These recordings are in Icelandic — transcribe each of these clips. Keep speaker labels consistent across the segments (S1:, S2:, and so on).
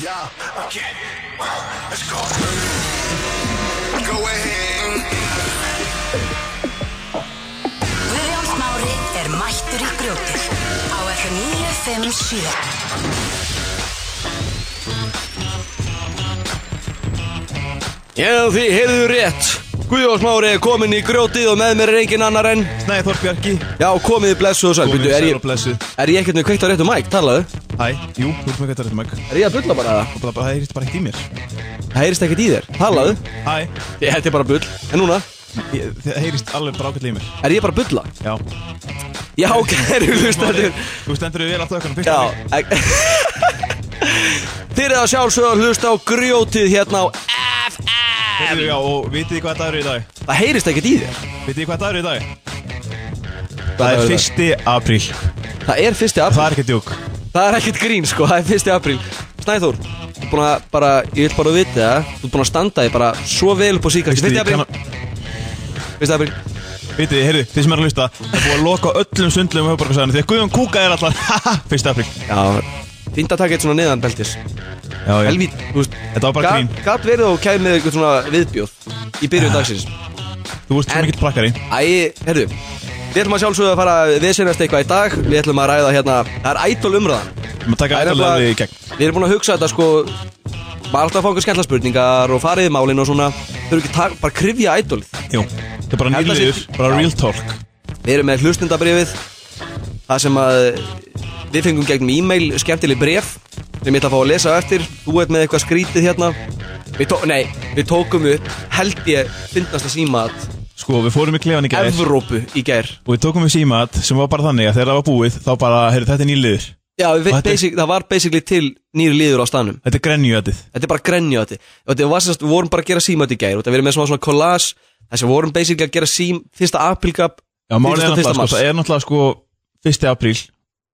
S1: Yeah. Okay. Well, let's go. Go ahead.
S2: Guðjón Smári er mættur í grjótið á FM 957
S3: Já, þið heyrðu rétt Guðjón Smári er komin í grjótið og með mér er engin annar en
S4: Nei, Þór Bjarki
S3: Já, komið þið blessuð og sæl
S4: Komið
S3: Býtu, er,
S4: sæl og
S3: ég-
S4: blessuð
S3: er ég ekkert með kveikt á réttu mæk, talaðu
S4: Hæ, jú, þú ert með gættar þetta mæk
S3: Er ég að bulla bara það?
S4: Og bara, það er bara ekkert í mér
S3: Það heyrist ekkert í þér, talaðu
S4: Hæ,
S3: Ég hætti bara bull En núna,
S4: ég, það heyrist alveg bara ákveðlega í mér
S3: er ég bara að bulla?
S4: Já
S3: Já, kæru hlustendur
S4: Þú stendur við vel aftur um ökkunum
S3: Já ek- Þið eruð að sjálfsögða að hlusta á grjótið hérna á
S4: Heyrðu, já, og vitið þið hvað dagur er í dag?
S3: Það heyrist ekkert í þér
S4: Vitið þið hvað dagur er í dag?
S3: Það er
S4: fyrsti apríl
S3: Það er fyrsti apríl
S4: Það er ekki djúk
S3: Það er ekkert grín sko, það er fyrsti apríl Snæþór, þú er búin að bara, ég vil bara vita það Þú er búin að standa þig bara svo vel upp á síkast Fyrsti apríl, fyrsti apríl
S4: Vitið þið, heyrðu, þið sem er að hlusta Það er búið að loka öllum sundlum á höfuborgarsæðinu Því að Guðjón Kúka er alltaf Haha, fyrsti apríl
S3: Já, fínt að taka eitt svona neðan beltis
S4: Já, já
S3: Helvít, þú veist
S4: Þetta var bara
S3: gat-
S4: grín.
S3: Gat verið og kæði með eitthvað svona viðbjóð Í byrjun dagsins
S4: Þú ert svo
S3: En-
S4: mikill plakkari
S3: Æ, herru, við ætlum að sjálfsögðu að fara að viðsynast eitthvað í dag Við ætlum að ræða hérna, það er ætol umræðan
S4: Maður taka
S3: Það er
S4: eitthvað
S3: nefnilega-
S4: í gegn
S3: Við erum búin að hugsa þetta sko Bara alltaf að fá einhver skemmtla spurningar og farið í málin og svona Þau eru ekki að bara krifja ædolið
S4: Jú Þetta er bara
S3: Held að sé-
S4: nýrliður Bara real talk
S3: Við erum með hlustendabrifið Það sem að við fengum gegnum e-mail skemmtileg bref sem ég ætla að fá að lesa á eftir Þú ert með eitthvað skrítið hérna við tó Nei, við tókum upp held ég fyndnasta símat
S4: Sko, við fórum í klefan í gær
S3: Evrópu í gær
S4: og við tókum við símat sem var bara þannig að þegar það var búið þá bara, heyrðu, þetta er nýliður
S3: Já, við,
S4: Og þetta er-
S3: basic, það var basically til nýri liður á stanum
S4: þetta er grenjuðatið
S3: Þetta er bara grenja þetta Og Þetta var sérst, við vorum bara að gera símat í gær og Þetta verið með svona, svona collage Þess að við vorum basically að gera sím Fyrsta apilgap
S4: já, málið er náttúrulega, sko,
S3: mars
S4: það er náttúrulega sko 1. apríl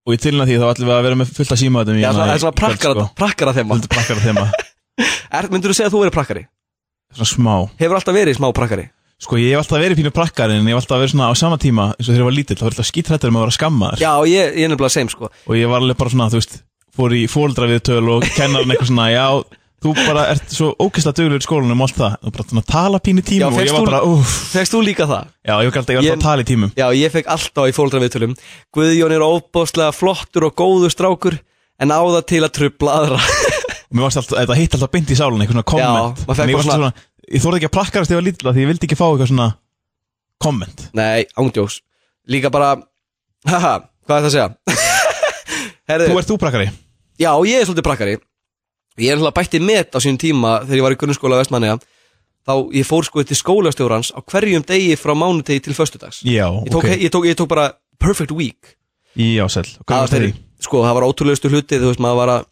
S4: og í tilna því þá ætlum við að vera með fullt af símatum
S3: Já, það er svona prakkara, prakkara þema
S4: fullt sko. prakkara þema,
S3: Myndur þú segja að þú verið prakkari?
S4: svona smá
S3: Hefur alltaf verið smá prakkari?
S4: sko, ég hef alltaf verið pínu prakkari en ég hef alltaf verið svona á sama tíma eins og þegar ég var lítill, þá var ég alltaf skítrættur um að vera skammaður
S3: Já, ég, ég er nefnilega sem sko
S4: og ég var alveg bara svona, þú veist, fór í fóldra við og kennarinn eitthvað svona, já Þú bara ert svo ókysla dögulegur í skólanum og allt það, og bara svona tala pínu í
S3: Já,
S4: tímum og ég
S3: fékkst
S4: var
S3: þú-
S4: bara, uff,
S3: Fegst þú líka það?
S4: já, ég var alltaf, ég var alltaf
S3: Ég-
S4: að tala í tímum.
S3: Já, ég fekk alltaf í fóldra viðtölum Guðjón er óbóðslega flottur og góður strákur En á það til að trubla aðra
S4: og mér varst alltaf, þetta hitt alltaf beint í sálun eitthvað svona komment
S3: maður fekk
S4: En
S3: bara
S4: ég, var
S3: svona-
S4: svona, ég þorði ekki að plakkarast þegar ég var lítla því ég vildi ekki fá eitthvað svona komment
S3: Nei, ándjós Líka bara, haha, hvað er það að segja? Herðu,
S4: Þú ert þú prakkari?
S3: já, ég er svolítið prakkari Ég er alltaf bætti met á sínum tíma Þegar ég var í grunnskóla vestmanniða Þá ég fór sko til skólastjórans Á hverjum degi frá mánudegi til föstudags
S4: Já,
S3: ég, tók,
S4: ok
S3: ég, tók, ég tók bara perfect week
S4: Já, sæl, og hvað
S3: Það
S4: var þetta því?
S3: fyrir- Sko, það var ótrúlegustu hluti, þú veist, maður var að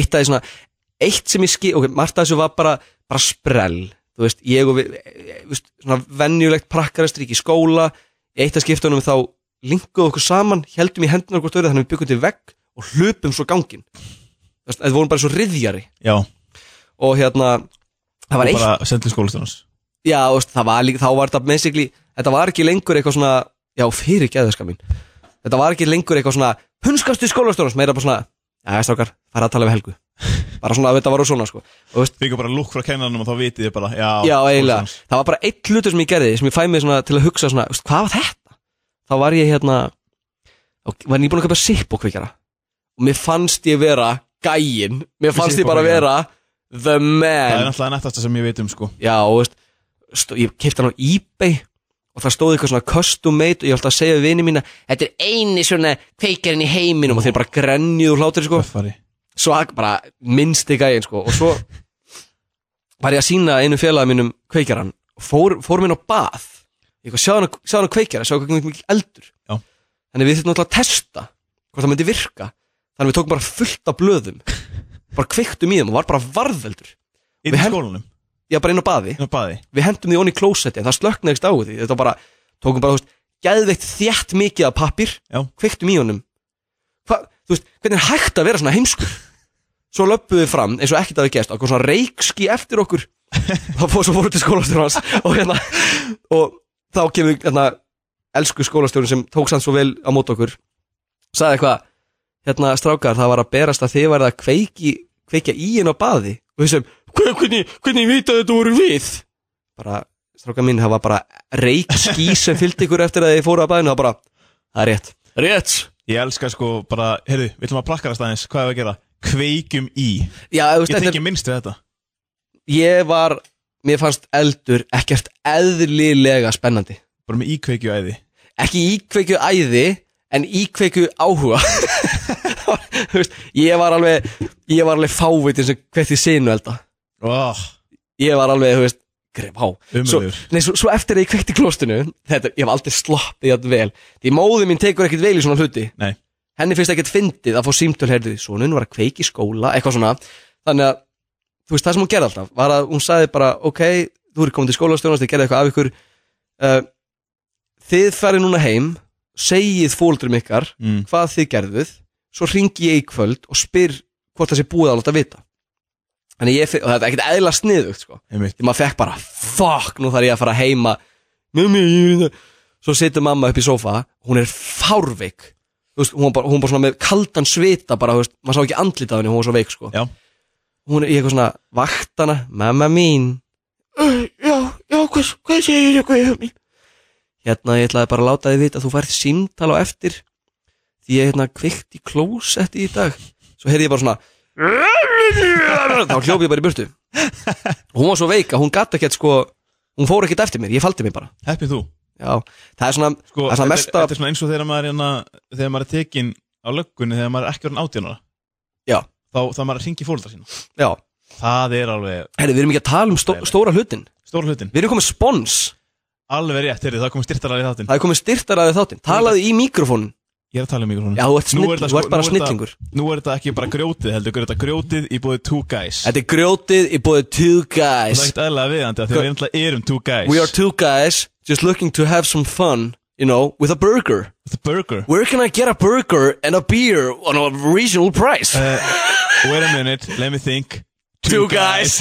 S3: Eitt af því svona Eitt sem ég skil, ok, margt af þessu var bara Bara sprell, þú veist, ég og við eh, þú veist, Svona venjulegt prakkarastrík í skóla Í eitt af skiptunum þá Linkuðu okkur saman, heldum í hendunar hvort öðru Þannig við byggum til vegg og hlupum svo gangin Þú veist, þetta vorum bara svo riðjari
S4: Já, og
S3: Og hérna Það var eitt
S4: bara sendið skólastjónans
S3: Já, þú veist, það var líka, þá var þetta basically, þetta var ekki lengur eitthvað svona, já, fyrir geðaska mín. Þetta var ekki lengur eitthvað svona, hundskastu skólastjórnars, meira bara svona, já, strákar, fara að tala við Helgu. Bara svona, þetta var og svona, sko. Og, þú veist,
S4: Fikku bara lúk frá kennanum og þá vitið þið bara Já,
S3: já, eiginlega,
S4: skólastjórans.
S3: það var bara eitt hlutur sem ég gerði, sem ég fæ mig svona til að hugsa svona, þú veist, hvað var þetta? Þá var ég hérna, og var nýbúin að köpa sipp og kvikjara. Og mér fannst ég vera gæin, mér fannst ég bara vera the man.
S4: Það er náttúrulega nettasta sem ég veit um sko
S3: Já, og veist, stó, ég kefti hann á eBay og það stóð eitthvað svona custom made og ég var alltaf að segja við vini mína Þetta er eini svona kveikarinn í heiminum og þeir bara grenjuð úr hlátur sko
S4: Töffari
S3: Svo ak- bara minnsti gæinn sko og svo var ég að sína einu félagi mínum kveikaran og fór, fór minn á bað ég eitthvað, sjá hann sjá hann á kveikara, sjá hvað mikil eldur
S4: Já.
S3: Þannig við þurfum náttúrulega að testa hvort það myndi virka Þannig við tókum bara fullt af blöðum bara kveiktum í þeim og var bara varðveldur
S4: Inn í
S3: hef-
S4: skólanum,
S3: Ég var bara inn á baði
S4: inn á baði
S3: við hendum því onni í klósetti en það slöknaði ekki á því þetta var bara, tókum bara, þú veist, gæðveikt þjætt mikið af pappir,
S4: Já.
S3: kveiktum í honum Hva, þú veist, hvernig er hægt að vera svona heimskur svo löppuðu við fram, eins og ekkert að við gæst okkur svona reikski eftir okkur þá fór svo fóruð til skólastjóra hans og hérna, og þá kemur hérna, elsku skólastjórun sem tók sann svo vel á mót okkur sagði eitthvað, hérna strákar það var að berast að þið værið að kveiki kveikja í henn á baði og þessum, "Hve- hvernig, hvernig vita þetta voru við bara, stráka mín, það var bara reik ský sem fylgdi ykkur eftir að þið fóru að baðinu, það bara, það er rétt rétt,
S4: Ég elska sko bara, heyrðu, við ætlum að prakkarast aðeins Hvað er að gera? Kveikjum í
S3: já, þú veist,
S4: Ég
S3: þetta
S4: tengi minnst við þetta
S3: ég var, mér fannst eldur ekkert eðlilega spennandi
S4: Bara með íkveikju æði
S3: ekki íkveikju æði en íkveikju áhuga Þú veist, ég var alveg ég var alveg fáviti sem hvert ég sinu elda
S4: oh,
S3: ég var alveg, þú veist, greið, vá svo,
S4: Umurður
S3: nei, svo, svo eftir að ég kveikti klostinu þetta, ég hef aldrei sloppið jafn vel því móði mín tekur ekkert vel í svona hluti
S4: Nei.
S3: henni finnst ekkert fyndið að fá símtöl herðu, svona hún var að kveiki í skóla, eitthvað svona þannig að, þú veist, það sem hún gerði alltaf var að hún sagði bara, ok, þú eru komin til skólastjónast ég gerði eitthvað af ykkur uh, þið farið núna heim segið fóldurum ykkar
S4: mm.
S3: hvað þið gerðuð svo ringi ég í kvöld og spyr hvort það sé búið að láta vita þannig ég, fe- og þetta er ekkert eðla sniðugt sko.
S4: einmitt.
S3: því maður fekk bara fuck, nú þarf ég að fara heima mummi, ég veit það svo situr mamma upp í sófa, hún er fárveik Þú veist, hún, var bara, hún var bara svona með kaldan svita bara, þú veist, maður sá ekki andlitað henni, hún var svo veik sko.
S4: Já.
S3: hún er í eitthvað svona vaktana, mamma mín já, já, hvað, hvað segir ég hvað ég hef mín hérna, ég ætlaði bara að láta þið vita að þú færð símtal á eftir því ég hérna kvikt í klósetti í dag svo heyrði ég bara svona þá hljóp ég bara í burtu hún var svo veik að hún gatt ekkert sko hún fór ekkert eftir mér, ég faldi mér bara
S4: Happy þú
S3: já, það er svona, það er
S4: sko,
S3: svona
S4: þetta-
S3: mesta
S4: Þetta er svona eins og þegar maður, er hérna, þegar maður er tekin á löggunni Þegar maður er ekki orðin átjánara
S3: Já.
S4: Þá þá maður er að hringi fólkdra sína
S3: já,
S4: Það er alveg
S3: herri, við erum ekki að tala um stó, stóra hlutin
S4: stóra hlutin
S3: við erum komið spons,
S4: Alveg rétt, heyrðu, það komið styrtarar í þáttinn
S3: það er komið styrtaraði þáttinn talaðu í mikrofónin,
S4: Ég er að tala um ykkur hún
S3: já, þú ert,
S4: Nú er
S3: snill,
S4: þetta
S3: þú
S4: sko-
S3: ert bara
S4: nú er þetta-
S3: snillingur
S4: Nú er þetta ekki bara grjótið heldur, er þetta grjótið í bóði Two Guys
S3: þetta er grjótið í bóði two
S4: Það er
S3: guys
S4: ekkert aðlega viðandi af því að við náttúrulega erum Two Guys
S3: we are two guys just looking to have some fun you know, with a burger
S4: It's a burger
S3: where can I get a burger and a beer on a reasonable price
S4: Uh, Wait a minute, let me think
S3: Uh, two guys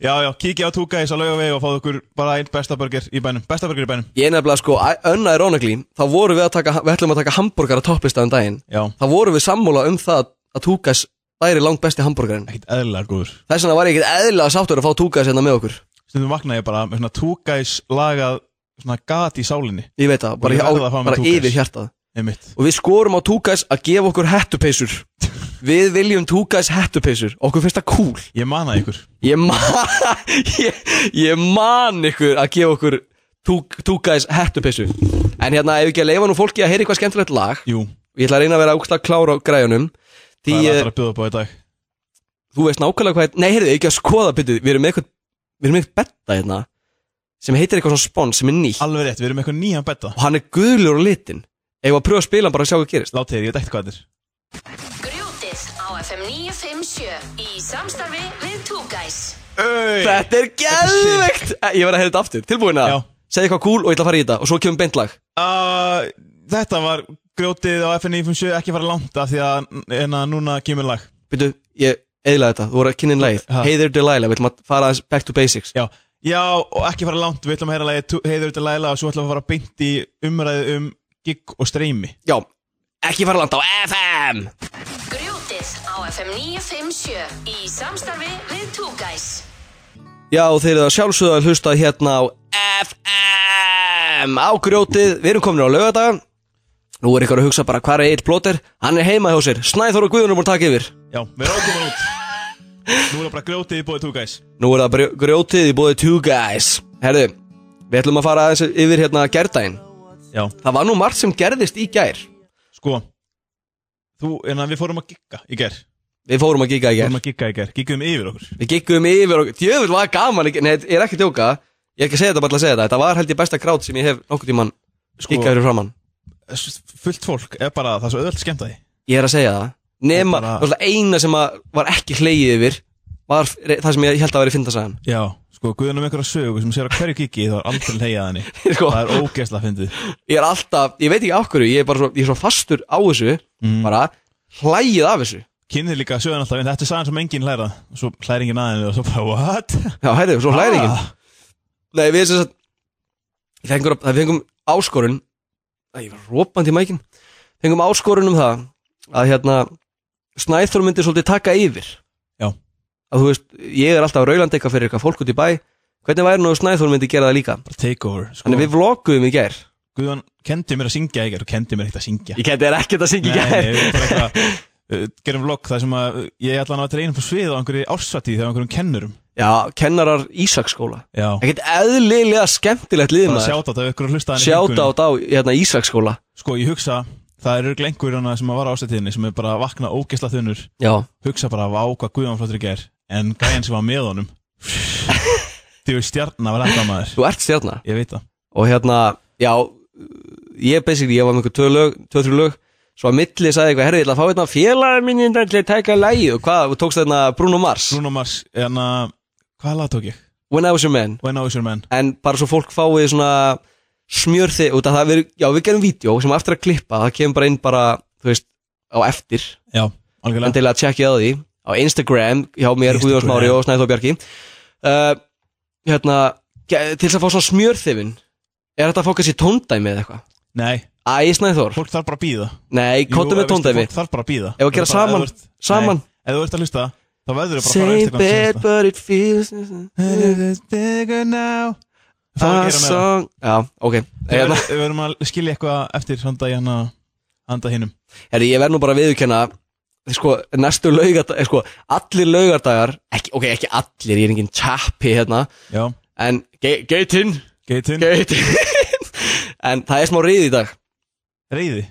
S4: Já, já, kíkja á Two Guys á laugavegi og fáðu okkur bara einn besta burger í bænum Besta burger í bænum
S3: Ég er nefnilega sko, unironically, þá vorum við að taka, við ætlum að taka hambúrgar að topplista um daginn.
S4: Já,
S3: Þá vorum við sammála um það að Tugas væri langt besti hambúrgarinn.
S4: ekkert aðlega góður
S3: Þess vegna var ég ekkert eðlilega sáttur að fá Tugas hérna með okkur.
S4: Stundum vakna ég bara með svona Two Guys lagað svona gat í sálinni
S3: Ég veit það,
S4: Og
S3: bara,
S4: ég
S3: á,
S4: verð að fá mér
S3: bara
S4: Two Guys.
S3: yfir hjartað.
S4: Einmitt
S3: Og við skorum á Tugas að gefa okkur hettupeysur. við viljum Tugas hettupeysur, okkur finnst það cool.
S4: Ég mana ykkur
S3: Ég man, ég, ég man ykkur að gefa okkur Tugas hettupeysu. En hérna, ef ekki að leifa nú fólki að heyra eitthvað skemmtilegt lag,
S4: Jú,
S3: og ég ætla að reyna að vera ógslag klár á græjunum því
S4: hvað er
S3: eh,
S4: alltaf að bjóða upp á í dag?
S3: þú veist nákvæmlega hvað er- nei, heyrðu, ekki að skoða byrju, við erum með eitthvað við erum með eitthvað betta hérna sem heitir eitthvað svona spons sem er nýtt
S4: Alveg rétt, við erum með eitthvað nýjan betta
S3: og hann er guðlur og litin ef að pröfa að spila hann bara að sjá hvað gerist
S4: Látið þér, ég veit ekkert hvað þetta er
S2: Grjótið á FM 957 í samstarfi við Two Guys
S4: Þetta
S3: þetta er geðvegt ég verð að heyra þetta aftur, tilbúin að
S4: Já.
S3: segja eitthvað cool og ég ætla að fara í þetta og svo kemur beint lag
S4: uh, Þetta var grjótið á FNI57 ekki fara langt af því að en að núna kemur lag
S3: byrju, ég eðla þetta, þú voru að kynna inn lagið
S4: Ha.
S3: Hey there Delilah, við ætlum að fara aðeins back to basics
S4: Já, já og ekki fara langt Við ætlum að heyra lagið Tu- heiður til Laila og svo ætlum við að fara beint í umræðu um gig og streymi
S3: já, ekki fara langt á FM
S2: Grjótið á FM 957 í samstarfi við Two Guys
S3: Já, og þeir eru að sjálfsögða að hlusta hérna á FM á grjótið, við erum komin á laugardaga Nú er ykkur að hugsa bara hvað er eitt blóter Hann er heima hjá sér, Snæþór og Guðunum er búin að taka yfir
S4: Já, við ráðum það út Nú er það bara grjótið í bóði 2 guys
S3: Nú er það brjó- grjótið í bóði Two Guys Herðu, við ætlum að fara aðeins yfir hérna gærdaginn
S4: Já,
S3: Það var nú margt sem gerðist í gær
S4: sko Þú, en að við fórum að gigga í ger
S3: Við fórum að gíka í gær
S4: Fórum að gigga í ger, giggum yfir okkur
S3: Við gíkum yfir og djöfull var gaman í gær. Nei, ég er ekki að djóka Ég er ekki að segja þetta, bara til að segja þetta Þetta var held ég besta krát sem ég hef nokkuð tíman
S4: Sko-
S3: gíkað fyrir framann
S4: S- Fullt fólk er bara það er svo öðvöld skemmt að því
S3: Ég er að segja það Nema,
S4: Og bara-
S3: náttúrulega eina sem að var ekki hleyið yfir Var re- það sem ég held að vera í fintasagan
S4: Já, sko, guðunum einhverja sögu sem sér að hverju giggi þá er aldrei leiðað henni
S3: sko,
S4: Það er ógeðslega fyndið
S3: Ég er alltaf, ég veit ekki af hverju Ég er bara svo, ég er svo fastur á þessu Bara hlægið af þessu
S4: kynnið Mm. líka sögðan alltaf en þetta er sagan sem enginn læra og svo hlæri enginn aðeins og svo bara what?
S3: Já, heyrðu, svo hlægir ekki
S4: Ah,
S3: Nei, við sem sagt ég fengum, Það fengum áskorun Æ, ég var rópandi í mækin Fengum áskorun um það Að hérna Snæþór myndi svolítið taka yfir
S4: Já.
S3: að þú veist, ég er alltaf raulandi eitthvað fyrir eitthvað fólk út í bæ hvernig væri nú ef Snæþór myndi gera það líka
S4: bara take over sko.
S3: þannig við vlogguðum í gær
S4: Guðan kendi mér að syngja í gær og kendi mér ekkert að syngja
S3: ég kæti þér ekkert að syngja í
S4: Nei,
S3: gær
S4: nei, bara eitthvað uh, gerum vlogg þar sem að uh, ég ætla hann að reyna på svið á einhverju ársatíð þegar einhverjum kennurum
S3: já, kennarar Ísaksskóla
S4: Já,
S3: ekkert eðlilega skemmtilegt lið
S4: bara
S3: maður
S4: sjáta þetta ykkur að hlusta hann í
S3: sjáta á
S4: hringunum.
S3: þetta á hérna, Ísaksskóla
S4: Sko, ég hugsa, það eru glengur hana sem að vara ársatíðinni sem er bara að vakna ógesla þunnur
S3: já,
S4: hugsa bara vá hvað Guðan flottur í gær en gæjan sem var með honum því við stjarnar var þetta maður
S3: þú ert stjarnar
S4: Ég veit það
S3: og hérna, já ég basically, ég var með einhver tvö lög, tvö, þrjú lög svo að milli sagði eitthvað, herri, ég ætla að fá hérna félagin mín hérna til að taka lægi og hvað, og tókst þarna Bruno Mars
S4: Bruno Mars, en að hvað lag tók ég?
S3: When I Was Your Man
S4: When I Was Your Man
S3: en bara svo fólk fáið svona smjörði, út að það verið, já við gerum vídeo sem á eftir að klippa, það kemur bara inn bara þú veist, á eftir
S4: Já,
S3: en
S4: algjörlega
S3: til að tjekkja á því á Instagram, hjá mér,
S4: Instagram.
S3: Guðjón Smári og Snæðó Bjarki uh, hérna, ge- til þess að fá svona smjörþefin er þetta að fá kannski tóndæmi eða eitthvað?
S4: Nei,
S3: Æ, Snæðór
S4: fólk þarf bara að býða
S3: Nei, kóttu með tóndæmi
S4: Fólk þarf bara að býða
S3: Ef að gera
S4: Bara-
S3: saman,
S4: ef þú ert-
S3: saman.
S4: Nei, Ef þú ert að hlusta þá verður þú bara að fara á
S3: Same
S4: Instagram og
S3: bed
S4: hlusta.
S3: but it feels
S4: It is bigger now
S3: A
S4: Það er að gera með það
S3: song Já, ok
S4: Við
S3: Hérna,
S4: verðum- Við verðum að skilja eitthvað eftir handa í hana handa hinnum
S3: Herri, hérna, ég verð nú bara að viðurkenna Sko, næstu laugardagar Sko, allir laugardagar ekki, Ok, ekki allir, ég er enginn tappi hérna
S4: Já,
S3: En, ge- geitinn
S4: geitun,
S3: Geitinn En það er smá rið í dag
S4: reyði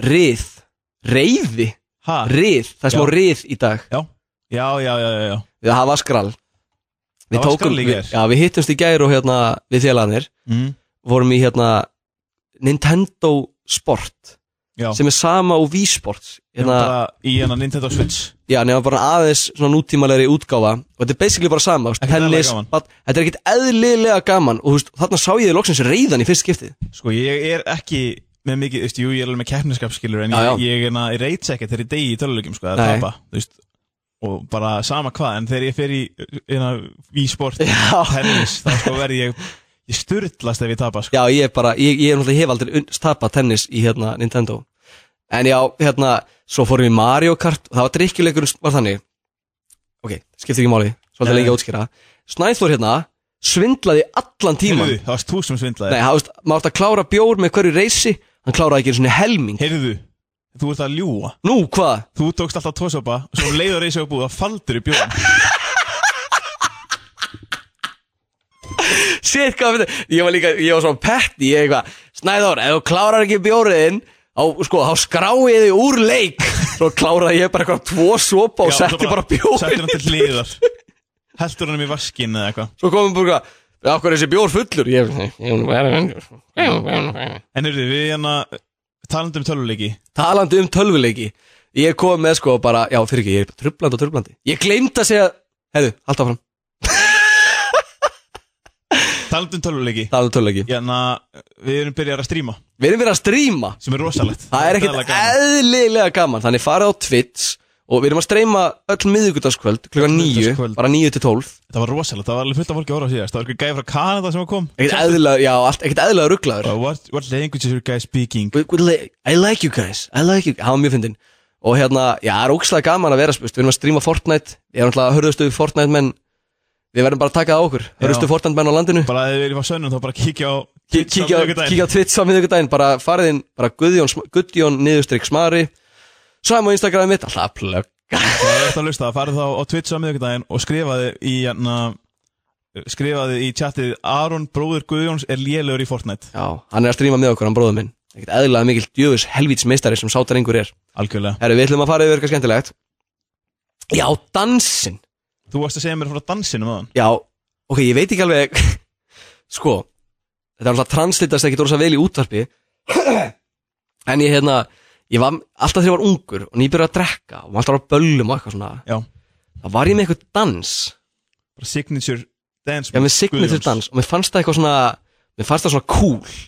S3: Rið Reiði
S4: Ha,
S3: Rið Það er smá
S4: Já.
S3: rið í dag
S4: já, já, já, já, já, já.
S3: Við að hafa skrall Við
S4: Það var skrall í
S3: við,
S4: gær.
S3: Já, við hittumst í gær og hérna Við félagarnir
S4: Mm,
S3: vorum í hérna Nintendo Sport
S4: já.
S3: sem er sama og Wii Sports
S4: Hérna,
S3: hérna,
S4: bara í hana Nintendo Switch
S3: já, nema bara aðeins svona nútímalegri útgáfa og þetta er basically bara sama, þú veist,
S4: Ekkert
S3: tennis
S4: eðlilega gaman.
S3: bat, þetta er ekkert eðlilega gaman og þú veist, þarna sá ég þið loksins reyðan í fyrst skiptið
S4: Sko ég er ekki með mikið, þú veist, jú ég er alveg með keppniskap skilur En
S3: Já, já.
S4: ég, ég er að reyts ekkert þegar ég degi í tölulegjum sko, það
S3: Nei.
S4: er tapa Þú veist, og bara sama hvað En þegar ég fer í, hérna, í sport
S3: Já.
S4: Tennis, þá sko verð ég, ég styrlast ef ég tapa sko
S3: já, ég er bara, ég, ég er náttúrulega hef aldrei unn- tapað tennis í hérna Nintendo en já, hérna, svo fórum við í Mario Kart og það var drikkjuleikur, var þannig ok, skiptir ekki máli, svolítið
S4: Nei,
S3: lengi
S4: nei.
S3: að útskýra Snæþór hérna svindlaði allan tíman
S4: Heyrðu, það varst þú sem svindlaði
S3: Nei, það veist, maður átt að klára bjór með hverju reysi Hann kláraði ekki einu svona helming
S4: Heyrðu, þú ert að ljúa
S3: Nú, hvað?
S4: Þú tókst alltaf tósopa og svo leiður reysi á búð Það faldur í bjóðan
S3: Shit, hvað fyrir Ég var líka, ég var svona petti Ég eitthvað, Snæður, ef þú klárar ekki bjóriðinn Á, sko, þá skráið þið úr leik Svo kláraði ég bara eitthvað tvo sopa Og setti bara
S4: Settir hann
S3: bjórinn
S4: til hliðar Heldur hann um í vaskin eða eitthvað
S3: Svo komum bara eitthvað Já, hvað er þessi bjór fullur? Ég, ég, ég,
S4: En heyrðu, við hérna talandi um töluleiki
S3: talandi um tölvuleiki Ég kom með sko bara, já, fyrir ekki, ég er trublandi og trublandi Ég gleymd að segja, hefðu, halda áfram
S4: Talandi um töluleiki
S3: Talandi um tölvuleiki
S4: Hérna, við erum byrjar að stríma
S3: Við erum verið að stríma
S4: Sem er rosalegt
S3: Það er
S4: eðlilega
S3: ekkert
S4: gaman.
S3: eðlilega gaman Þannig farið á Twitch og við erum að streyma öll miðugudagskvöld klukkan
S4: Öll
S3: 9,
S4: miðvikudagskvöld.
S3: bara 9 til 12
S4: Það var rosalegt, það var alveg fullt af fólki að horfa á síðast Það var eitthvað gæði frá Kanada sem að kom
S3: Ekkert eðlilega, já, allt, ekkert eðlilega rugglaður
S4: Bara, What, what language is your guy speaking?
S3: We- we li- I like you guys, I like you Það var mjög fyndin Og hérna, já, það er ógslag gaman að vera spust Við erum að stríma Fortnite, ég er náttúrulega að hörðustu Fortnite menn Við verðum bara að taka það á okkur Hörðustu Fortnite menn á landinu
S4: Bara ef við erum á sönnum þá bara kíkja á
S3: Kí- kíkja, kíkja á Twitch á miðugudaginn bara fariðinn, bara Guðjón, Sm- Guðjón niðurstrykk smari Sama á Instagramið mitt, alltaf að plugga
S4: Það er eftir að lusta, farið þá á Twitch á miðvikudaginn og skrifaði í hérna skrifaði í chatið Aron bróður Guðjóns er lélögur í Fortnite
S3: Já, hann er að stríma með okkur, hann bróður minn Ekkert eðlilega mikil djöfus helvíts meistari sem sátar einhver er
S4: Algjörlega
S3: Herru, við ætlum að fara yfir eitthvað skemmtilegt Já, dansinn
S4: Þú varst að segja mér frá dansinum aðan
S3: Já, ok, ég veit ekki alveg Sko, þetta er alltaf translitast ekki dórsa vel í útvarpi En ég, hérna, ég var alltaf þegar ég var ungur og nýbyrjuð að drekka og var alltaf á böllum og eitthvað svona
S4: Já,
S3: Það var ég með eitthvað dans
S4: bara signature dance
S3: Já, með
S4: move
S3: signature
S4: Guðjóns.
S3: dans og mér fannst það eitthvað svona Mér fannst það svona cool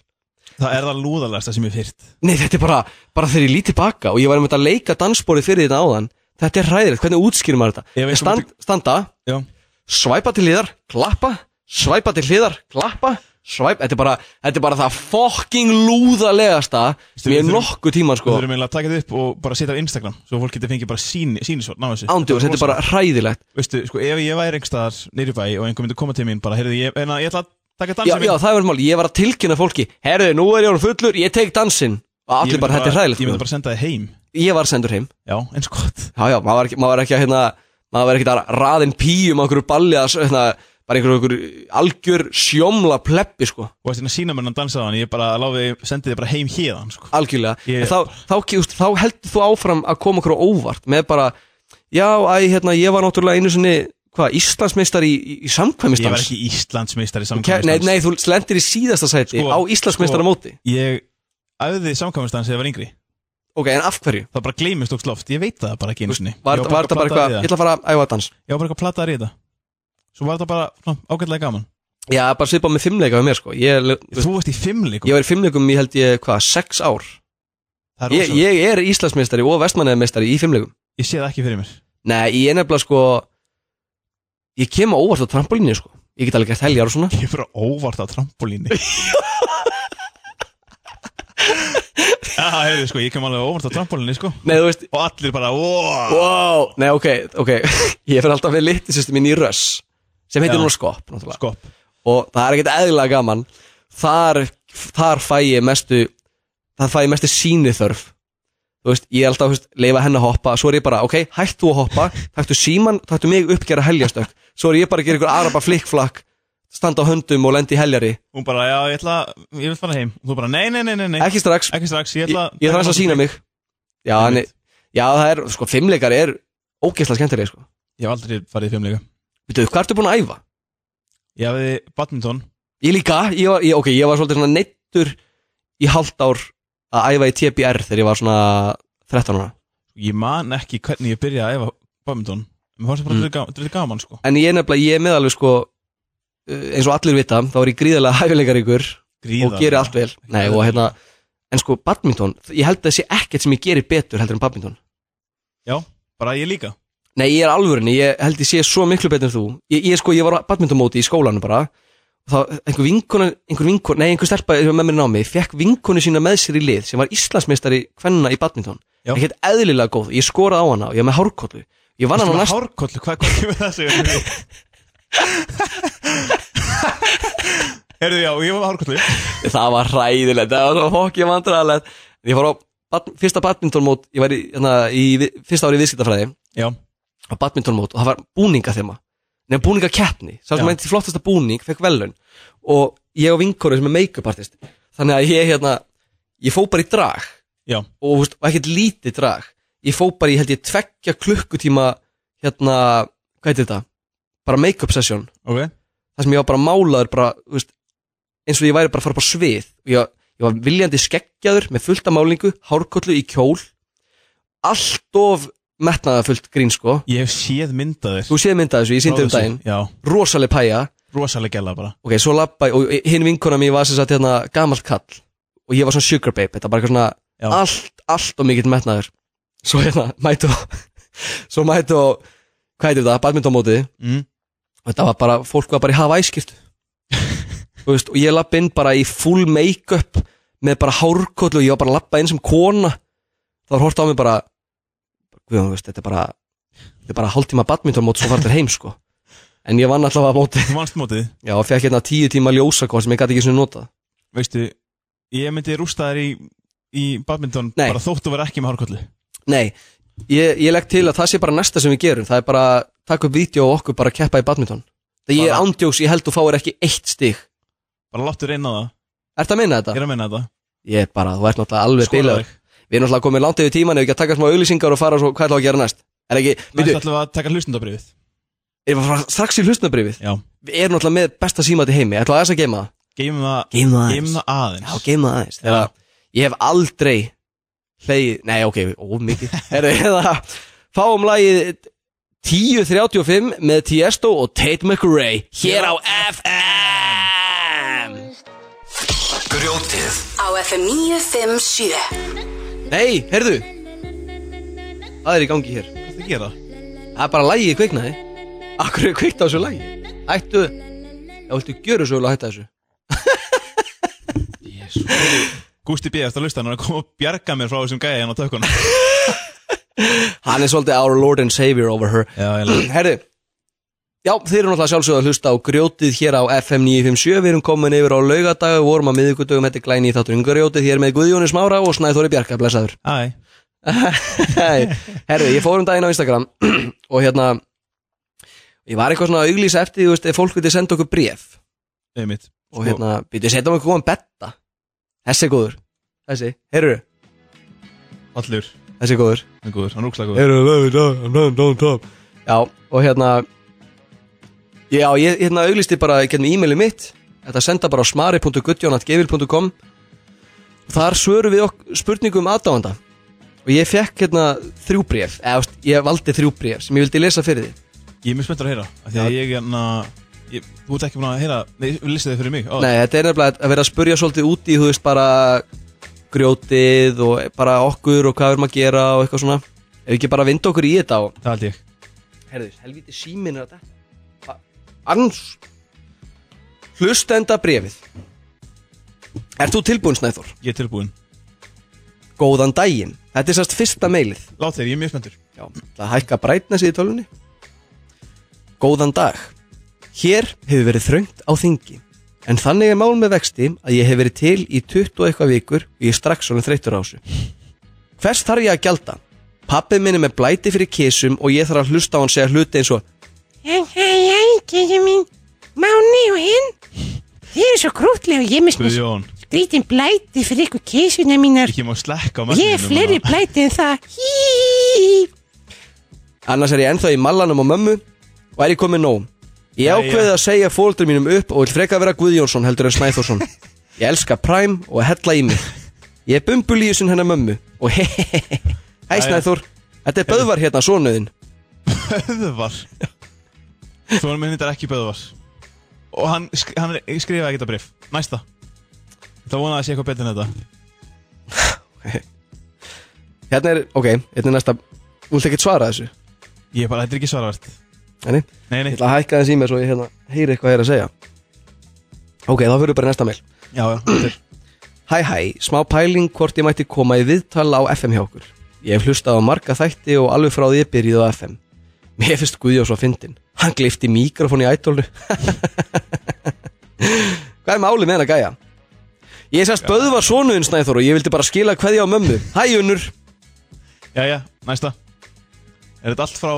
S4: Það er það lúðalegasta sem ég hef fyrt
S3: Nei, þetta er bara, bara þegar ég lít tilbaka og ég var einmitt að leika dansbórið fyrir þetta áðan Þetta er hræðilegt, hvernig útskýrir maður þetta?
S4: Ég veit
S3: Ég stand,
S4: hvað
S3: standa,
S4: Já,
S3: svæpa til hliðar, klappa, svæpa til hliðar, klappa, svæp þetta er bara, þetta er bara það fucking lúðalegasta sem ég
S4: við
S3: er
S4: þurfum-
S3: nokkuð tíman sko
S4: Við þurfum eiginlega að taka þetta upp og bara setja á Instagram Svo fólk getur fengið bara síni, sínisvort ná þessu
S3: ándjóðs, þetta er bara hræðilegt
S4: Veistu, sko, ef ég væri einhverstaðar nýri bæ og einhver myndi koma til mín bara, heyrðu, ég, en að ég ætla að taka
S3: já,
S4: dansa
S3: já, það er mál, ég var að tilkynna fólki herðu, nú er ég orðinn fullur, ég tek dansinn og
S4: Ég myndi
S3: allir bara, þetta er hræðilegt
S4: Ég myndi
S3: sko.
S4: bara senda það heim
S3: ég var sendur heim,
S4: Já, eins gott
S3: já, já, maður var ekki, maður var ekki að hérna, maður var ekki að raðin píum á einhverju balli að, s- hérna, bara einhverju, einhverju algjör sjómla pleppi, sko
S4: Og hérna, þess að sína mér hann dansaðan, ég bara láfi, sendi þið bara heim héðan, sko
S3: algjörlega
S4: Ég-
S3: ég... þá, þá, kýst, þá heldur þú áfram að koma okkur á óvart með bara, já, æ, hérna ég var náttúrulega einu sinni, hvað, Íslandsmeistar í, í, í
S4: Ég var
S3: samkvæmistans
S4: ekki Íslandsmeistari
S3: Ke-
S4: samkvæmstans
S3: nei, nei, þú lendir í síðasta sæti
S4: Sko,
S3: á Íslandsmeistar móti
S4: Ég æfði samkvæmstans eða var yngri
S3: ok, en af hverju?
S4: Það bara gleymist okk sloft, ég veit það bara ekki einu sinni
S3: Var,
S4: Ég
S3: var þetta bara eitthvað,
S4: plataður í
S3: ég ætla að fara að æfa að dans
S4: Ég var bara eitthvað plataður í þetta Svo var þetta bara svona, ágætlega gaman
S3: Já, bara svipað með fimmleika við mér sko Ég, þú,
S4: Þú varst í fimmleikum
S3: ég var í fimmleikum í held ég, hvað, sex ár
S4: Það er
S3: Ég,
S4: rosalegt.
S3: ég er Íslandsmeistari og vestmanneðmeistari í fimmleikum
S4: Ég sé það ekki fyrir mér
S3: Nei, ég er nefnilega sko Ég kem á óvart á trampolínu sko Ég get alveg gert heljar og svona
S4: Ég er bara óvart á trampolíni Já, hefði sko, ég kem alveg óvart á trampolíni sko
S3: Nei, þú veist,
S4: Og allir bara, wow
S3: wow Nei, ok, ok Ég fyrir alltaf við litli sýstu mín í Röss Sem heitir
S4: Já.
S3: núna Skopp náttúrulega
S4: Skopp
S3: Og það er ekkert eðlilega gaman Þar, þar fæ ég mestu Það fæ ég mestu síniþörf Þú veist, ég er alltaf, þú veist, leifa henni að hoppa Svo er ég bara, ok, hættu að hoppa Taktu síman, taktu mig uppgera heljastök Svo er ég bara að gera ykkur aðra bara flikkflakk Standa á höndum og lendi í heljari
S4: Hún bara, já, ég ætla, ég vil fara heim Og Þú bara, nei, nei, nei, nei, nei.
S3: Ekki strax,
S4: ekki strax
S3: ég,
S4: Ég ætla
S3: ég þarf að sína mig Já, en, já, það er, sko, fimmleikar er Ógeðslega skemmtilega, sko
S4: Ég hef aldrei farið í fimmleika
S3: Veitu, hvað ertu búin að æfa?
S4: Ég hefði badminton
S3: Ég líka, ég var, ég, ok, ég var svolítið svona neittur í hálft ár að æfa í TBR þegar ég var svona 13 ára.
S4: Ég man ekki hvernig ég byrjaði að æfa badminton Mér fannst það bara mm. drulli gaman sko
S3: En ég nefnilega, ég er með alveg sko, uh, eins og allir vita, þá er ég gríðarlega hæfileikaríkur og
S4: Gríðarlega.
S3: gerir allt vel. Nei, og hérna, en sko, badminton, ég held að það sé ekkert sem ég gerir betur heldur en badminton.
S4: Já, bara ég líka
S3: Nei, ég er alvörinni, ég held ég sé svo miklu betur en þú. Ég, ég sko, ég var á badmintonmóti í skólanum bara, og þá, einhver vinkona, einhver vinkona, nei, einhver stelpa sem var með mér námi, fekk vinkonu sína með sér í lið sem var Íslandsmeistari kvenna í badminton.
S4: Já.
S3: Ekkert eðlilega góð, ég skoraði á hana og ég var með hárkollu. Ég vann
S4: Ertu
S3: hana
S4: með
S3: næst,
S4: hárkollu, hvað hvað kemur það segja mér við? Herðu, já, ég var með hárkollu
S3: það var hræðilegt, það var svo fokk ég vandræðilegt. Ég fór á bad, fyrsta badmintonmót, ég var í, hérna, í vi- fyrsta ári í viðskiptafræði,
S4: Já,
S3: á badmintonmót og það var búninga þeima nefn búninga keppni, sá
S4: Já.
S3: sem meinti flottasta búning fekk velun og ég og vinkonu sem er make-up artist þannig að ég hérna, ég fó bara í drag
S4: já,
S3: og, þú veist, og ekkert lítið drag ég fó bara í held ég tveggja klukkutíma hérna, hvað heitir þetta bara make-up session,
S4: ok
S3: þar sem ég var bara málaður bara, þú veist, eins og ég væri bara að fara bara svið og ég, ég var viljandi skeggjaður með fullta málingu, hárkollu í kjól allt of metnaðarfullt grín sko
S4: Ég hef séð myndaðir
S3: Þú séð myndað þessu, ég síndi um daginn
S4: Já,
S3: Rosaleg pæja
S4: rosalega gæla bara
S3: Ok, svo labba ég Og hinn vinkona mér var sem sagt hérna Gamalt kall Og ég var svona sugar babe Þetta var bara eitthvað svona
S4: Já.
S3: Allt, allt og mikill metnaður Svo hérna, mætu á- Svo mætu á Hvað heitir þetta? Badmintonmóti
S4: mm.
S3: Og þetta var bara Fólk var bara í hafa æskirtu Þú veist Og ég labba inn bara í full make-up Með bara hárkoll Og ég var bara að labba inn sem kona Það var hort á mig bara Guðjón, þú veist, þetta er bara Þetta er bara hálftíma badmintonmót Svo fara þér heim sko En ég vann allavega móti
S4: Þú manst mótið,
S3: Já, og fekk hérna tíu tíma ljósakort sem ég gæti ekki svona notað
S4: veistu Ég myndi rústa þær í, í badminton
S3: Nei.
S4: Bara þóttu vera ekki með hárkollu
S3: Nei, ég, ég legg til að það sé bara næsta sem við gerum Það er bara að taka upp vídeo og okkur bara að keppa í badminton Það ég er
S4: Bara-
S3: ándjóks, ég held þú fáir ekki eitt stig
S4: Bara láttu reyna það,
S3: Ertu að minna
S4: ég
S3: þetta?
S4: er að meina þetta
S3: Ég er bara, þú ert náttúrulega alveg
S4: Skora
S3: bilaður
S4: þig
S3: Við erum náttúrulega komið langt yfir tíman Ef ekki að taka smá auglýsingar og fara svo hvað er það að gera næst Er ekki,
S4: Næst
S3: veitu,
S4: ætlum við að taka hlustendabrifið
S3: erum við að fara strax í hlustnabrifið
S4: Já,
S3: Við erum náttúrulega með besta símat í heimi Ætlaðu aðeins að geima það?
S4: geymum það
S3: Geima
S4: Geymum það
S3: Já,
S4: aðeins
S3: geima það aðeins Þegar Ég hef aldrei hleyið, nei ok, of mikið Herru, hérna, fáum lagið 10.35 með Tiesto og Tate McRae Hér á FM
S1: Grjótið
S2: Á FM 957
S3: Nei, heyrðu Það er í gangi hér
S4: Hvað það gera?
S3: Það er bara lagið kviknaði Akkur er kveikt á þessu lagi Ættu, ef viltu gjöra svo vel að hætta þessu
S4: Gústi B. eftir að lusta hann er að koma og bjarga mér frá þessum gæði hann á tökkunum
S3: Hann er svolítið our lord and savior over her
S4: Já, eiginlega.
S3: Herðu Já, þeir eru náttúrulega sjálfsögðu að hlusta á grjótið hér á FM 957, við erum komin yfir á laugardag við vorum á miðvikudögum, þetta er glæni í þátturinn grjótið, hér með Guðjóni Smára og Snæþóri Bjarka, blessaður.
S4: Æ,
S3: Nei, herðu, ég fór um daginn á Instagram og hérna ég var eitthvað svona að auglýsa eftir, því, þú veist, ef fólk vildi senda okkur bréf
S4: einmitt
S3: og hérna, býttu, setja okkur góðan betta þessi er góður, þessi, heyrðu
S4: Sko, Allur,
S3: þessi er góður
S4: hann er góður, hann er úkslega góður
S3: Heyrðu, love it, love it, love it, love it, love it. Sko. Já, og hérna Já, ég hérna auglisti bara í gegnum e-mailið mitt Þetta senda bara á smari.gudjón.gevil.com Þar svörum við ok spurningum aðdáanda Og ég fekk hérna þrjú bréf Eða, þú veist, ég valdi þrjú bréf sem ég vildi lesa fyrir því
S4: Ég er mjög spenntur að heyra, af því að ég hérna ég, Þú ert ekki búin að heyra, nei, listið þið fyrir mig Ó,
S3: Nei, þetta er nefnilega að vera að spurja svolítið út í Þú veist, bara grjótið og bara okkur og hvað við erum að gera og eitthvað svona Ef við ekki bara vinda okkur í þetta og
S4: Það held ég
S3: Herðis, helviti símin er að þetta Arns Hlustenda brefið Er þú tilbúin Snæþór?
S4: Ég er tilbúin
S3: Góðan daginn Þetta er sérst fyrsta meilið
S4: Lát þeir, ég er mjög spenntur
S3: Já, það hækka brightness í tölunni Góðan dag Hér hefur verið þröngt á þingi En þannig er mál með vexti að ég hef verið til í 20 og eitthvað vikur og ég er strax svona þreyttur á þessu Hvers þarf ég að gjalda? Pappið minni með blæti fyrir kísum og ég þarf að hlusta á hann segja hluti eins og
S5: Hei, hei, hei, kegja mín, Máni og hinn. Þið eru svo krútlega og ég er með svona
S4: Guðjón,
S5: skrítin blæti fyrir ykkur keisuna mínar.
S4: ekki má slekka á
S5: Ég er
S4: manninum
S5: fleiri
S4: núna.
S5: blæti en það. Hí,
S3: Annars er ég ennþá í mallanum á mömmu og er ég komið nóg. Ég
S4: Jæja.
S3: ákveði að segja fóldur mínum upp og vil freka vera Guðjónsson heldur en Snæþórsson. Ég elska Prime og að hella í mig. Ég er bumbulíusinn hennar mömmu og hehehehe. Hæ
S4: Jæja.
S3: Snæþór, þetta er Böðvar hérna sonuðinn.
S4: Böðvar Svona minn þetta er ekki Böðvar Og hann, sk- hann er- skrifaði ekki þetta brif Næsta Það vonaði að sé eitthvað betur en þetta
S3: Hérna er, ok, hérna er næsta, þú vilt ekki svara þessu.
S4: Ég er bara, þetta er ekki svaravert
S3: Þannig,
S4: Nei, nei,
S3: ég ætla að hækka þessi í mér svo ég hérna heyri eitthvað þér að segja. Ok, þá fyrir bara í næsta meil.
S4: já, já, þetta er
S3: Hæ hæ, smá pæling hvort ég mætti koma í viðtal á FM hjá okkur. Ég hef hlustað á marga þætti og alveg frá því ég byrjuð á FM. Mér finnst Guðjón svo fyndin. Hann glifti mikrofón í ædolnu. Hvað er málið með hennar gæja? Ég sérst Böðvar sonuðin Snæþór og ég vildi bara skila hverja á mömmu. Hæ Unnur!
S4: Já, já, næsta Er þetta allt frá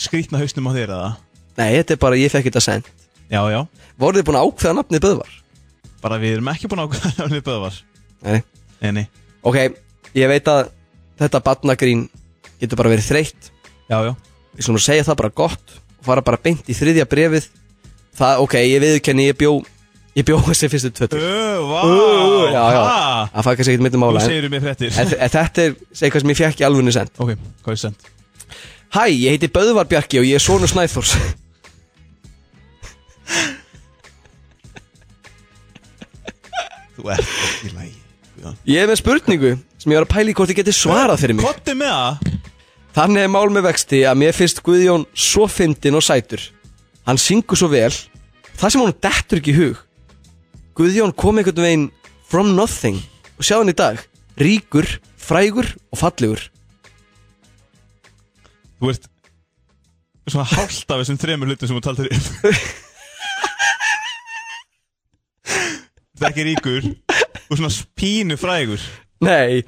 S4: Skrítna hausnum á þér eða?
S3: Nei, þetta er bara, ég fekk þetta send.
S4: Já, já
S3: Voruð þið búin að ákveða nafnið Böðvar?
S4: Bara við erum ekki búin að ákvæða Hvernig Böðvar
S3: Nei.
S4: Nei, nei
S3: Ok, ég veit að þetta batnagrín getur bara verið þreytt
S4: Já, já
S3: við skulum segja það bara gott og fara bara beint í þriðja brefið það, ok, ég viðkenni, ég bjó ég bjó þessi fyrstu tvötur
S4: Ö, vá
S3: já, já,
S4: ha.
S3: það fækast ekkert mitt um
S4: Þú
S3: ála en,
S4: segir mér fréttir
S3: en, en þetta er, segi hvað sem ég fjekk í alvunni send
S4: Ok, hvað er send?
S3: Hæ, ég heiti Böðvar Bjarki og ég er Sónu Snæþórs
S4: Þú ert ekki lægi Guðjón.
S3: Ég er með spurningu sem ég var að pæla í hvort ég geti svarað fyrir mig
S4: Kottu með það
S3: Þannig er mál með vexti að mér finnst Guðjón svo fyndin og sætur Hann syngur svo vel Það sem hún dettur ekki í hug Guðjón kom einhvern veginn from nothing og sjá hann í dag Ríkur, frægur og fallegur
S4: Þú ert svona hálft af þessum þremur hlutum sem þú taldir upp Þú ert ekki ríkur og svona pínu frægur
S3: Nei,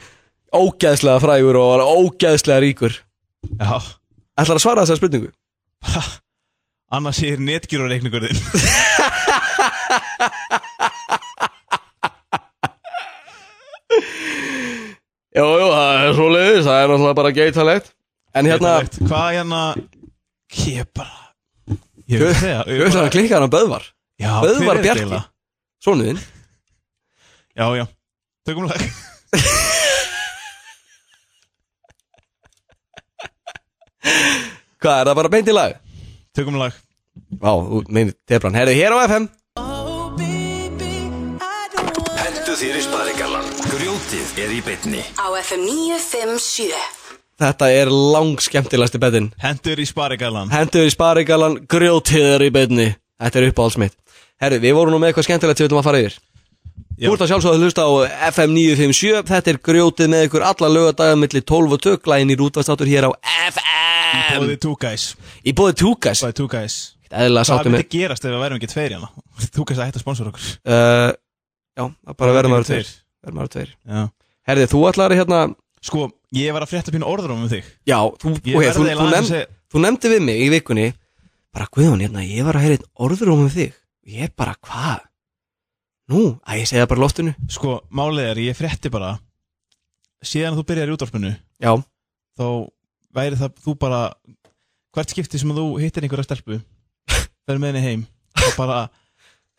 S3: ógeðslega frægur og var ógeðslega ríkur
S4: Já,
S3: Ætlar að svara þessar spurningu?
S4: annars ég er netgjórareikningur þinn
S3: Jú, jú, það er svo leiðis, það er náttúrulega bara geitalegt En hérna,
S4: Hvað hérna Ég er bara Ég vil
S3: Guð-
S4: segja ég er
S3: Guðjón
S4: bara-
S3: að klikka hann á Böðvar
S4: Já,
S3: Böðvar
S4: hver er þetta
S3: Bjarki.
S4: eiginlega?
S3: Sónuðinn
S4: Já, já, tökum lag
S3: Hvað, er það bara beint í lag?
S4: Tökum lag
S3: Vá, þú meinir Tebran, herðu hér á FM
S1: Hentu þér í sparigallan Grjótið er í beinni
S2: Á FM 957
S3: Þetta er lang skemmtilegasti betin
S4: Hendur í sparigallan
S3: Hendur í sparigalan, grjótiður í betni Þetta er uppáhalds mitt Herru, við vorum nú með eitthvað skemmtilegt sem við ætlum að fara yfir
S4: Já.
S3: Þú ert að sjálfsögðu að hlusta á FM 957 Þetta er grjótið með ykkur alla lögadagum milli 12 og töklæðin í rútvarstátur hér á FM
S4: Bóði two guys
S3: Í bóði Túkas
S4: Bóði two guys
S3: Eðlilega
S4: Hvað
S3: sáttum við
S4: myndi gerast ef við værum ekki tveir hérna? Two guys að hætta að sponsor okkur
S3: uh, Já, það bara verðum aður tveir
S4: Tveir.
S3: Verðum aður tveir
S4: Já.
S3: Herði, þú ætlar hérna
S4: Sko, ég var að frétta pínu orður um þig
S3: Já, þú,
S4: Ég
S3: okay,
S4: verð
S3: þú,
S4: eiginlega
S3: þú, nefn,
S4: aðeins að segja-
S3: þú nefndi við mig í vikunni Bara Guðjón, hérna, ég var að heyra einn orður um þig Ég bara, hvað? Nú, að ég segja bara í loftinu
S4: Sko, málið er, ég frétti bara Síðan að þú byrjar í útvarpinu
S3: Já,
S4: Þá væri það, þú bara Hvert skipti sem þú hittir einhverja stelpu Verður með henni heim Þá bara,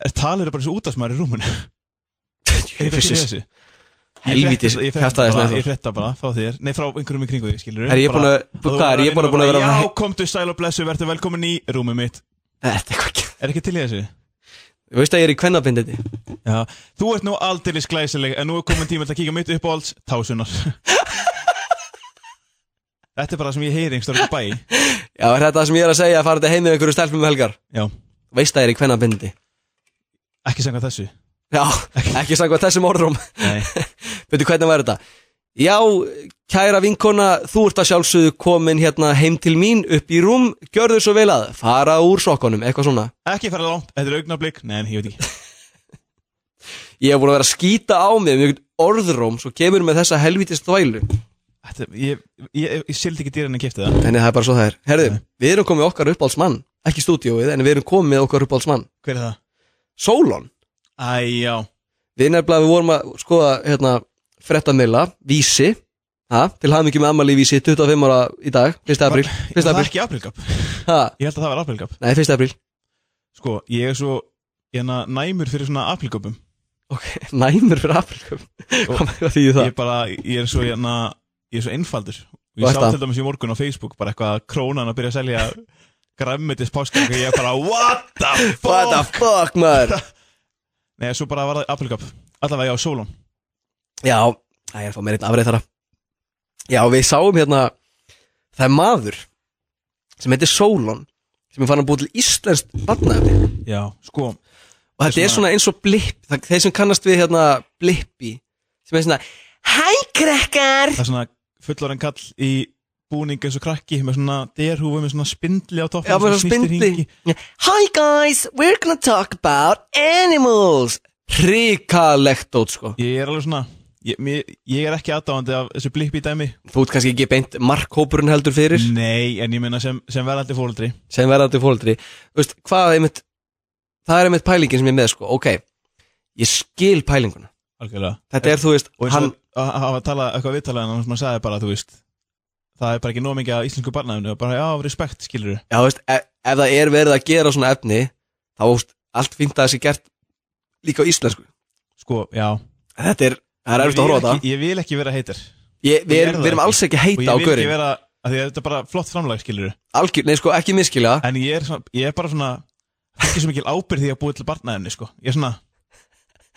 S4: er talir bara eins og útvarpsmaður í rúminu Er eitthvað til í
S3: Jesus.
S4: þessu?
S3: Helvítis,
S4: Ég frétti-
S3: kjaftaði
S4: ég
S3: þess nefnir.
S4: frétti bara- Ég frétta bara frá þér Nei, frá einhverjum í kringu þig, skilur
S3: Herri, ég er búin að- þú- hvað er, ég er búin að- búin að vera að-
S4: Já, komdu sæl og blessu, verður velkomin í rúmið mitt
S3: Þetta er ekki
S4: Er ekki til í þessu?
S3: Þú veist að ég er í kvennabindindi
S4: Já, þú ert nú aldeilis glæsileg en nú er komin tíma til að kíka mitt upp á alls tásunar Þetta er bara það sem ég heyri einhverjum bæ
S3: Já, er þetta það sem ég er að segja að fara þetta heim með einhverju stelpum um helgar?
S4: Já,
S3: Þú Veist að ég er í kvennabindi
S4: ekki sanga þessu
S3: Já, ekki sangvað þessum orðrum
S4: Nei,
S3: Veitu hvernig var þetta? Já, kæra vinkona, þú ert að sjálfsögðu komin hérna heim til mín upp í rúm Gjörðu svo vel að fara úr sokkunum, eitthvað svona
S4: ekki fara langt, þetta er augnablík Nei, nei, ég veit ekki
S3: Ég hef búin að vera að skýta á mig um einhvern orðróm Svo kemur með þessa helvítist þvælu
S4: Þetta, Ég, ég, ég sildi ekki dýran en kipti það
S3: Þannig það er bara svo það er Herðu, við erum komið okkar uppáhaldsmann Ekki stúdíóið, en við erum komið með okkar uppáhaldsmann
S4: Hver er það?
S3: Solon
S4: Æ, já,
S3: Við nefnilega við vorum að skoða hérna, frettamilla, vísi ha, til hafði mikið með ammali vísi 25 ára í dag, 1. apríl 1.
S4: það er
S3: apríl,
S4: ekki aprilgap
S3: ha,
S4: Ég held að það var aprilgap
S3: nei 1. apríl
S4: Sko, ég er svo hérna, næmur fyrir svona aprilgapum
S3: ok, næmur fyrir apríl
S4: Og-
S3: hvað með því það?
S4: Ég bara, ég er svo hérna Ég er svo einfaldur Og
S3: Þú
S4: ég
S3: ert
S4: sá
S3: það?
S4: til dæmis í morgun á Facebook bara eitthvað að krónan að byrja að selja græmmetis páskak og ég bara What the
S3: What the
S4: fuck
S3: fuck maður
S4: Nei, svo bara var það aprilgap Allavega já, Solon
S3: já, það er að fá mér einn afreið þara já, við sáum hérna það er maður sem heitir Solon sem er farin að búa til íslenskt barnaefni
S4: Já, sko
S3: og þetta er svona eins og blipp það- þeir sem kannast við hérna blippi sem er svona, hæ krakkar
S4: Það er svona fullorinn kall í búning eins og krakki með svona derhúfu með svona spindli á toppin
S3: Já, bara spindi Hi guys, we're gonna talk about animals Ríkalegt út sko
S4: Ég er alveg svona Ég, mér, ég er ekki aðdáandi af þessu blippi dæmi
S3: Þú ert kannski ekki beint markhópurinn heldur fyrir
S4: Nei, en ég meina sem, sem verðandi fóreldri
S3: sem verðandi fóldri veist, hvað er einmitt, Það er einmitt pælingin sem ég er með sko Ok, ég skil pælinguna
S4: Algjörlega
S3: Þetta er þú veist,
S4: og eins
S3: hann
S4: og að að hafa talað eitthvað viðtalað en hann sagði bara, þú veist það er bara ekki nóg mikið að íslensku barnaðinu og bara, já, respekt, skilur þú
S3: já, veist, ef, ef það er verið að gera svona efni þá veist, allt fínt að það sé gert líka á íslensku
S4: sko, já
S3: Þetta er, það er erfitt að
S4: Ég vil
S3: horfa á
S4: ekki- ég vil ekki vera heitir
S3: það Við
S4: ég er
S3: erum-
S4: það
S3: við erum
S4: ekki.
S3: alls ekki að
S4: og
S3: heita á
S4: ég vil ekki
S3: görinn
S4: vera, af því að þetta er bara flott framlag, skilur
S3: Algjör, nei sko, ekki miskilja
S4: en ég er, svona, ég er bara svona ekki svo mikil ábyrð því að búið til barnaðinu, sko ég er svona,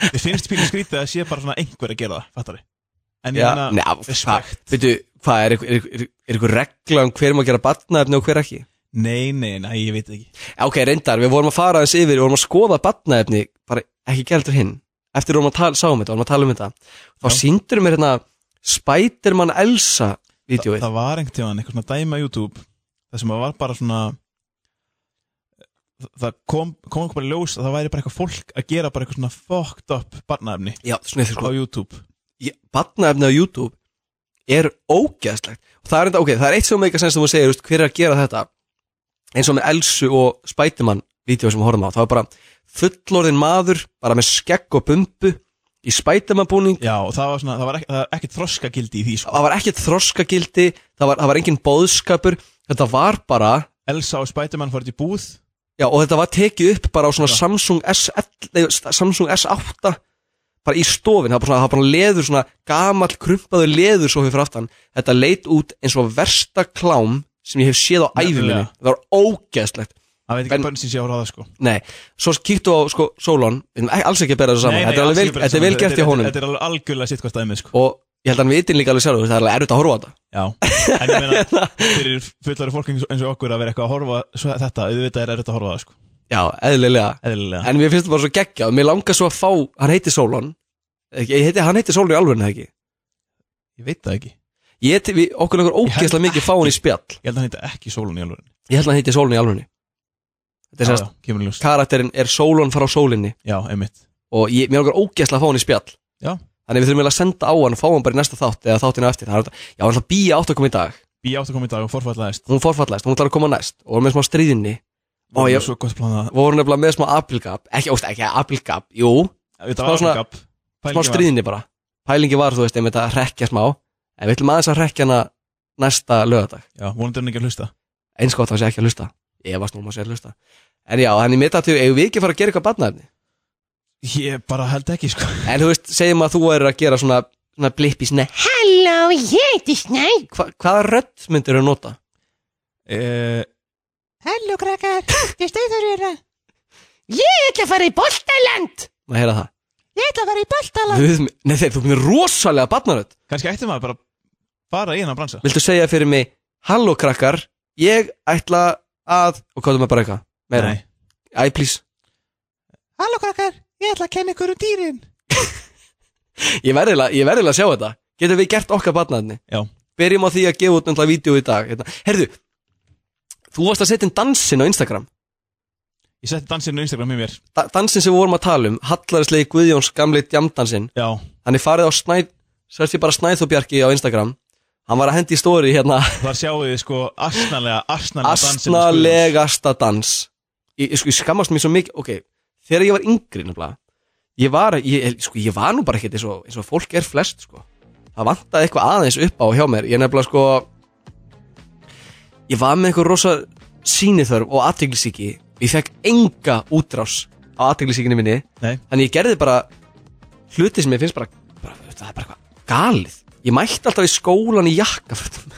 S4: ég finnst pínu skrítið að sé bara svona einhver að gera það, fattar en ég
S3: Já,
S4: meina,
S3: neða, hvað,
S4: respekt
S3: veitu, hvað er einhver- er einhver er einhver regla um hver maður gera batnaefni og hver ekki?
S4: nei, nei, nei, ég veit ekki
S3: Já, Ok, reyndar, við vorum að fara aðeins yfir, við vorum að skoða batnaefni, bara ekki gældur hinn, eftir við vorum að tala, sáum þetta, vorum að tala um þetta, þá síndur mér hérna Spiderman Elsa vídjóið,
S4: það var einhvern tíðan eitthvað svona dæma YouTube það sem það var bara svona það kom, kom einhver bara í ljós að það væri bara eitthvað fólk að gera bara eitthvað svona fucked up barnaefni
S3: já, svona eitthvað
S4: á
S3: sko,
S4: YouTube
S3: Ég- batnaefni á YouTube er ógæðslegt, og það er enda, ok, það er eitt sem meika sens sem þú segir, þú veist, hver er að gera þetta, eins og með Elsu og Spiderman vídjóið sem við horfum á, þá er bara fullorðin maður, bara með skegg og bumbu, í Spiderman búning
S4: já og það var svona, það var ekki, það var ekki þroskagildi í því sko.
S3: það var ekkert þroskagildi það var, það var engin bóðskapur þetta var bara,
S4: Elsa og Spiderman fórt í búð
S3: já og þetta var tekið upp bara á svona Samsung S11 nei, Samsung S8 bara í stofin, það var bara, svona- það var bara leður svona gamall krumpaður leður svo fyrir aftan þetta leit út eins og versta klám sem ég hef séð á æfiminni
S4: Nefnilega.
S3: þetta var ógeðslegt
S4: það veit ekki
S3: En-
S4: en... bönn sem sé á ráða sko
S3: nei, svo kíktu á sko, Solon, við erum alls ekki að bera þessu saman þetta er
S4: alls
S3: alveg
S4: ekki
S3: vel-
S4: bara
S3: þetta er
S4: saman.
S3: vel gert í
S4: þetta-
S3: honum
S4: þetta er alveg algjörlega sitt hvað stæmið sko
S3: og ég held að hann vitin líka alveg sjálfur það er alveg erfitt að horfa á þetta
S4: já en ég meina fyrir fullari fólk eins og eins og okkur að vera eitthvað að horfa svo, þetta auðvitað er erfitt að horfa á það sko
S3: Já, eðlilega
S4: eðlilega
S3: En mér finnst það bara svo geggjað Mér langar svo að fá, hann heitir Sólon Ekki, ég heiti, Hann heitir Sólon í alvörinu eða ekki
S4: Ég veit það ekki
S3: Ég heiti, við, okkur langar ógeðslega mikið fá hann í spjall
S4: Ég held að hann heita ekki Sólun í alveg
S3: Ég held að hann heiti Sólon í alvörinu Þetta er
S4: Já,
S3: sérst,
S4: já, kemur ljós
S3: karakterinn er Sólon frá sólinni
S4: Já, einmitt
S3: Og ég, mér langar ógeðslega að fá hann í spjall
S4: Já.
S3: Þannig við þurfum eiginlega að senda á hann og fá hann bara í næsta þátt Eða þáttina eftir Það er alltaf, já, hann ætla að býja átt að koma í dag
S4: Bí átt að koma í dag og forfallaðist
S3: Hún forfallaðist, hún ætlar að koma næst Og með smá stríðinni Ó, ég-
S4: Svo gott plan að
S3: voru nefnilega með smá apilgap Ekki, óst, ekki apilgap, jú
S4: Þetta
S3: Smá
S4: var
S3: svona-
S4: gap.
S3: smá
S4: Pælingin var-
S3: stríðinni bara pælingi var þú veist einmitt að rekja smá en við ætlum aðeins að rekja hana næsta lögadag
S4: Já, vonandi er hann ekki að hlusta
S3: eins gott að það sé ekki að hlusta ég var snúma að sé að hlusta en já, hann í mittatíu, eigum við ekki að fara að gera eitthvað barnaefni
S4: Ég bara held ekki, sko
S3: en þú veist, segjum að þú er að gera svona, svona blipp í sinni
S5: Halló, ég heiti Snæ.
S3: Hva, hvaða rödd myndir þú nota?
S4: Eh,
S5: Halló, krakkar. Ég stæður þér að. Ég ætla að fara í boltaland.
S3: maður um heyra það
S5: Ég ætla að fara í boltaland.
S3: Guð minn- Nei, þeir, þú myndir rosalega barnarödd
S4: Kannski ætti maður bara Bara í hennar bransa
S3: viltu segja fyrir mig, halló krakkar ég ætla að og hvað er maður bara eitthvað? meira,
S4: Nei.
S3: æ, please
S5: Halló, krakkar. Ég ætla að kenna ykkur um dýrin.
S3: Ég verðilega, ég verðilega að sjá þetta Getum við gert okkar barnaðinni
S4: Já.
S3: Byrjum á því að gefa út náttúrulega vídeo í dag hérna. Herðu, þú varst að setja inn dansinn á Instagram
S4: Ég setti dansinu á Instagram í mér
S3: da Dansinn sem við vorum að tala um Hallarislega Guðjóns gamli djamdansinn
S4: Já,
S3: Þannig farið á Snæð Sérst ég bara Snæðþóbjarki á Instagram Hann var að hendi í stóri hérna
S4: þar sjáu þið sko Asnalega, asnalega dansinn sko, á Guðjóns.
S3: Asnalegasta dans Ég, ég, sko, ég skammast mér svo mikið Ok, þegar ég var yngri nefnilega Ég var, ég, sko, ég var nú bara ekkert eins og, eins og fólk er flest sko. Það vantaði eitthvað aðeins upp á hjá mér Ég nefnilega sko Ég var með eitthvað rosa sýniþörf og aðteglisíki Ég fekk enga útrás á aðteglisíkinni minni
S4: Nei,
S3: Þannig ég gerði bara hluti sem ég finnst bara, bara Það er bara eitthvað galið Ég mætti alltaf í skólan í jakkafötum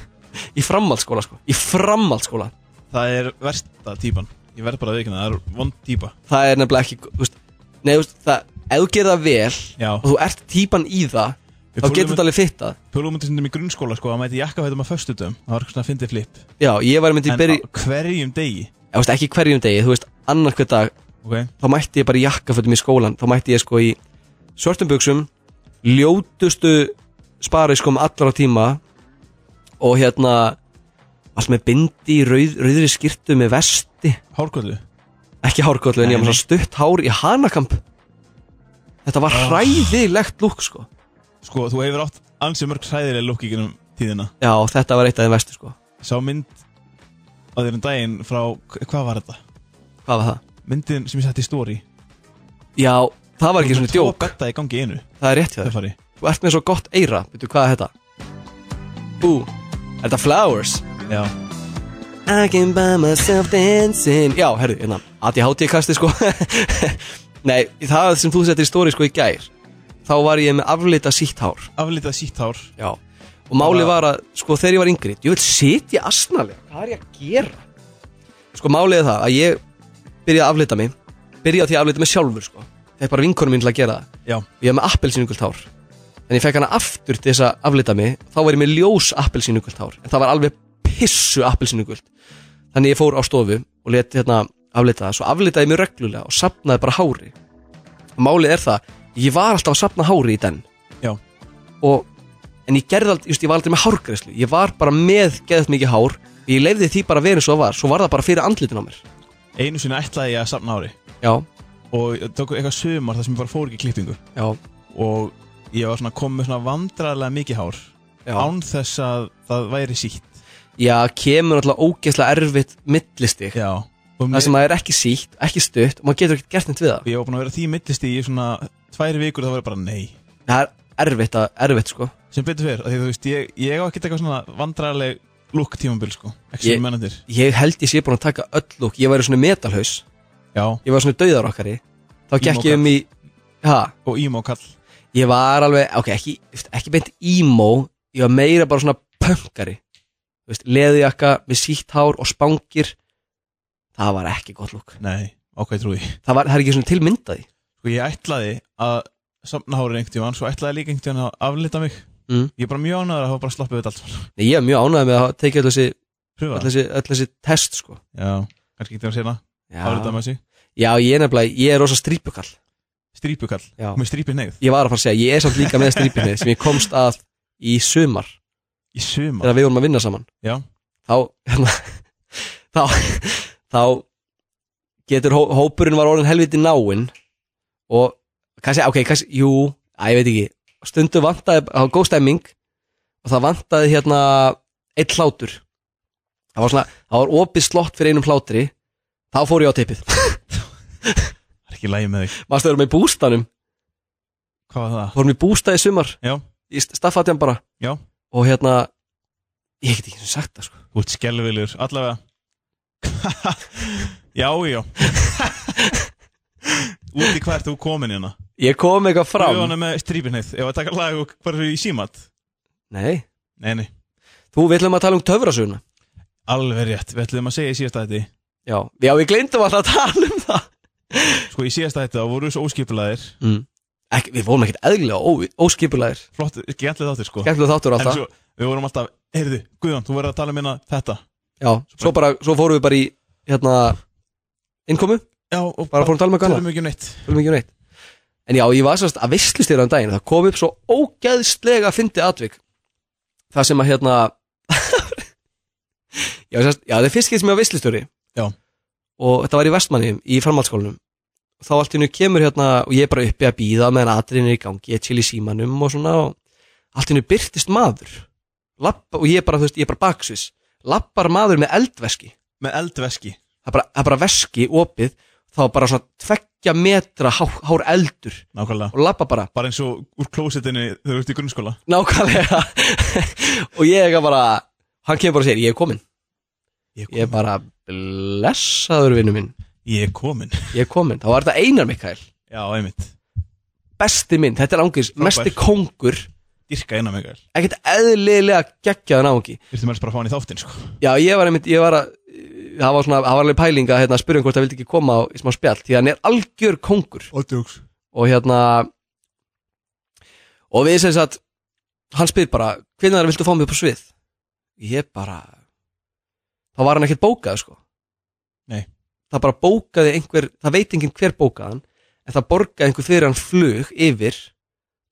S3: Í framhaldsskóla sko Í framhaldsskóla
S4: það er versta típan Ég verð bara að veikina, það er vond típa
S3: Það er nefnilega ekki þú veist, Nei, þú veist, það, ef þú gerir það vel
S4: Já.
S3: Og þú ert típan í það
S4: Við
S3: Þá
S4: fórum
S3: getur
S4: með-
S3: þetta alveg fitta
S4: Pjólum myndi sindum í grunnskóla sko að mæti jakkafætum að föstutum Það var svona að fyndi flip
S3: Já, ég var myndi
S4: En
S3: að byrja
S4: á hverjum degi
S3: Ég veist ekki hverjum degi, þú veist, annar hver dag
S4: Ok,
S3: Þá mætti ég bara í jakkafötum í skólan Þá mætti ég sko í svörtum buksum Ljótustu spari sko allra tíma Og hérna Allt með bindi, rauð, rauðri skirtu með vesti
S4: hárkvöldu
S3: Ekki hárkollu en ég
S4: Nei,
S3: var
S4: nei. Ah.
S3: svona stutt hár í hanakamp Þetta var hræðilegt lúk sko
S4: Sko, þú hefur átt ansið mörg hræðilega lúk í gennum tíðina
S3: Já, þetta var eitt af þeim vestu sko
S4: Sá mynd á þér um daginn frá, hvað var þetta?
S3: Hvað var það?
S4: Myndin sem ég sett í stóri
S3: Já, það var ekki svona djók
S4: Betta í gangi í einu,
S3: Það er rétt hjá
S4: það
S3: þér
S4: fari
S3: Þú ert með svo gott eira Veitu hvað er þetta? Ú, er þetta Flowers?
S4: Já,
S3: I can buy myself dancing Já, herru, hérna ADHD kasti sko Nei, það sem þú settir í stóri sko í gær Þá var ég með aflita sítt hár
S4: aflitað sítt hár
S3: Já Og máli var að, sko, þegar ég var yngri Ég vil sitja asnalega, hvað er ég að gera? Sko, málið er það að ég byrjaði að aflita mig Byrjaði á því að aflita mig sjálfur, sko Þegar bara vinkonum mín til að gera það
S4: Já,
S3: og ég var með appelsínugult hár en ég fekk hana aftur til þess að aflita mig þá var ég með ljós appelsínugult hár en það var alveg pissu appelsínugult þannig ég fór á stofu og let hérna aflita það, svo aflitaði ég mjög reglulega og sapnaði bara hári og málið er það, ég var alltaf að sapna hári í den
S4: já,
S3: og, en ég gerði aldrei, just, ég var aldrei með hárgræslu ég var bara með geðt mikið hár og ég leiði því bara að vera eins og það var svo var það bara fyrir andlitin á mér
S4: einu sinni ætlaði ég að safna hári
S3: já,
S4: Og ég tók eitthvað sömar þar sem ég bara fór ekki í klippingu
S3: já,
S4: Og ég var svona komið svona vandræðilega mikið hár
S3: já
S4: Án þess að það væri sítt
S3: já, kemur alltaf ógeðslega erfitt millistig
S4: Já Og
S3: það
S4: mér,
S3: sem að það er ekki sítt, ekki stutt og maður getur ekkert gert neitt við það
S4: ég var búin að vera því mittist í svona Tvær vikur það var ég bara nei
S3: það er erfitt, að, erfitt sko
S4: sem betur fyrr, því þú veist, ég, ég á ekkert eitthvað svona vandræðileg lúk tímabil, sko, ekki
S3: Ég-
S4: sem mennandir
S3: ég held ég sé búin að taka öll lúk ég væri svona metalhaus,
S4: já,
S3: ég var svona dauðar okkari þá gekk ég um í ha,
S4: og ímá kall
S3: ég var alveg, ok, ekki, ekki beint emo ég var meira bara svona pöngari Þú veist, leðiakka með sítt hár og spangir það var ekki gott lúk
S4: nei, ákveð trúi
S3: það, var, það er ekki svona tilmyndaði
S4: sko, ég ætlaði að safna hárið einhvern tímann, svo ætlaði líka einhvern tímann að aflita mig
S3: Mm.
S4: ég er bara mjög ánæður að hafa bara slappið við þetta allt saman.
S3: Nei, ég er mjög ánægð með að teki öll þessi, öll
S4: pröfa,
S3: þessi, öll þessi test sko
S4: já, kannski ekki tíma sérna
S3: Já.
S4: aflita með þessi,
S3: Já, ég er nefnilega, ég er rosa strípukall
S4: Strípukall,
S3: Já.
S4: með strípi neyð
S3: Ég var að fara að segja, ég er samt líka með strípinni sem ég komst að í sumar
S4: Í sumar
S3: þegar við vorum að vinna saman
S4: Já,
S3: þá hérna, þá, þá getur hó, hópurinn var orðin helviti náinn og kannski, ok, kannski, jú að ég veit ekki, stundu vantaði það var góð stemming og það vantaði hérna eitt hlátur það var svona, það var opið slott fyrir einum hlátri, þá fór ég á teipið
S4: það er ekki lægi með þig
S3: maður stöður með bústanum,
S4: Hvað var það?
S3: fórum í bústa í sumar
S4: Já,
S3: í staffati hann bara
S4: já,
S3: og hérna, ég get ekki eins og sagt það sko
S4: þú ert skelvilegur, allavega Já, já Út í hvert þú komin hérna
S3: ég kom eitthvað
S4: Við
S3: fram,
S4: varum með strípinheið Ef að taka lag og hvað eru í símat
S3: nei
S4: Nei, nei,
S3: þú villum að tala um töfrasöguna
S4: alveg rétt Við ætlum að segja í síðasta þetta
S3: Já, já við glemdum alltaf að tala um það
S4: Sko í síðasta þetta voru svo óskipulæðir
S3: mm. Ek, Við vorum ekkert eðlilega ó, óskipulæðir
S4: Flott, gætlið þáttir sko
S3: Skemmtilega þáttur á
S4: En
S3: það
S4: svo, við vorum alltaf Heyrðu, Guðjón, þú verður að tala um hérna þetta
S3: Já, svo, bara, svo fórum við bara í hérna, innkomu,
S4: Já, og
S3: bara fórum að tala með gana
S4: tölum ekki um neitt
S3: Tölum ekki um neitt En já, ég var sérst að visslustir án daginn Það kom upp svo ógæðslega fyndi atvik Það sem að hérna Já, sérst, já það er fyrst getur sem ég var visslustjóri
S4: Já.
S3: Og þetta var í Vestmanni í framhaldsskólanum og þá allt í hennu kemur hérna og ég er bara uppi að býða meðan atriðin er í gangi, ég chill í símanum og svona og allt í hennu byrtist maður Lappa, og ég er bara, þú veist, ég er bara baksus lappar maður með eldveski
S4: Með eldveski
S3: það er bara, það er bara veski opið þá er bara svona tveggja metra há, hár eldur
S4: Nákvæmlega
S3: og lappa bara
S4: Bara eins og úr klósitinu þegar þú ert í grunnskóla
S3: nákvæmlega og ég er eitthvað bara hann kemur bara og segir ég er komin ég er bara blessaður vinnu minn
S4: Ég er komin
S3: ég er komin þá var þetta Einar Mikael
S4: Já, einmitt
S3: besti minn þetta er ángis
S4: Frábær.
S3: mesti kóngur
S4: Dyrka einan með gæl
S3: ekkert eðlilega geggjaðan áhengi
S4: Þurftum helst bara að fá hann í þáttin sko
S3: já ég var einmitt ég var að það var svona það var alveg pælinga hérna að spyrja um hvort það vildi ekki koma á í smá spjall því að hann er algjör kóngur
S4: Og djóks
S3: og hérna og við sem sagt hann spyr bara, hvernig er það viltu fá mig upp á svið ég bara þá var hann ekkert bókað sko
S4: Nei.
S3: það bara bókaði einhver það veit enginn hver bókaði hann en það borgaði einhver fyrir hann flug yfir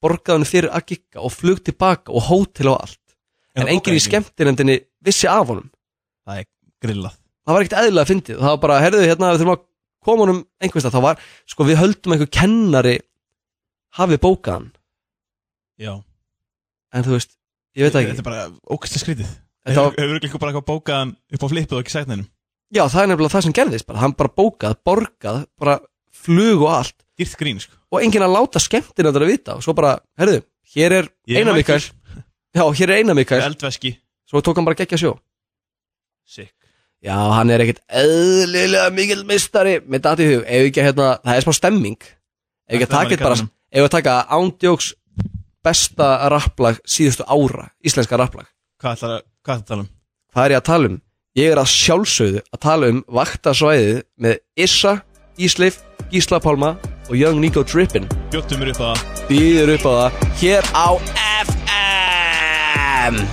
S3: borgaði hann fyrir að gikka og flug tilbaka og hótel og allt en enginn í skemmtinefndinni vissi af honum
S4: Það er grillað
S3: það var ekkert eðlilega fyndið og það var bara, herðu, hérna við þurfum að koma honum einhverstað, þá var, sko við höldum að einhver kennari hafi bókað hann,
S4: Já
S3: en þú veist ég veit það
S4: Þetta
S3: ekki,
S4: er bara ókvæmstlega skrítið
S3: þetta
S4: Hefur
S3: var,
S4: hefur líka bara eitthvað bókaðan upp á flipið og ekki sagt hennum
S3: já það er nefnilega það sem gerðist bara, hann bara bókað, borgað, bara flug og allt,
S4: Dýrt grín sko
S3: og enginn að láta skemmtina þetta að vita, og svo bara, herðu hér er
S4: Ég er
S3: Einar Mikael
S4: mættur.
S3: já, hér er Einar Mikael,
S4: Eldveski
S3: svo tók hann bara geggja sjó
S4: Sick
S3: já, hann er ekkert eðlilega mikill mistari, með dati hug, ef ekki að, hérna, það er smá stemming ef ekki að taka þetta bara Ef við taka ándjóks besta rapplag síðustu ára, íslenska rapplag
S4: Hvað ætlar að hvað ætlarðu að tala um?
S3: Hvað er ég að tala um? Ég er að sjálfsögðu að tala um vaktasvæðið með Issa, Ísleif, Gísla Pálma og Young Nico Drippin
S4: Bjóttum mér upp að
S3: Býður upp á það hér á FM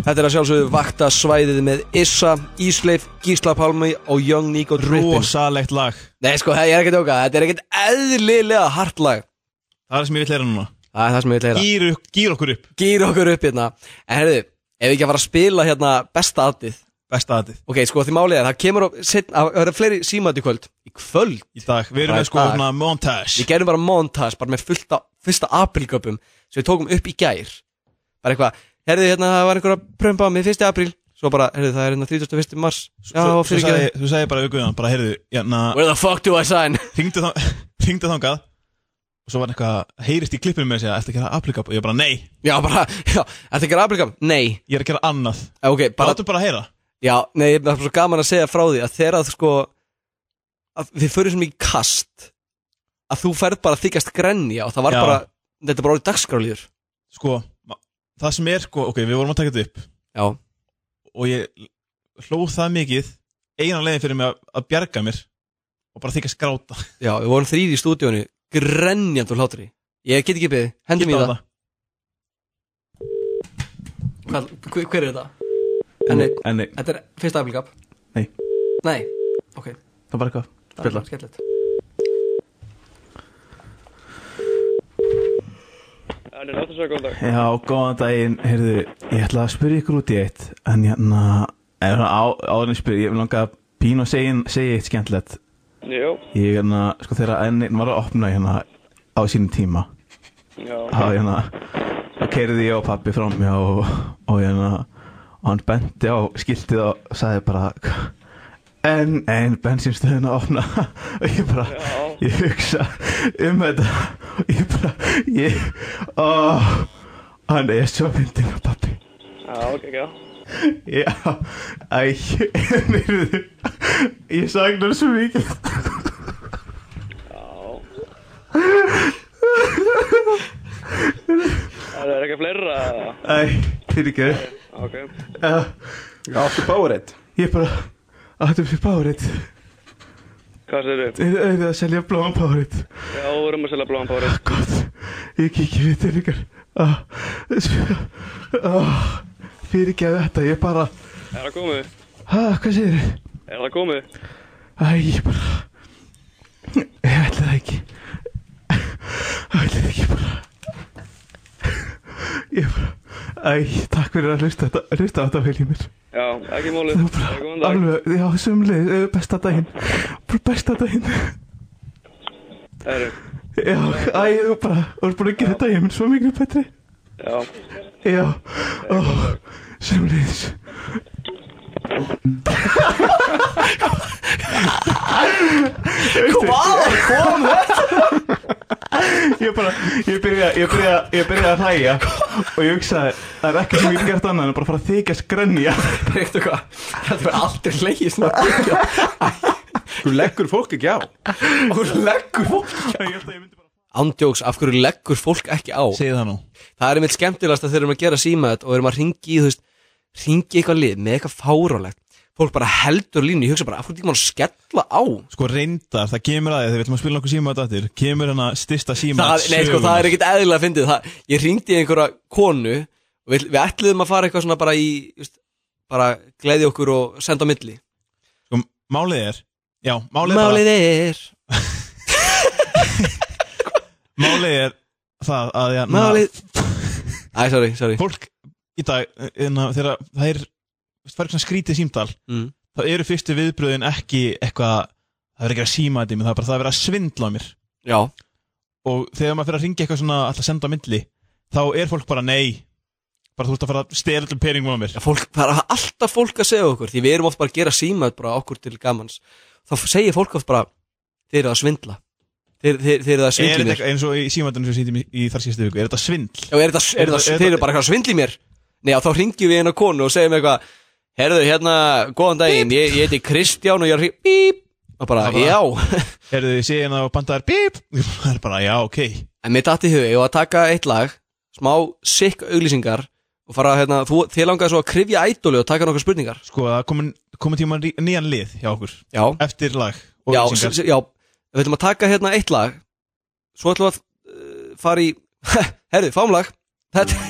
S3: Þetta er að sjálfsögðu vaktasvæðið með Issa, Ísleif, Gísla Pálmi og Young Nico Drippin
S4: Rosalegt lag
S3: Nei sko, ég er ekki að tjóka, þetta er ekkert eðlilega hart lag
S4: Það er það sem ég vil heyra núna
S3: Það er það sem ég vil heyra
S4: Gýr, gýr okkur upp
S3: Gýr okkur upp hérna En herðu, ef við ekki að fara að spila hérna besta aðdið
S4: Besta aðið
S3: Ok, sko því málið er, það kemur á setna, að, Það eru fleiri símat í kvöld Í kvöld?
S4: Í dag Við
S3: Það
S4: erum með
S3: er
S4: sko
S3: dag.
S4: svona montage
S3: Við gerum bara montage, bara með fullta, fyrsta aprílköpum Sem við tókum upp í gær Bara eitthvað, herðu hérna, það var einhver að prömpa á mig fyrsti apríl Svo bara, herðu, það er hérna 31. mars Já,
S4: Svo- svo
S3: fyrir ekki
S4: sagði- Þú sagði bara við Guðjón Bara heyrðu Hérna
S3: Where the fuck do I sign?
S4: Ringdu þá Ringdu þangað Og svo var hann eitthvað Heyrist í klippinu með sig Ætti að gera aplikap Og ég bara nei
S3: Já, bara, já, ertu ekki að aprílköp? Nei, eh,
S4: Ég er að gera annað
S3: ok, bara
S4: Láttu bara að heyra
S3: Já, nei, það er svo gaman að segja frá því að þegar að sko að þið fyrir sem mikið kast að þú ferð bara að þykjast grenja og það var
S4: Já.
S3: bara, þetta er bara orðið dagskráliður
S4: Sko ma- Það sem er sko Ok, við vorum að taka þetta upp
S3: Já,
S4: Og ég hlóð það mikið Einan leiðin fyrir mig að, að bjarga mér Og bara þykja skráta
S3: já, við vorum þrýri í stúdíónu grenjandi úr hlátri Ég get ekki beðið, hendum í það
S4: Geta á
S3: Hvað, hver, hver er þetta? En nei,
S4: En nei,
S3: þetta er fyrsta aflíkap
S4: nei,
S3: Nei, ok
S4: það var eitthvað Spilla
S3: Skellilegt
S6: Þannig náttu svo góðan dag.
S4: Já, góðan daginn, heyrðu Ég ætla að spyrja ykkur út í eitt En hérna, er það á, áður en ég spyrja Ég vil langa að pínu og segja, segja eitt skemmtilegt
S6: Jú,
S4: Ég hérna, sko þegar ennin var að opna hérna Á sínum tíma
S6: já,
S4: þá hérna þá keirði ég og pappi fram hjá og, og hérna og hann benti á skiltið og sagði bara en, en bensinstöðin að opna og ég bara
S6: Já.
S4: ég hugsa um þetta og ég bara ég, ó, hann er svo myndin af pappi
S6: já, ok, já.
S4: já, æ mér, ég sagnar svo mikið
S6: Já. Það er eitthvað fleira.
S4: æ, fyrir ekki
S6: Ok,
S7: Áttu Powerade
S4: ég bara áttum fyrir bárið
S6: hvað segir þau?
S4: þið auðvitað að selja blóma bárið
S6: Já, við erum að selja blóðan párið.
S4: gott ég kikið við til ykkar ah, ah, fyrir ekki að þetta ég bara
S6: Er það komið?
S4: ah, hvað segir þið?
S6: Er það komið?
S4: Æ, ég bara ég ætla það ekki ég ætla það ekki bara ég bara æ, takk fyrir að hlusta þetta hlusta á þetta vel í mér
S6: Já, ekki málið.
S4: Það var
S6: Það er
S4: bara
S6: góðan dag.
S4: alveg, já, sumlið, besta daginn bara besta daginn
S6: Herru,
S4: já, æ, þú bara, þú er búin að gera þetta ég minn svo miklu betri
S6: já.
S4: Já, ó, sem leiðis Hvað kom þetta? Ég bara, ég byrja, ég byrja, ég byrja að hlæja og ég hugsaði, það er ekki sem ég get gert annað en bara að fara að þykjast grenja
S3: Reyktu hvað, þetta verður aldrei leið svona byggja
S7: Þú leggur fólk ekki á
S3: og leggur fólk Ándjóks, af hverju leggur fólk ekki á
S4: Segð það nú
S3: Það er einmitt skemmtilegast að þeir eru að gera símaðið og erum að ringi í, þú veist, ringi eitthvað lið með eitthvað fárálegt Fólk bara heldur línu, ég hugsa bara, af hverju ekki maður skella á
S4: Sko reyndar, það kemur aðeins, þegar við ætlum að spila nokkuð síma á dættir Kemur hann að stista síma
S3: það, Nei, sko, það er ekkit eðlilega að fyndið það, Ég ringdi einhverja konu og við, við ætliðum að fara eitthvað svona bara í þú veist, bara gleði okkur og senda á milli
S4: Sko, málið er, já, málið er bara-
S3: Málið er
S4: Málið er það að ja,
S3: Málið Æ, sorry, sorry
S4: fólk í dag inna, þegar það er veist, það er svona skrítið símtal
S3: mm.
S4: þá eru fyrstu viðbröðin ekki eitthvað það er ekki að síma þetta í mig, það er bara það er að vera að svindla á mér
S3: Já,
S4: og þegar maður fyrir að ringja eitthvað svona alltaf að senda á myndli þá er fólk bara nei bara þú ert að fara að stela allir peningum á mér
S3: Já, fólk, það er alltaf fólk að segja okkur Því við erum oft bara að gera símaðið bara okkur til gamans Þá segir fólk oft bara Þeir eru að svindla Þeir, þeir, þeir eru að
S4: er
S3: svindla
S4: þetta
S3: mér
S4: eitthvað eins og í símaðunum sem sýttum í, í þar síðustu viku, er þetta svindl?
S3: Já, er þetta, er
S4: Er
S3: þetta,
S4: þetta-
S3: þeir eru bara eitthvað að svindla í mér Nei, já, þá ringjum við eina konu og segjum eitthvað Herðu, hérna, góðan daginn Ég, ég heiti Kristján og ég er að hring- Bíp Og bara,
S4: Það bara-
S3: já
S4: Er þið síðan að banda þær bíp? Það er bara já, ok
S3: En mér datti í hug, ég var að taka eitt lag Smá sikk auglýsingar Og fara, hérna, þú, þið langaði svo að krifja ædoli Og taka nokkar spurningar
S4: Sko, það er komin, komin tíma nýjan lið hjá okkur
S3: Já,
S4: eftir lag og
S3: já,
S4: auglýsingar.
S3: s- s- já, við ætlum að taka hérna eitt lag Svo ætlum við að uh, fara í Herðu, fámlag Þetta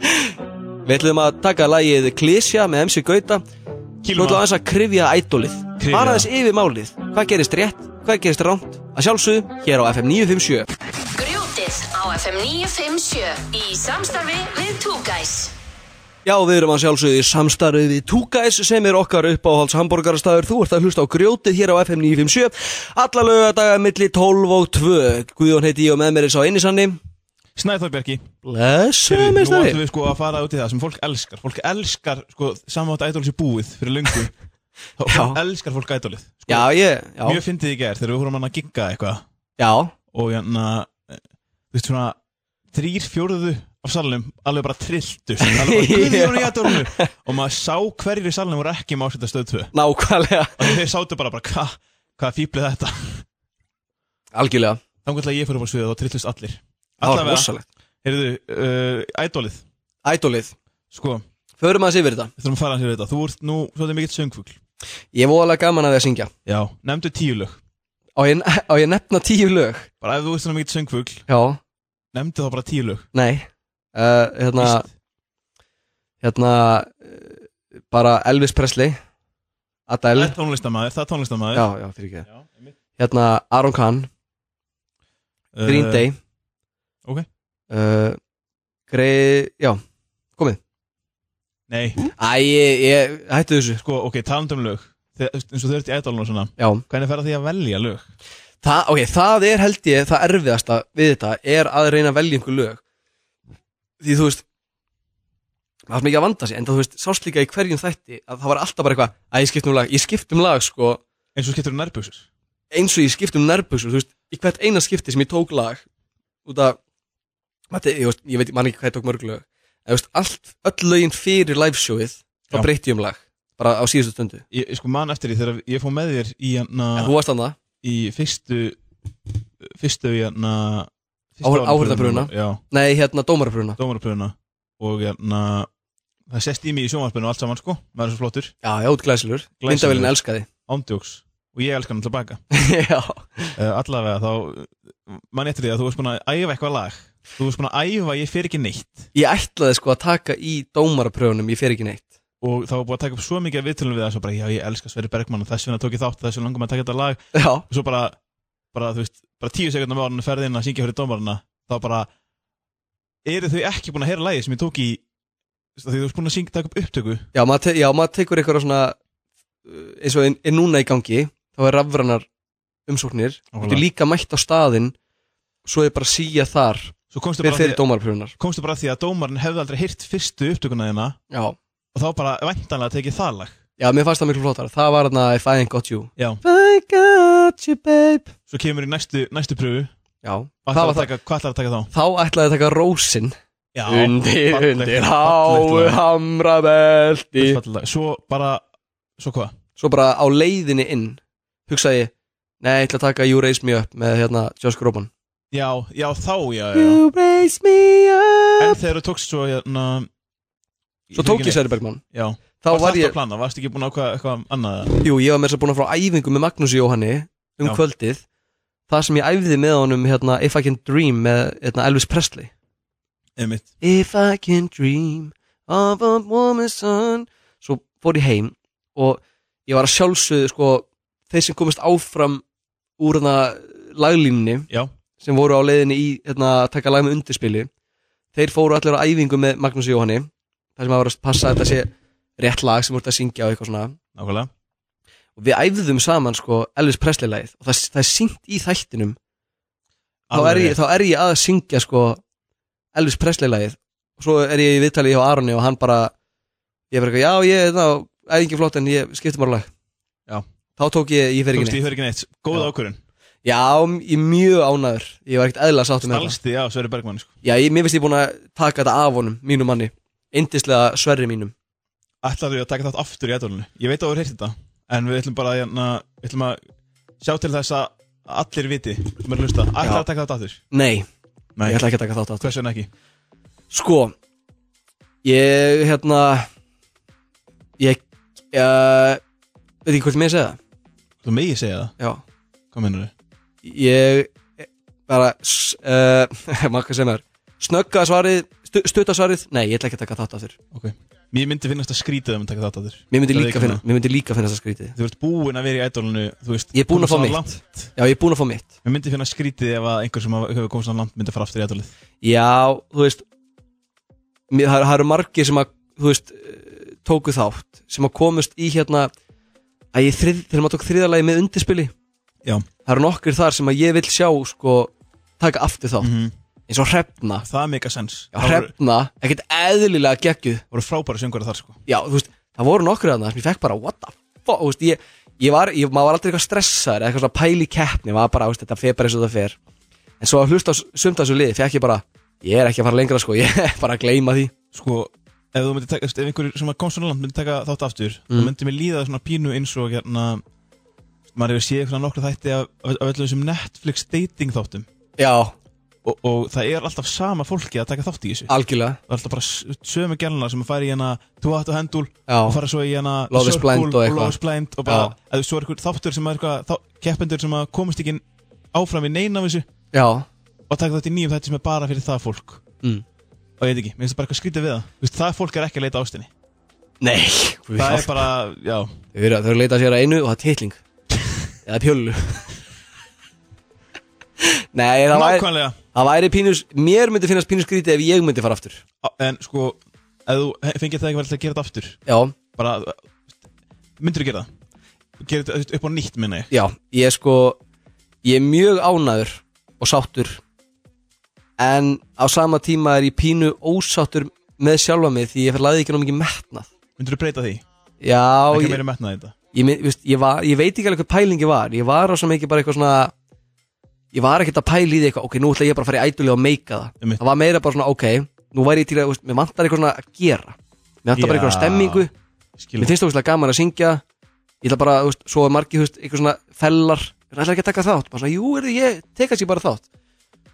S3: Við ætlum að taka lagið Klísja með MC Gauta Svo
S4: Kýlum
S3: ætlum við
S4: á-
S3: aðeins að krifja ædolið
S4: Kryfja.
S3: Fara aðeins yfir málið Hvað gerist rétt, hvað gerist rámt Að sjálfsögðu, hér á FM 957
S2: Grjótið á FM 957 í samstarfi við Two Guys.
S3: Já, við erum að sjálfsögðu í samstarfið við Two Guys sem er okkar uppáhalds hambúrgarastæður. Þú ert að hlusta á grjótið hér á FM 957. Alla lögadaga milli 12 og 2. Guðjón heiti ég og með mér er sá einisanni.
S4: Snæþór Bjarki
S3: Blessuð
S4: Heyrðu, Nú
S3: meistari.
S4: ætlum við sko að fara út í það sem fólk elskar Fólk elskar sko samátt ædól sér búið fyrir löngu Þá
S3: Já.
S4: elskar fólk ædólið sko,
S3: Já, ég, já,
S4: Mjög fyndið í gær þegar við vorum hann að gigga eitthvað
S3: já,
S4: Og hérna, eh, þú veist svona, þrýr fjórðu af salnum Alveg bara trilltu Guðjónu í ædólinu Og maður sá hverjir í salnum voru ekki með ásetta stöð 2
S3: nákvæmlega.
S4: Og þeir sátu bara bara, hva, hvað fýblið þetta
S3: Algjörlega.
S4: Þannig að ég fyrir bara sviðið og trilltust allir
S3: Það var
S4: Allavega,
S3: rosalegt.
S4: heyrðu, uh, ædólið
S3: Ædolið.
S4: Sko,
S3: Förum aðeins yfir þetta.
S4: við þurfum að fara hans yfir þetta Þú ert nú svolítið mikill söngfugl
S3: Ég er voðalega gaman að því að syngja.
S4: Já, nefndu tíu lög
S3: Á ég, á ég nefna tíu lög?
S4: Bara ef þú veist svona mikið söngfugl
S3: Já,
S4: Nefndu þá bara tíu lög
S3: nei. Uh, hérna,
S4: Víst.
S3: hérna, bara Elvis Presley
S8: Það
S3: Adele
S8: er tónlistamæður, það er tónlistamæður
S3: já, já, fyrir ekki
S8: Já, einmitt.
S3: hérna Aron Khan, Green
S8: Eh,
S3: Day
S8: ok.
S3: uh, Grey, já
S8: Nei,
S3: Æ, ég, ég hættu þessu
S8: sko, ok, talandum lög Þegar, þú veist, eins og þau ert í ædólun og svona
S3: já,
S8: Hvernig ferða því að velja lög?
S3: Þa, ok, það er held ég það erfiðasta við þetta er að reyna að velja einhver lög því þú veist það er mikið að vanda sig, en þú veist, sást líka í hverjum þætti að það var alltaf bara eitthvað, að ég skipt um lag ég skipt um lag, sko,
S8: Eins og skiptur nærbuxur
S3: eins og ég skipt um nærbuxur, þú veist, í hvert eina skipti sem ég tók lag út af mati, ég, veist, ég veit, man ekki hvað ég tók mörg lög en þú veist, allt, öll lögin fyrir liveshowið, þá
S8: Já.
S3: breytti ég um lag bara á síðustu stundu,
S8: Ég ég sko man eftir því þegar ég fór með þér í hérna
S3: en þú varst annað
S8: Í fyrstu Fyrstu hérna fyrstu
S3: Áhör-
S8: áhöfnapröfuna.
S3: áheyrnarpröfuna.
S8: Já,
S3: nei, hérna, dómarapruna
S8: dómarapröfuna Og hérna Það sést í mig í sjónvarpinu og allt saman sko Maður er svo flottur
S3: já, já, út glæsilur, myndavillin elskaði
S8: Ándjóks Og ég elskar hann til baka
S3: já,
S8: uh, Allavega þá Man eftir því að þú varst búin að æfa eitthvað lag Þú varst búin að æfa ég fer ekki neitt
S3: ég ætlaði sko að taka í dómarapröfunum, ég fer ekki neitt
S8: og þá var búið að taka upp svo mikið af viðtölum við það svo bara, já ég elska Sverri Bergmann og þess vegna tók ég þátt þess vegna langum að taka þetta lag
S3: já,
S8: og svo bara, bara þú veist, bara tíu sekundum ára ferðin að syngja fyrir dómarana þá bara, eru þau ekki búin að heyra lagið sem ég tók í þú veist, af því þú veist búin að syngja, taka upp upptöku
S3: já, maður, te já, maður tekur eitthvað svona uh, eins og er núna í gangi þá er rafranar umsóknir þú
S8: Nákvæmlega.
S3: getur líka mætt á staðinn svo er bara að síja þar
S8: svo komstu
S3: fyrir
S8: bara,
S3: þeirri
S8: að því,
S3: dómarpröfunar
S8: komstu bara að því að dómarin hefði aldrei heyrt fyrstu upptökuna þina
S3: já.
S8: og þá bara væntanlega tekið það lag
S3: já, mér fannst það miklu flottar það var þarna If I Ain't Got You
S8: Já.
S3: If I Ain't Got You Babe
S8: svo kemur í næstu, næstu pröfu
S3: já,
S8: hvað
S3: það
S8: ætlar
S3: var
S8: að
S3: það
S8: taka, hvað ætlarðu að taka þá?
S3: þá ætlaði ég að taka rósin
S8: Já,
S3: undir,
S8: fallegt-
S3: undir, háu,
S8: fallegt lag.
S3: hamrabelti
S8: Fallegt lag. svo bara, svo hvað?
S3: svo bara á leiðinni inn hugsaði ég, nei, ég ætla að taka You Raise Me Up með hérna Josh Groban
S8: Já, já, þá, já, já, já.
S3: You Raise Me
S8: En
S3: Up
S8: þegar þú tókst svo hérna
S3: Svo tók ég Særi Bergmann
S8: Já,
S3: Þá
S8: varst
S3: var
S8: alltaf
S3: ég,
S8: að plana, varst ekki búin að ákvaða eitthvað annað eða?
S3: jú, ég var með þess að búin að frá æfingu með Magnús Jóhanni um
S8: Já.
S3: kvöldið Það sem ég æfði með honum hérna If I Can Dream með hérna, Elvis Presley
S8: Einmitt
S3: If I can dream of a woman's son Svo fór ég heim og ég var að sjálfsögðu sko, þeir sem komist áfram úr þarna laglínni
S8: Já.
S3: sem voru á leiðinni í hérna, að taka lag með undirspili þeir fóru allir á æfingu með Magnús Jóhanni þar sem að var að passa að þetta sé rétt lag sem voru að syngja og eitthvað svona
S8: Nákvæmlega
S3: og við æfðum saman sko Elvis Presley lagið og það, það er syngt í þættinum þá er, ég, þá er ég að syngja sko Elvis Presley lagið og svo er ég í viðtali hjá Aroni og hann bara ég verið eitthvað, já ég er það ekki flott en ég skipti bara lag
S8: Já.
S3: þá tók ég, ég fer
S8: Þú
S3: ekki
S8: veist, ég
S3: neitt
S8: fyrir ekki neitt Góð
S3: Já.
S8: ákvörun
S3: já, ég er mjög ánæður, ég var ekkert eðla sáttum með það
S8: Stalsti, já, Sverri Bergmann sko.
S3: já, ég, mér finnst ég búin að taka þetta af honum mínum manni, indislega sverri mínum
S8: Ætlar þú að taka þátt aftur í ædolinu? Ég veit að þú hefur heyrt þetta En við ætlum bara að, hérna, við ætlum að sjá til þess að allir viti sem er að hlusta Ætlar
S3: Já.
S8: að taka þátt aftur?
S3: nei,
S8: Nei,
S3: ég ætla ekki að taka þátt aftur
S8: hvers vegna ekki?
S3: sko ég, hérna ég uh, veit ekki hvort mér segja það
S8: Þú megi segja það,
S3: já,
S8: hvað mennur þau?
S3: ég bara uh, makka sem er snögga svarið, stu, stutta svarið nei, ég ætla ekki að taka þátt aftur
S8: Mér myndi finnast að skrýta þeim að taka þátt aftur
S3: mér myndi
S8: Það er
S3: líka
S8: ekki
S3: finna, mér myndi líka finna það skrítið
S8: Þú ert búin að vera í ædolinu
S3: Ég er búinn að fá mitt. já, ég er búin að fá mitt
S8: Mér myndi finna skrítið ef að einhver sem hafa- hefur komið svona langt myndi fara aftur í ædolið
S3: já, þú veist mér, það, það eru margir sem að þú veist, eh, tóku þátt sem að komust í hérna að ég þrið, þegar maður tók þriðalagi með undirspili
S8: Já.
S3: það eru nokkur þar sem að ég vil sjá sko, taka aftur þátt eins og hrefna
S8: Það er mega sens
S3: Mhm. já,
S8: Mm. Það voru,
S3: hrefna, ekkert eðlilega geggjuð
S8: voru frábæra söngur þar sko
S3: já, þú veist, það voru nokkur þarna sem ég fekk bara, what the fuck, þú veist, ég, ég var, ég, maður var aldrei eitthvað stressaður eða eitthvað svona pæli keppni, maður bara, þú veist, þetta fer bara eins og það fer en svo að hlusta á s- sumt af þessu liði, fekk ég bara, ég er ekki að fara lengra, sko, ég er bara að gleyma því,
S8: Sko, ef þú myndir taka, þú veist, ef einhver sem kom svona langt myndi taka þátt aftur
S3: Mm.
S8: þá myndi mér líða svona pínu eins og hérna maður hefur séð svona nokkra þætti af, af, af öllum þessum Netflix dating þáttum
S3: já,
S8: og, og það er alltaf sama fólki að taka þátt í þessu
S3: algjörlega
S8: Það er alltaf bara s- sömu gæluna sem að fara í hérna Two Hot Handle og
S3: já,
S8: fara svo í hérna
S3: Love is
S8: Circle
S3: Blind og eitthvað.
S8: Love is Blind og bara, eða svo er eitthvað þáttur sem er eitthvað þá, keppendur sem að komast ekki áfram í neina af þessu
S3: já,
S8: og taka þetta í nýjum þetta sem er bara fyrir það fólk
S3: Mm.
S8: og ég veit ekki, mér finnst það bara eitthvað skrítið við það Vist, það fólk er ekki að leita ástinni
S3: Nei
S4: Það er bara, já
S3: Þau eru þau eru að leita sér að einu og það er titling Eða pjöllu Nei, það væri,
S4: Nákvæmlega
S3: það væri pínus Mér myndi finnast pínus skrítið ef ég myndi fara aftur
S4: En sko, ef þú he- fengir það ekki verið til að gera þetta aftur
S3: Já,
S4: Bara, myndir þú gera það? Gera þetta þú veist, upp á nýtt, minna ég
S3: já, ég er sko Ég er mjög ánæður og sáttur En á sama tíma er ég pínu ósáttur með sjálfa mig Því ég fyrir laðið ekki ná mikið metnað
S4: Myndir þú breyta því?
S3: Já,
S4: Ekki
S3: ég,
S4: meira metnaði í þetta
S3: ég, mynd- veist, ég, var, ég veit ekki alveg hvað pælingi var ég var á svo mikið bara eitthvað svona ég var ekkert að pæla í því eitthvað ok, nú ætla ég bara að fara í ædulega og meika það
S4: Einmitt.
S3: það var meira bara svona, ok, nú væri ég til að veist, mér vantar eitthvað svona að gera mér vantar bara
S4: Já.
S3: eitthvað stemmingu,
S4: Skilum
S3: mér finnst það gaman að syngja ég ætla bara, þú veist, svo er margir þú veist, eitthvað svona fellar, það ætla ekki að taka þátt bara svona, jú, er, ég teka sér bara þátt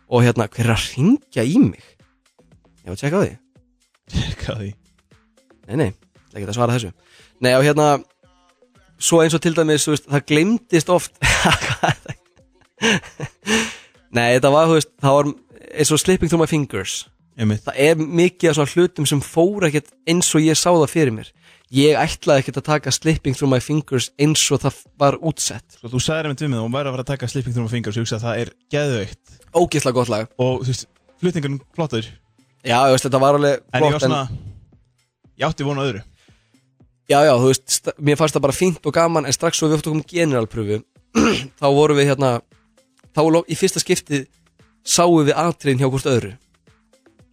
S3: og hérna, hver er að ringja í mig ég var að tjekka á því
S4: Hvað því?
S3: Nei, nei, það geta að svara þessu Nei, og hérna Svo eins og til dæmis, þú veist, það glemdist oft Hvað er það? Nei, þetta var, þú veist Það var eins og slipping through my fingers
S4: Einmitt
S3: Það er mikið af svona hlutum sem fór ekkert eins og ég sá það fyrir mér Ég ætlaði ekkert að taka slipping through my fingers eins og það var útsett
S4: Sko, þú sagðir einmitt við mig, hún væri að fara að taka Sleeping Through My Fingers og ég hugsa að það er geðveikt
S3: Ógisla gott lag
S4: og þú veist, flutningunum flottur en
S3: Já, þú veist, þetta var alveg
S4: ég var
S3: flott,
S4: svona ég átti vona öðru
S3: Já, já, þú veist, sta- mér fannst það bara fínt og gaman en strax svo við óttum generalpröfu þá vorum við hérna þá lo- í fyrsta skipti sáum við atriðin hjá hvort öðru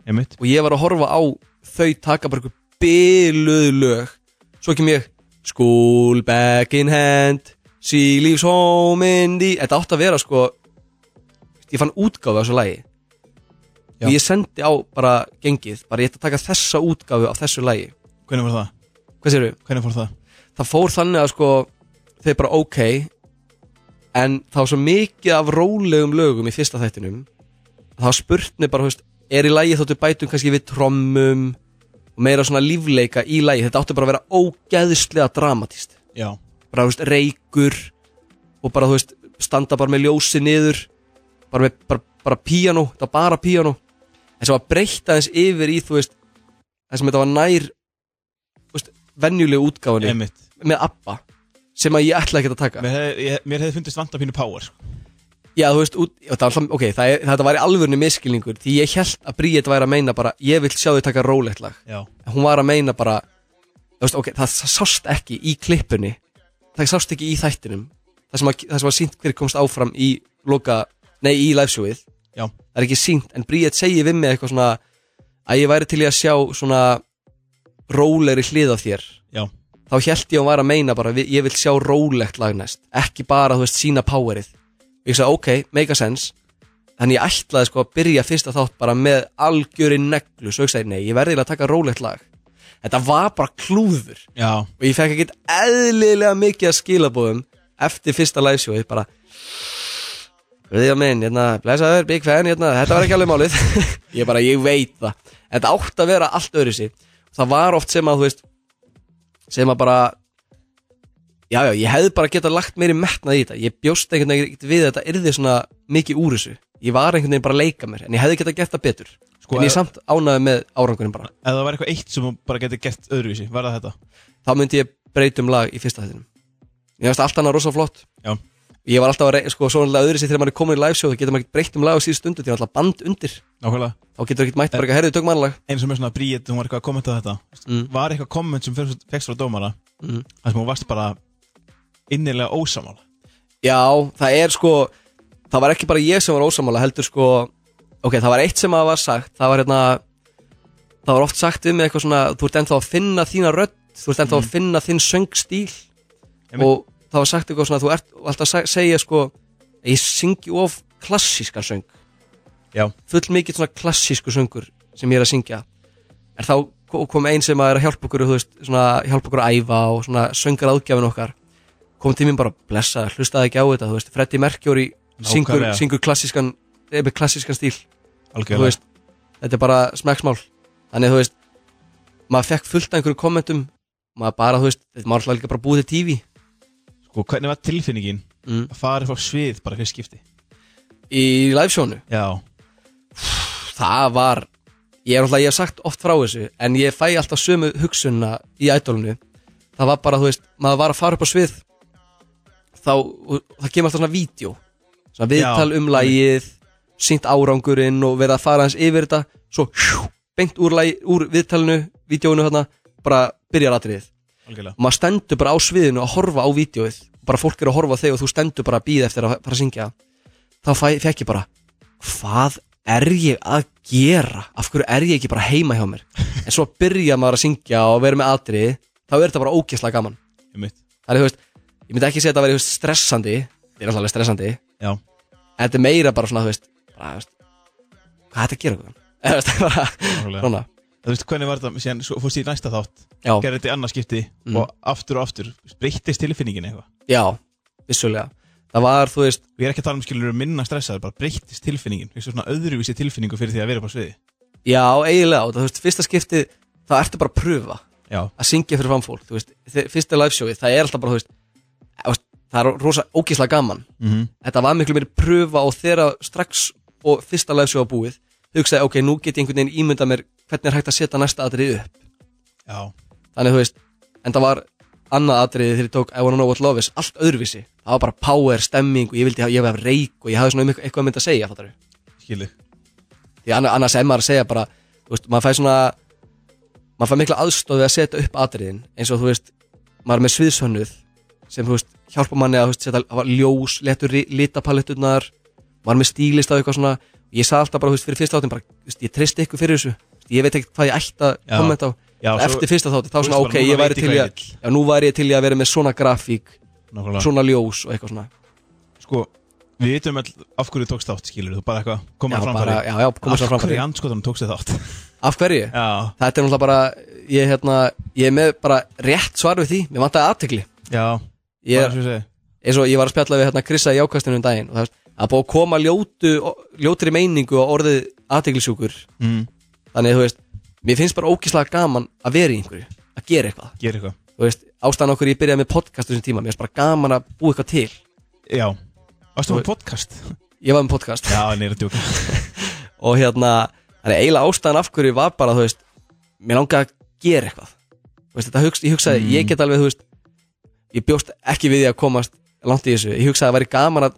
S4: einmitt
S3: og ég var að horfa á þau taka bara einhver byluð lög svo kem ég School back in hand She leaves home in the Þetta átti að vera sko ég fann útgáfu á þessu lagi
S4: Já.
S3: og ég sendi á bara gengið bara ég ætti að taka þessa útgáfu á þessu lagi
S4: hvernig var það?
S3: Hvað séru?
S4: hvernig fór það?
S3: það fór þannig að sko þau bara ok en það var svo mikið af rólegum lögum í fyrsta þættinum það var spurtni bara, þú veist, er í lagi þóttu bætum kannski við trommum og meira svona lífleika í lagi þetta átti bara að vera ógeðslega dramatist
S4: já
S3: bara, þú veist, reykur og bara, þú veist, standa bara með ljósi niður bara með, bara, bara píanó þetta var bara píanó en sem var breytt aðeins yfir í, þú veist þessum þetta var nær þú veist, venjulegu útgáfunni
S4: einmitt
S3: með ABBA sem að ég ætla ekki að taka
S4: mér hefði ég- mér hefði fundist vanta pínu power sko.
S3: Já, þú veist, út, já, það var, alltaf- ok, það er, þetta var í alvörni miskilningur því ég held að Bríett væri að meina bara ég vil sjá þau taka rólegt lag
S4: já
S3: en hún var að meina bara þú veist, ok, það sást ekki í klippunni það sást ekki í þættinum það sem, að, það sem var sínt hver komst áfram í loka, nei, í liveshowið
S4: já
S3: það er ekki sínt, en Bríett segir við mig eitthvað svona að ég væri til í að sjá svona rólegri hlið af þér
S4: já
S3: þá held ég að hún var að meina bara við- ég vil sjá rólegt lag næst ekki bara, þú veist, sína powerið ég sagði, ok, make a sense þannig ég ætlaði sko að byrja fyrsta þátt bara með algjöri neglu svo ég sagði, nei, ég verði eiginlega að taka rólegt lag þetta var bara klúður
S4: já
S3: og ég fekk ekkert eðlilega mikið að skilabóðum eftir fyrsta liveshow bara Guðjón minn, hérna, blessaður, big fan, hérna, þetta var ekki alveg málið Ég bara, ég veit það Þetta átt að vera allt öðru sig Það var oft sem að, þú veist Sem að bara Já, já, ég hefði bara getað lagt meiri metnað í þetta Ég bjóst einhvern veginn ekkert við að þetta yrði svona mikið úr þessu Ég var einhvern veginn bara að leika mér En ég hefði getað gert það betur
S4: Sko,
S3: En
S4: ef-
S3: ég samt ánaði með árangurinn bara
S4: ef það var eitthvað eitt sem hún bara geti gert öðruvísi var það þetta
S3: Þá myndi ég breytum lag í fyrsta þettinum Ég veist allt annað rosa flott
S4: já
S3: Ég var alltaf að reyna, sko, svona öðru sér þegar maður er komin í live show Það getur maður ekkert breytt um lag á síðustu stundu Því að alltaf band undir
S4: nákvæmlega
S3: þá getur ekkert mætt bara eitthvað herðið tökum annalag
S4: eins og með svona bríð hún var eitthvað að kommenta þetta
S3: Mm.
S4: var eitthvað komment sem fegst frá dómara
S3: Mm.
S4: þar sem hún varst bara innilega ósamála
S3: já, það er sko það var ekki bara ég sem var ósamála heldur sko ok, það var eitt sem að var sagt það var hérna það var oft sagt um mig eitthvað svona þú ert ennþá að finna þína rödd þú ert ennþá að finna þinn söngstíl
S4: Einmitt.
S3: og það var sagt eitthvað svona þú ert og alltaf að segja sko ég syngi of klassískan söng
S4: já
S3: full mikið svona klassísku söngur sem ég er að syngja en þá ko- kom einn sem að er að hjálpa okkur þú veist, svona, hjálpa okkur að æfa og svona söngar aðgjafin okkar kom til mín bara blessa, hlustaði ekki á þetta þú veist, Freddy Mercury syngur,
S4: Nákvæmlega.
S3: syngur klassískan, eh, með klassískan stíl þú
S4: algjörlega
S3: veist, þetta er bara smekksmál þannig þú veist, maður fekk fullt af einhverjum kommentum maður bara, þú veist, maður alltaf líka bara búið til tífi
S4: sko, hvernig var tilfinningin
S3: Mm.
S4: að fara frá svið bara fyrir skipti
S3: í liveshownu
S4: já,
S3: það var ég er alltaf, ég hef sagt oft frá þessu en ég fæ alltaf sömu hugsunna í ædolinu það var bara, þú veist, maður var að fara upp á svið þá, og það kemur alltaf svona vídeo svona viðtal
S8: Já,
S3: um lagið sínt árangurinn og verið að fara hans yfir þetta svo hjú, beint úr, lagi, úr viðtalinu vídjóinu hérna, bara byrjar atriðið
S8: algjörlega
S3: og maður stendur bara á sviðinu að horfa á vídjóið bara fólk er að horfa á þig og þú stendur bara að býða eftir að fara að syngja þá fæ, fekk ég bara hvað er ég að gera af hverju er ég ekki bara heima hjá mér en svo byrja maður að syngja og vera með atriði þá er þetta bara ógeðslega gaman
S8: Einmitt.
S3: það er þú veist, ég myndi ekki segja að þetta veri þú veist, stressandi þetta er alltaf alveg stressandi
S8: Já.
S3: en þetta er meira bara svona þú veist, bara, þú veist hvað er þetta að gera guðjón? Eða, þú veist, bara,
S8: Nákvæmlega.
S3: svona,
S8: Þú veist hvernig var þetta, síðan svo fórst ég í næsta þátt
S3: já
S8: gerði þetta í annað skipti
S3: Mm.
S8: og aftur og aftur breyttist tilfinningin eitthvað
S3: Já, vissulega Það var, þú veist,
S8: og ég er ekki að tala um skilur minna stressaður, bara breyttist tilfinningin eitthvað svona öðruvísi tilfinningu fyrir því að vera upp á sviði
S3: já, eiginlega og það, Þú veist, fyrsta skiptið, það ertu bara að pröfa
S8: Já,
S3: að syngja fyrir framfólk, þú veist þi- Fyrsta liveshowið, það er alltaf bara, þú veist þú veist, það er rosa ógislega gaman
S8: Mhm.
S3: Þetta var miklu meiri pröfa og þeirra strax og fyrsta liveshow að búið hugsaði, ok, nú get ég einhvern veginn ímynda mér hvernig er hægt að setja næsta atrið upp
S8: já,
S3: þannig þú veist, en það var annað atriði þegar ég tók I wanna know what love is, allt öðruvísi það var bara power, stemming og ég vildi, ég hef reik og ég hafði svona um eitthvað að mynda að segja fattarðu.
S8: skilu
S3: því anna- annars er maður að segja bara þú veist, maður fæ svona maður fæ mikla aðstoð við að setja upp atriðin eins og þú veist, maður er með sviðsönnuð sem þú veist, hjálpa manni að þú veist, setja hafa ljós, letur litapalettunar maður er með stílist á eitthvað svona ég sagði alltaf bara, þú veist, fyrir fyrsta áttin bara, þú veist, ég treysti ykkur fyrir þessu Þú veist, ég veit ekkert hvað ég ætti að
S8: Já.
S3: kommenta á
S8: Já, svo-
S3: eftir fyrsta þátti, þá
S8: Þú
S3: svona,
S8: veist bara,
S3: ok,
S8: núna
S3: ég
S8: veit
S3: væri
S8: ég
S3: til
S8: hvað
S3: í
S8: ég
S3: að já, nú væri ég til í að vera með svona grafík
S8: Nákvæmlega.
S3: svona ljós og eitthvað svona
S8: sko, við vitum all af hverju þú tókst þátt skilur þú bara eitthvað,
S3: já,
S8: koma
S3: bara,
S8: framfæri
S3: já, já, koma svo
S8: af hverju
S3: framfæri
S8: í anskotanum tókst þið þátt
S3: af hverju?
S8: já,
S3: Þetta er náttúrulega bara, ég, hérna, ég er með bara rétt svar við því, mér vantaði aðtegli
S8: já, bara
S3: ég,
S8: svo ég segi
S3: eins og ég var að spjalla við hérna Krissa í ákastinu um daginn og það er búið að koma ljótu, ljótri meiningu á orðið aðteglisjúkur
S8: mm,
S3: þannig þú veist, mér finnst bara ókíslega gaman að vera í einhverju, að gera eitthvað
S8: gera eitthvað,
S3: þú veist, ástæðan okkur ég byrjaði með podcast þessum tíma, mér finnst bara gaman að búa eitthvað til
S8: já varstu
S3: Þú-
S8: með podcast?
S3: ég var með podcast
S8: já, neyra djúka
S3: og hérna, þannig eiginlega ástæðan af hverju var bara, þú veist, mér langaði að gera eitthvað, þú veist, þetta hugst, ég hugsaði ég get alveg, þú veist ég bjóst ekki við því að komast langt í þessu ég hugsaði að það væri gaman að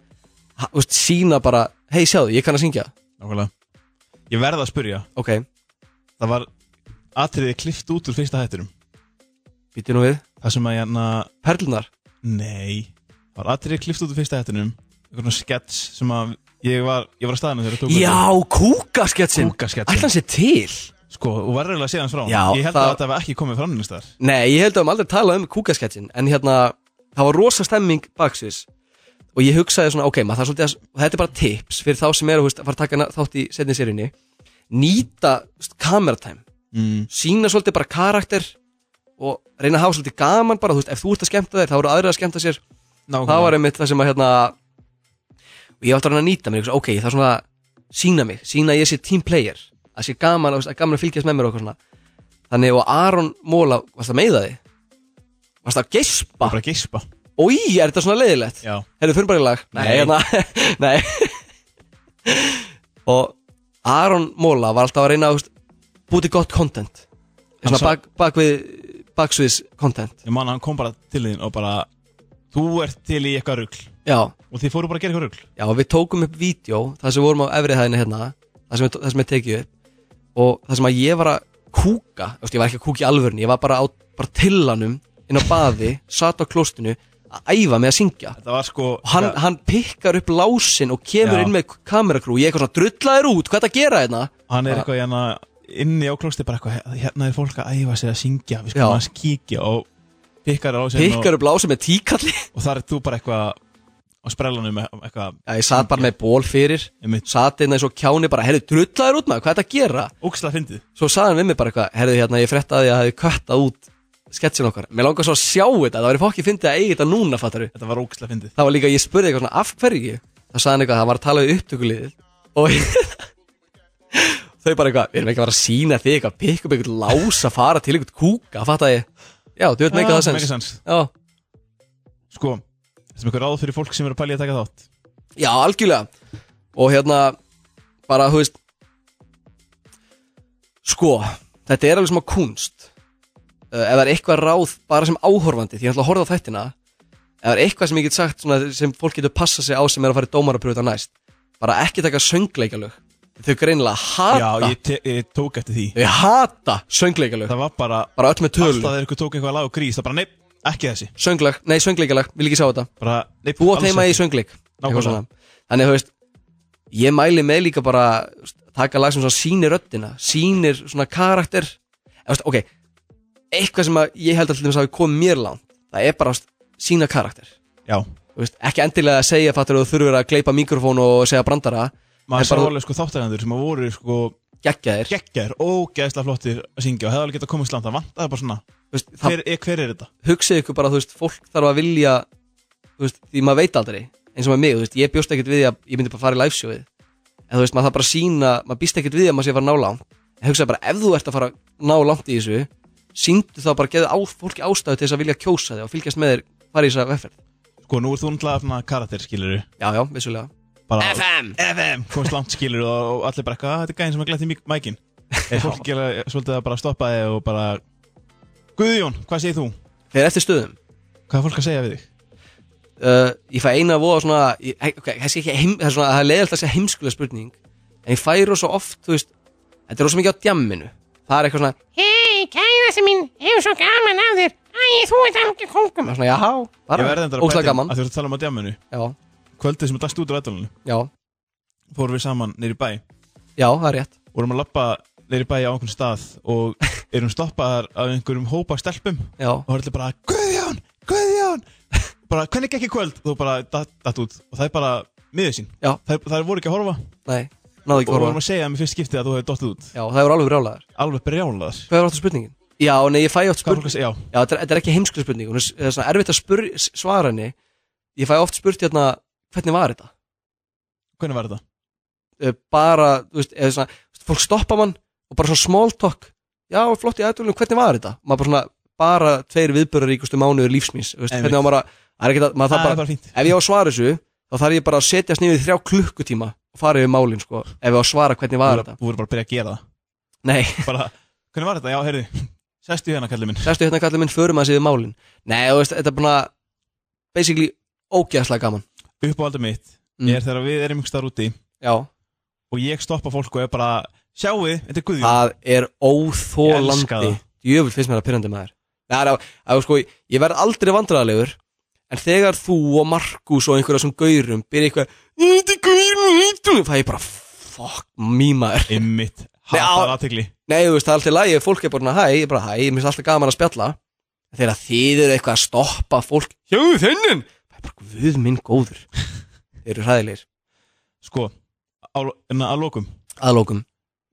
S3: ha- þú veist, sína bara, hei sjáðu, ég kann að syngja
S8: nákvæmlega ég verða að spurja,
S3: ok,
S8: það var atriðið klift út úr fyrsta hættinum
S3: býttu nú við
S8: það sem að ég hérna,
S3: perlunar,
S8: nei það var atriðið klift út úr fyrsta hættinum einhvern veginn skets sem að ég var, ég var að staðinu þegar þú
S3: já, kúkasketsin
S8: Kúkasketsin.
S3: ætla hann sér til
S8: sko, og var reyðilega síðan frá
S3: Já,
S8: ég held
S3: það-
S8: að þetta var ekki komið fram nýst þar
S3: nei, ég held að við höfum aldrei talað um kúkasketsin en hérna, það var rosa stemming baksins og ég hugsaði svona, ok, maður það er svolítið að, og þetta er bara tips fyrir þá sem er að, þú veist, að fara að taka na- þátt í setni sérinni nýta kameratæm
S8: mm.
S3: sína svolítið bara karakter og reyna að hafa svolítið gaman bara, þú veist, ef þú ert að skemmta þér, þá eru aðrið að skemmta sér það var einmitt það sem að hérna og ég átti að reyna að nýta mér, ég hugsa, ok, það er svona sína mig, sína að ég sé team player að sé gaman, að að gaman að fylgjast með mér og eitthvað svona þannig og Aron Móla varst að meiða þig varst að geispa,
S8: bara að geispa
S3: og í, er þetta svona leiðilegt
S8: já,
S3: Herðu, fyrir bara í lag Nei,
S8: Nei.
S3: hérna Nei Og Aron Móla var alltaf að reyna að búti gott content Svona
S8: sá-
S3: bak, bak við Baksviðs content
S8: ég man að hann kom bara til þín og bara þú ert til í eitthvað rugl
S3: Já,
S8: og þið fóru bara að gera eitthvað rugl
S3: já og við tókum upp vídeo Það sem vorum á efri hæðinni hérna Það sem, það sem ég tekið upp Og það sem að ég var að kúka þú veist, Ég var ekki að kúka í alvörni Ég var bara á bara tillanum Inn á baði, satt á klóstinu Að æfa mig að syngja
S8: þetta var sko
S3: og hann,
S8: það-
S3: hann pikkar upp lásin og kemur
S8: Já.
S3: inn með kamerakrú ég er eitthvað svona drullaður út, hvað er það að gera hérna
S8: hann er eitthvað hérna inni á klósti bara eitthvað hérna er fólk að æfa sér að syngja
S3: Já.
S8: við skulum að kíkja og pikkar á sér
S3: pikkar upp lásin með tíkalli
S8: og, og þar er þú bara eitthvað á sprellanum e- eitthvað
S3: já, ég satt bara með ból fyrir
S8: Einmitt.
S3: satt inn eins og kjáni bara, herðu drullaður út maður hvað er það að gera,
S8: ógslag fyndið
S3: svo sagði hann við mig bara eitthvað herðu hérna, ég frettaði að ég hafi köttað út sketsin okkar, mér langar svo að sjá þetta það var fólk ég fyndi að eigi þetta núna, fattaru
S8: þetta var ógslag fyndið
S3: það var líka, ég spurði eitthvað svona af hverju það sagði hann eitthvað, það var að tala við upptökuliðið og þau bara eitthvað, við erum ekki að fara að sína þig eitthvað, pikk upp eitthvað lása, fara til eitthvað kúka, fatt að ég, já, þú veit meika
S8: Ah,
S3: það sens
S8: sens
S3: já,
S8: sko þetta er eitthvað ráð fyrir fólk sem eru að pæli að taka þátt
S3: já, algjörlega og hérna, bara, þú veist Sko, þetta er alveg smá kunst uh, Ef það er eitthvað ráð bara sem áhorfandi Því ég ætla að horfa á þættina Ef það er eitthvað sem ég get sagt svona, sem fólk getur passa sig á sem er að fara í dómarapröfuta næst Bara ekki taka söngleikalög Þau greinilega
S8: Já,
S3: hata
S8: ég, te- ég tók eftir því
S3: Þau hata söngleikalög
S8: Það var bara
S3: Bara öll með
S8: Alltaf
S3: tölum
S8: þegar ykkur tók eitthvað lag og grís Það bara, nei, ekki þessi
S3: Sönglag, nei söngleikalag, vil ekki sjá þetta
S8: bara, nei,
S3: Þú átt
S8: alls
S3: heima í
S8: ekki.
S3: söngleik
S8: Nákvæmlega.
S3: Eitthvað svona. Þannig að þú veist Ég mæli með líka bara þú veist, Taka lag sem svona sýnir röddina Sýnir svona karakter Eða, þú veist, Ok, eitthvað sem að ég held að til dæmis hafi komið mér langt Það er bara þú veist, sína karakter
S8: Já,
S3: Þú veist, Ekki endilega að segja fattur Þú þurfur að gleipa mikrofón og segja brandara
S8: maður
S3: En
S8: sá
S3: bara-
S8: alveg sko þáttægandur sem að voru sko
S3: Geggja þér
S8: geggjær, ógeðslega flottir að syngja og hefði alveg getað komist langt, það vantaði bara svona
S3: Þú veist, það-
S8: hver, er, hver er þetta?
S3: hugsið ykkur bara, þú veist, fólk þarf að vilja þú veist, því maður veit aldrei eins og með mig, þú veist, ég bjóst ekkert við því að ég myndi bara fara í liveshowið, en þú veist, maður þarf bara að sína maður býst ekkert við því að maður sé að fara að ná langt en hugsaði bara, ef þú ert að fara að ná langt í þessu síndu þá bara að geða á, fólki ástæðu til þess að vilja kjósa þig og fylgjast með þér fara í þessa vefferð,
S8: Sko, nú er þú náttúrulega svona karakter, skilur
S3: já, já, vissulega
S8: bara, FM! FM, komist langt, skilur og, og allir bara, hvað, þetta er gæðin sem að glætti mækin eða fólk gera, svolítið að bara stoppa þig og bara Guðjón, hvað segir þú?
S3: þegar eftir stöðum,
S8: Hvað er fólk að segja við þig?
S3: uh, ég fæ eina voða svona, ég, okay, kannski ekki heim, það er svona, það er leiðilt að segja heimskulega spurning en ég færi rosa oft, þú veist þetta er rosa mikið á djamminu, það er eitthvað svona
S5: Hei, kærasti mín, hefur svo gaman af þér. Æ, þú ert alveg kóngum.
S3: maður svona, já,
S8: Ég
S3: bara,
S8: verði endur að
S3: óslega
S8: inn
S3: gaman
S8: að þú ert að tala um á djáminu
S3: já,
S8: Kvöldið sem að dagst út úr ædolunum
S3: já,
S8: fórum við saman neyri bæ
S3: já, það er rétt
S8: vorum að lappa neyri bæ á einhvern stað og erum stoppaðar af einhverjum hópa af stelpum
S3: já,
S8: og það er bara Guðjón, Guðjón bara hvernig gekk í kvöld þú bara datt, datt út og það er bara miður sín
S3: Já.
S8: það, það voru ekki að horfa
S3: nei, náðu
S8: og
S3: ekki
S8: vorum
S3: horfa
S8: að segja að mér fyrst skiptið að þú hefði dottið út
S3: já, það voru alveg rálaðar,
S8: alveg brjálaðar
S3: hvað er áttu spurningin? já, nei, ég fæ áttu
S8: hvað er fólk
S3: spurning
S8: að
S3: já,
S8: segja, já,
S3: þetta er, þetta er ekki heimskulega spurning hún er, það er svona erfitt að spur, s- svara henni ég fæ oft spurt hérna, hvernig var þetta?
S8: hvernig var þetta
S3: Eh, bara, þú veist, eða svona þú veist, fólk stoppa mann og bara svona small talk já, flott í aðdólunum, hvernig var þetta? maður bara svona, bara tveir viðbörðaríkustu mánuður lífsmins, þú veist,
S8: Einmitt.
S3: hvernig var maður að það er ekki að, maður
S8: það
S3: það bara
S8: er bara fínt
S3: ef ég á að svara þessu þá þarf ég bara að setjast niður í þrjá klukkutíma og fara yfir málin sko ef ég á að svara hvernig
S8: Þú
S3: var
S8: voru
S3: þetta
S8: þú voru bara að byrja að gera
S3: nei,
S8: það bara hvernig var þetta, já, heyrðu sestu hérna kallið minn
S3: sestu hérna kallið minn, förum að séðu málin nei, þú veist, þetta er búin að basically ógeðslega gaman
S8: uppáhaldið mitt
S3: Mm.
S8: er þegar við erum ykkur staðar úti
S3: já,
S8: og ég stoppa fólk og er bara sjáu, þetta er Guðjón
S3: það er
S8: Ég elska
S3: óþólandi
S8: það.
S3: djöfull finnst mér að pyrrandi maður Nei, það er- það er sko, ég verð aldrei vandræðalegur en þegar þú og Markus og einhverja svona gaurum byrja eitthvað þetta er gaurum, heitum það er bara fuck, mýmaður
S8: ymmit,
S3: Nei, á-
S8: hattar aðtegli
S3: Nei, þú veist, það er alltaf lægi, fólk er bara, svona, hæ, ég er bara, hæ, ég minnst alltaf gaman að spjalla En Þegar þið eru eitthvað að stoppa fólk Hjá þennan Það er bara, guð minn góður Þeir eru hræðilegir,
S8: sko, á, en að lokum
S3: aðlókum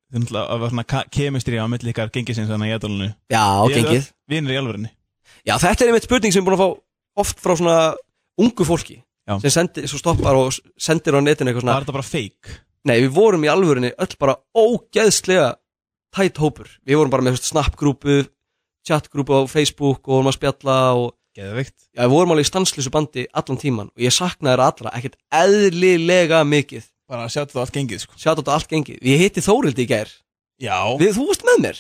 S8: Það er náttúrulega að vera svona ka- kemistri á milli ykkar gengisins þannig í jædalunu.
S3: Já, gengið
S8: Vinnir í alvörinni.
S3: Já, þetta er einmitt spurning sem ég er búin að fá oft frá svona ungu fólki
S8: Já.
S3: sem sendi, svo stoppar og s- sendir á netinu eitthvað
S8: Það
S3: svona
S8: er þetta bara fake.
S3: Nei, við vorum í alvörinni öll bara ógeðslega tætt hópur Við vorum bara með þú veist, snapgrúpu, chatgrúpu á Facebook og vorum að spjalla og
S8: Geðvikt.
S3: Já, við vorum alveg í stanslösu bandi allan tíman og ég saknaði þeirra allra ekkert eðlilega mikið
S8: Bara að sjá þetta allt gengið, sko.
S3: sjátt á þetta allt gengið ég hitti Þórildi í gær
S8: Já,
S3: við, þú varst með mér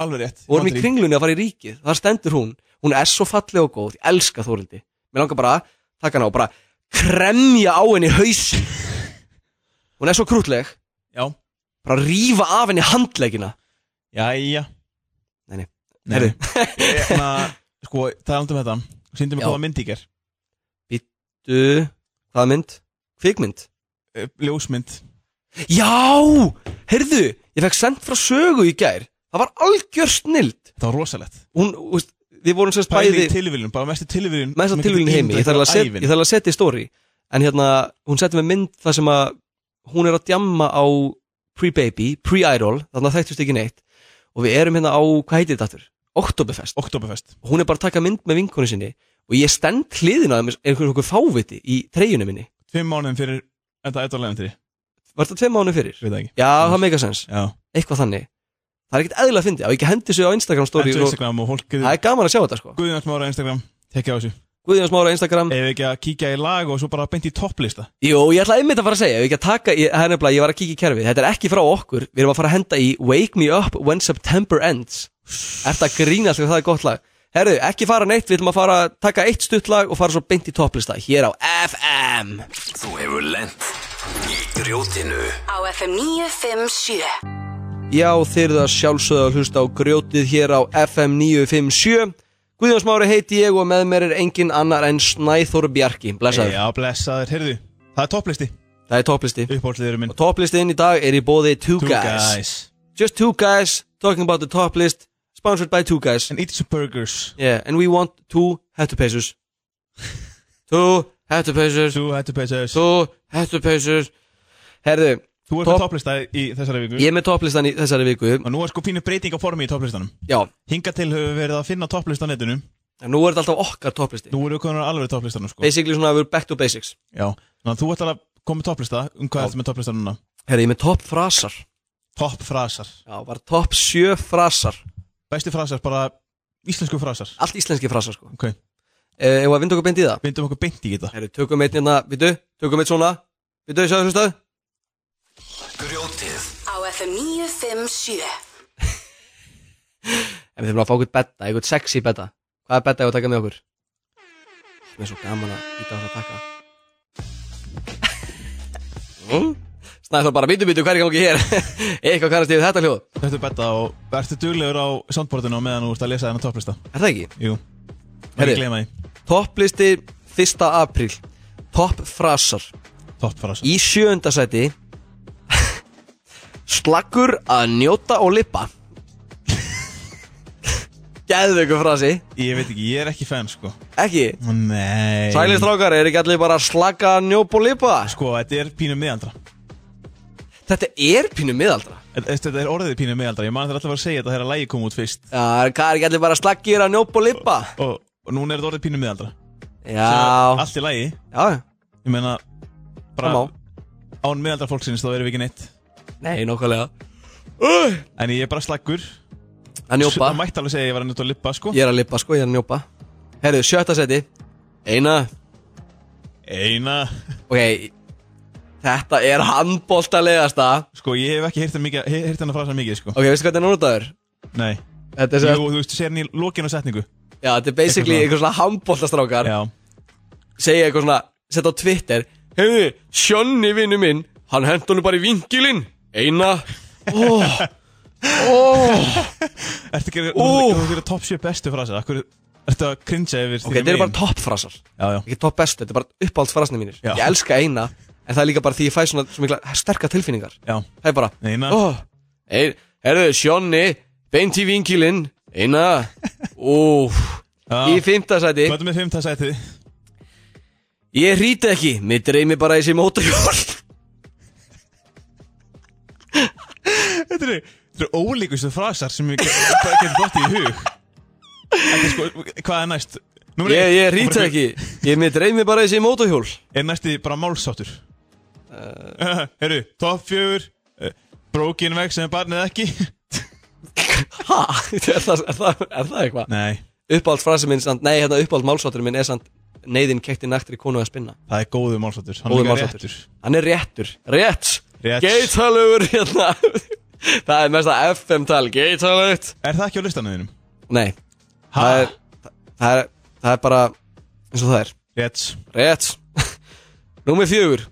S8: alveg rétt.
S3: og vorum í
S8: Andri.
S3: kringlunni að fara í ríkið þar stendur hún hún er svo falleg og góð ég elska Þórildi mér langar bara að taka hana og bara kremja á henni haus hún er svo krútleg
S8: Já.
S3: bara rífa af henni handlegina
S8: Jæja.
S3: Nei, nei.
S8: Nei. Þannig að, sko, það er aldrei með þetta. Sýndum við
S3: Já.
S8: góða mynd í ger.
S3: du hvaða mynd? kvikmynd?
S8: Eh, Ljósmynd.
S3: já heyrðu ég fekk sendt frá sögu í gær það var algjör snild
S8: Það var rosalegt.
S3: hún, þú veist, við vorum sérst
S8: Bæði
S3: bæði
S8: í tilviljun, bara mestu tilviljun.
S3: með þess að tilvíðin heimi, ég þarf alveg að, set, ég þarf alveg að setja í stóri en hérna, hún setti með mynd þar sem að hún er að djamma á pre-baby, pre-idol þannig að þættust ekki neitt og við erum hérna á, hvað heitir þetta aftur? Oktoberfest
S8: Oktoberfest.
S3: og hún er bara að taka mynd með vinkonu sinni og ég stend hliðina á þeim einhver okkur fáviti í treyjunum minni
S8: Fimm mánuðum fyrir þetta eitthvað til.
S3: var þetta tveim mánu fyrir?
S8: Veit það ekki.
S3: Já, það meika sens,
S8: Já.
S3: eitthvað þannig það er ekkert eðlilega að fyndi, á ekki hendi sig á Instagram story
S8: Endur
S3: og
S8: Instagram og fólk
S3: það
S8: getur.
S3: er gaman að sjá þetta sko
S8: Guðjón Smára Instagram. Tekja á þessu.
S3: Guðjón Smára Instagram
S8: Ef við ekki að kíkja í lag og svo bara beint í topplista
S3: Jú, ég ætla einmitt að fara að segja, ef ég ekki að taka, ég, það er nefnilega, ég var að kíkja í kerfið, þetta er ekki frá okkur, við erum að fara að henda í Wake Me Up When September Ends. Er þetta grínast þegar það er gott lag? Herðu, ekki fara neitt, við ætlum að fara að taka eitt stutt lag og fara svo beint í topplista, hér á FM.
S1: Þú hefur lent í grjótinu
S2: á FM 957
S3: Já, þeir eru það sjálfsögðu að hlusta á grjótið hér á FM 957. Guðjón Smári heiti ég og með mér er engin annar en Snæþór Bjarki, blessaður.
S8: Já, blessaður, heyrðu Það er topplisti,
S3: Það er topplisti.
S8: uppáhaldsliður minn
S3: Og topplistinn í dag er í bóði Two, guys. just two guys talking about the top list, sponsored by two guys.
S8: And eat some burgers
S3: yeah, and we want two hattu pesos. two hattu pesos.
S8: Þú hættu peisers
S3: Two hattu pesos. Herðu,
S8: Þú ert með
S3: Topp-
S8: topplista í þessari viku
S3: ég er með topplistan í þessari viku.
S8: Og nú er sko pínu breyting á formi í topplistanum
S3: Já,
S8: Hinga til höfum við verið að finna topplista á netinu
S3: en nú er þetta alltaf okkar topplisti.
S8: Nú erum við komin á alveg topplistanum sko
S3: Basically svona að við erum back to basics.
S8: Já, þannig að þú ætlar að koma með topplista Um hvað ertu með topplista núna?
S3: Herðu, ég er með topp frasar.
S8: Topp frasar
S3: Já, var topp sjö frasar.
S8: Bestu frasar, bara íslensku frasar
S3: Allt íslenski frasar, sko.
S8: Ok,
S3: Eh, Ef að vinda okkur beint í það.
S8: vindum okkur beint í þetta
S3: Herðu, tökum einn hérna, vitu, tökum einn svona. Vitu, sjáðu hlustaðu.
S1: Grjótið
S2: á FM 957
S3: En við þurfum að fá eitthvað betta, eitthvað sexy betta Hvað er betta ég að taka með okkur? Mér er svo gaman að íta á þess að taka Snæður Hm? bara bítu bítu, hver er gangi hér? Eitthvað kannast ég við þetta hljóð
S8: Þetta er betta og ertu duglegur á soundboardinu á meðan þú ert að lesa þennan topplista
S3: Er það ekki?
S8: Jú,
S3: Herri.
S8: ekki gleyma því
S3: Topplisti 1. apríl Topp frasar
S8: Topp frasar
S3: Í sjöunda sæti Slakkur að njóta og lippa Gæðu ykkur frasi
S8: Ég veit ekki, ég er ekki fan sko
S3: Ekki?
S8: Nei
S3: Sælir strákar, er ekki allir bara að slakka að njópa og lippa?
S8: Sko, þetta er pínu miðaldra
S3: Þetta er pínu miðaldra
S8: Þetta þetta er orðið pínu miðaldra Ég man þetta alltaf að segja þetta þegar lægi kom út fyrst
S3: Já, hvað er ekki allir bara slaggir að njópa og lippa?
S8: Og, og núna er þetta orðið pínu miðaldra
S3: Já,
S8: Allt í lægi
S3: já,
S8: Ég meina
S3: það má
S8: bara án miðaldra fólksins þá erum við ekki neitt
S3: Nei, nokkulega
S8: En ég er bara slaggur
S3: Að njópa,
S8: Það mætti alveg segja að ég var að njóta að lippa sko
S3: ég er að lippa sko, ég er að njópa Herðu, sjötta seti Eina,
S8: Eina
S3: ok Þetta er handbóltalegasta
S8: Sko ég hef ekki heyrt hann mikið- heyrt hennar frasa mikið sko
S3: Ok, veistu hvað þetta er notaður?
S8: Nei
S3: Þetta er,
S8: Jú,
S3: sem,
S8: þú veist, sér hann í lokinu á setningu
S3: já, þetta er basically
S8: Eitthvað
S3: einhver svona handbóltastrákar
S8: Já
S3: Segja eitthvað svona, setja á Twitter Hefðu, Sjonni vinnu minn Hann hent honum bara í vingilinn Eina oh,
S8: Ertu ekki að
S3: Ú.
S8: Þú fyrir top 7 bestu frasa Akkur Ertu að cringe yfir
S3: Ok, þetta eru bara toppfrasar
S8: Já, já
S3: ekki topp bestu, þetta er bara uppáhaldsfrasni mínir
S8: Já.
S3: ég elska eina, en það er líka bara því ég fæ svona, svona mikla, sterka tilfinningar
S8: Já
S3: það er bara,
S8: Eina
S3: oh, er, herðu, Sjonni beint í vinkilinn, eina úf,
S8: Já.
S3: í fimmtasæti
S8: Hvað er með 5 það sæti?
S3: ég hrýti ekki, mér dreymi bara þessi mótorhjól
S8: Þetta eru Þetta eru ólíkustu frasar sem ég get- bara getur gott í hug Þetta er sko Hvað er næst? Númer
S3: ég,
S8: eitt.
S3: ég hrýti
S8: Númer
S3: ekki, ég mér dreymi bara þessi mótorhjól
S8: Er næsti bara málsáttur?
S3: Eh.
S8: Uh. Herru, topp fjögur uh, Brókin veg sem er barnið ekki
S3: ha, er það, er það, er það eitthvað
S8: Nei,
S3: uppáhaldsfrasi minn, samt, nei, hérna uppáhalds málsvátturinn minn er samt neyðin kekti nættri konu að spinna
S8: það er góðu málsáttur Hann er
S3: Góður
S8: líka
S3: málsháttur.
S8: réttur.
S3: Hann er réttur Rétt
S8: Rétt.
S3: Geitalögur hérna Það er mesta FM-tal Geitalögt
S8: Er það ekki á listanum þínum?
S3: Nei
S8: Ha?
S3: það er, það, er, það er bara eins og það er
S8: Rétt
S3: Rétt Númer fjögur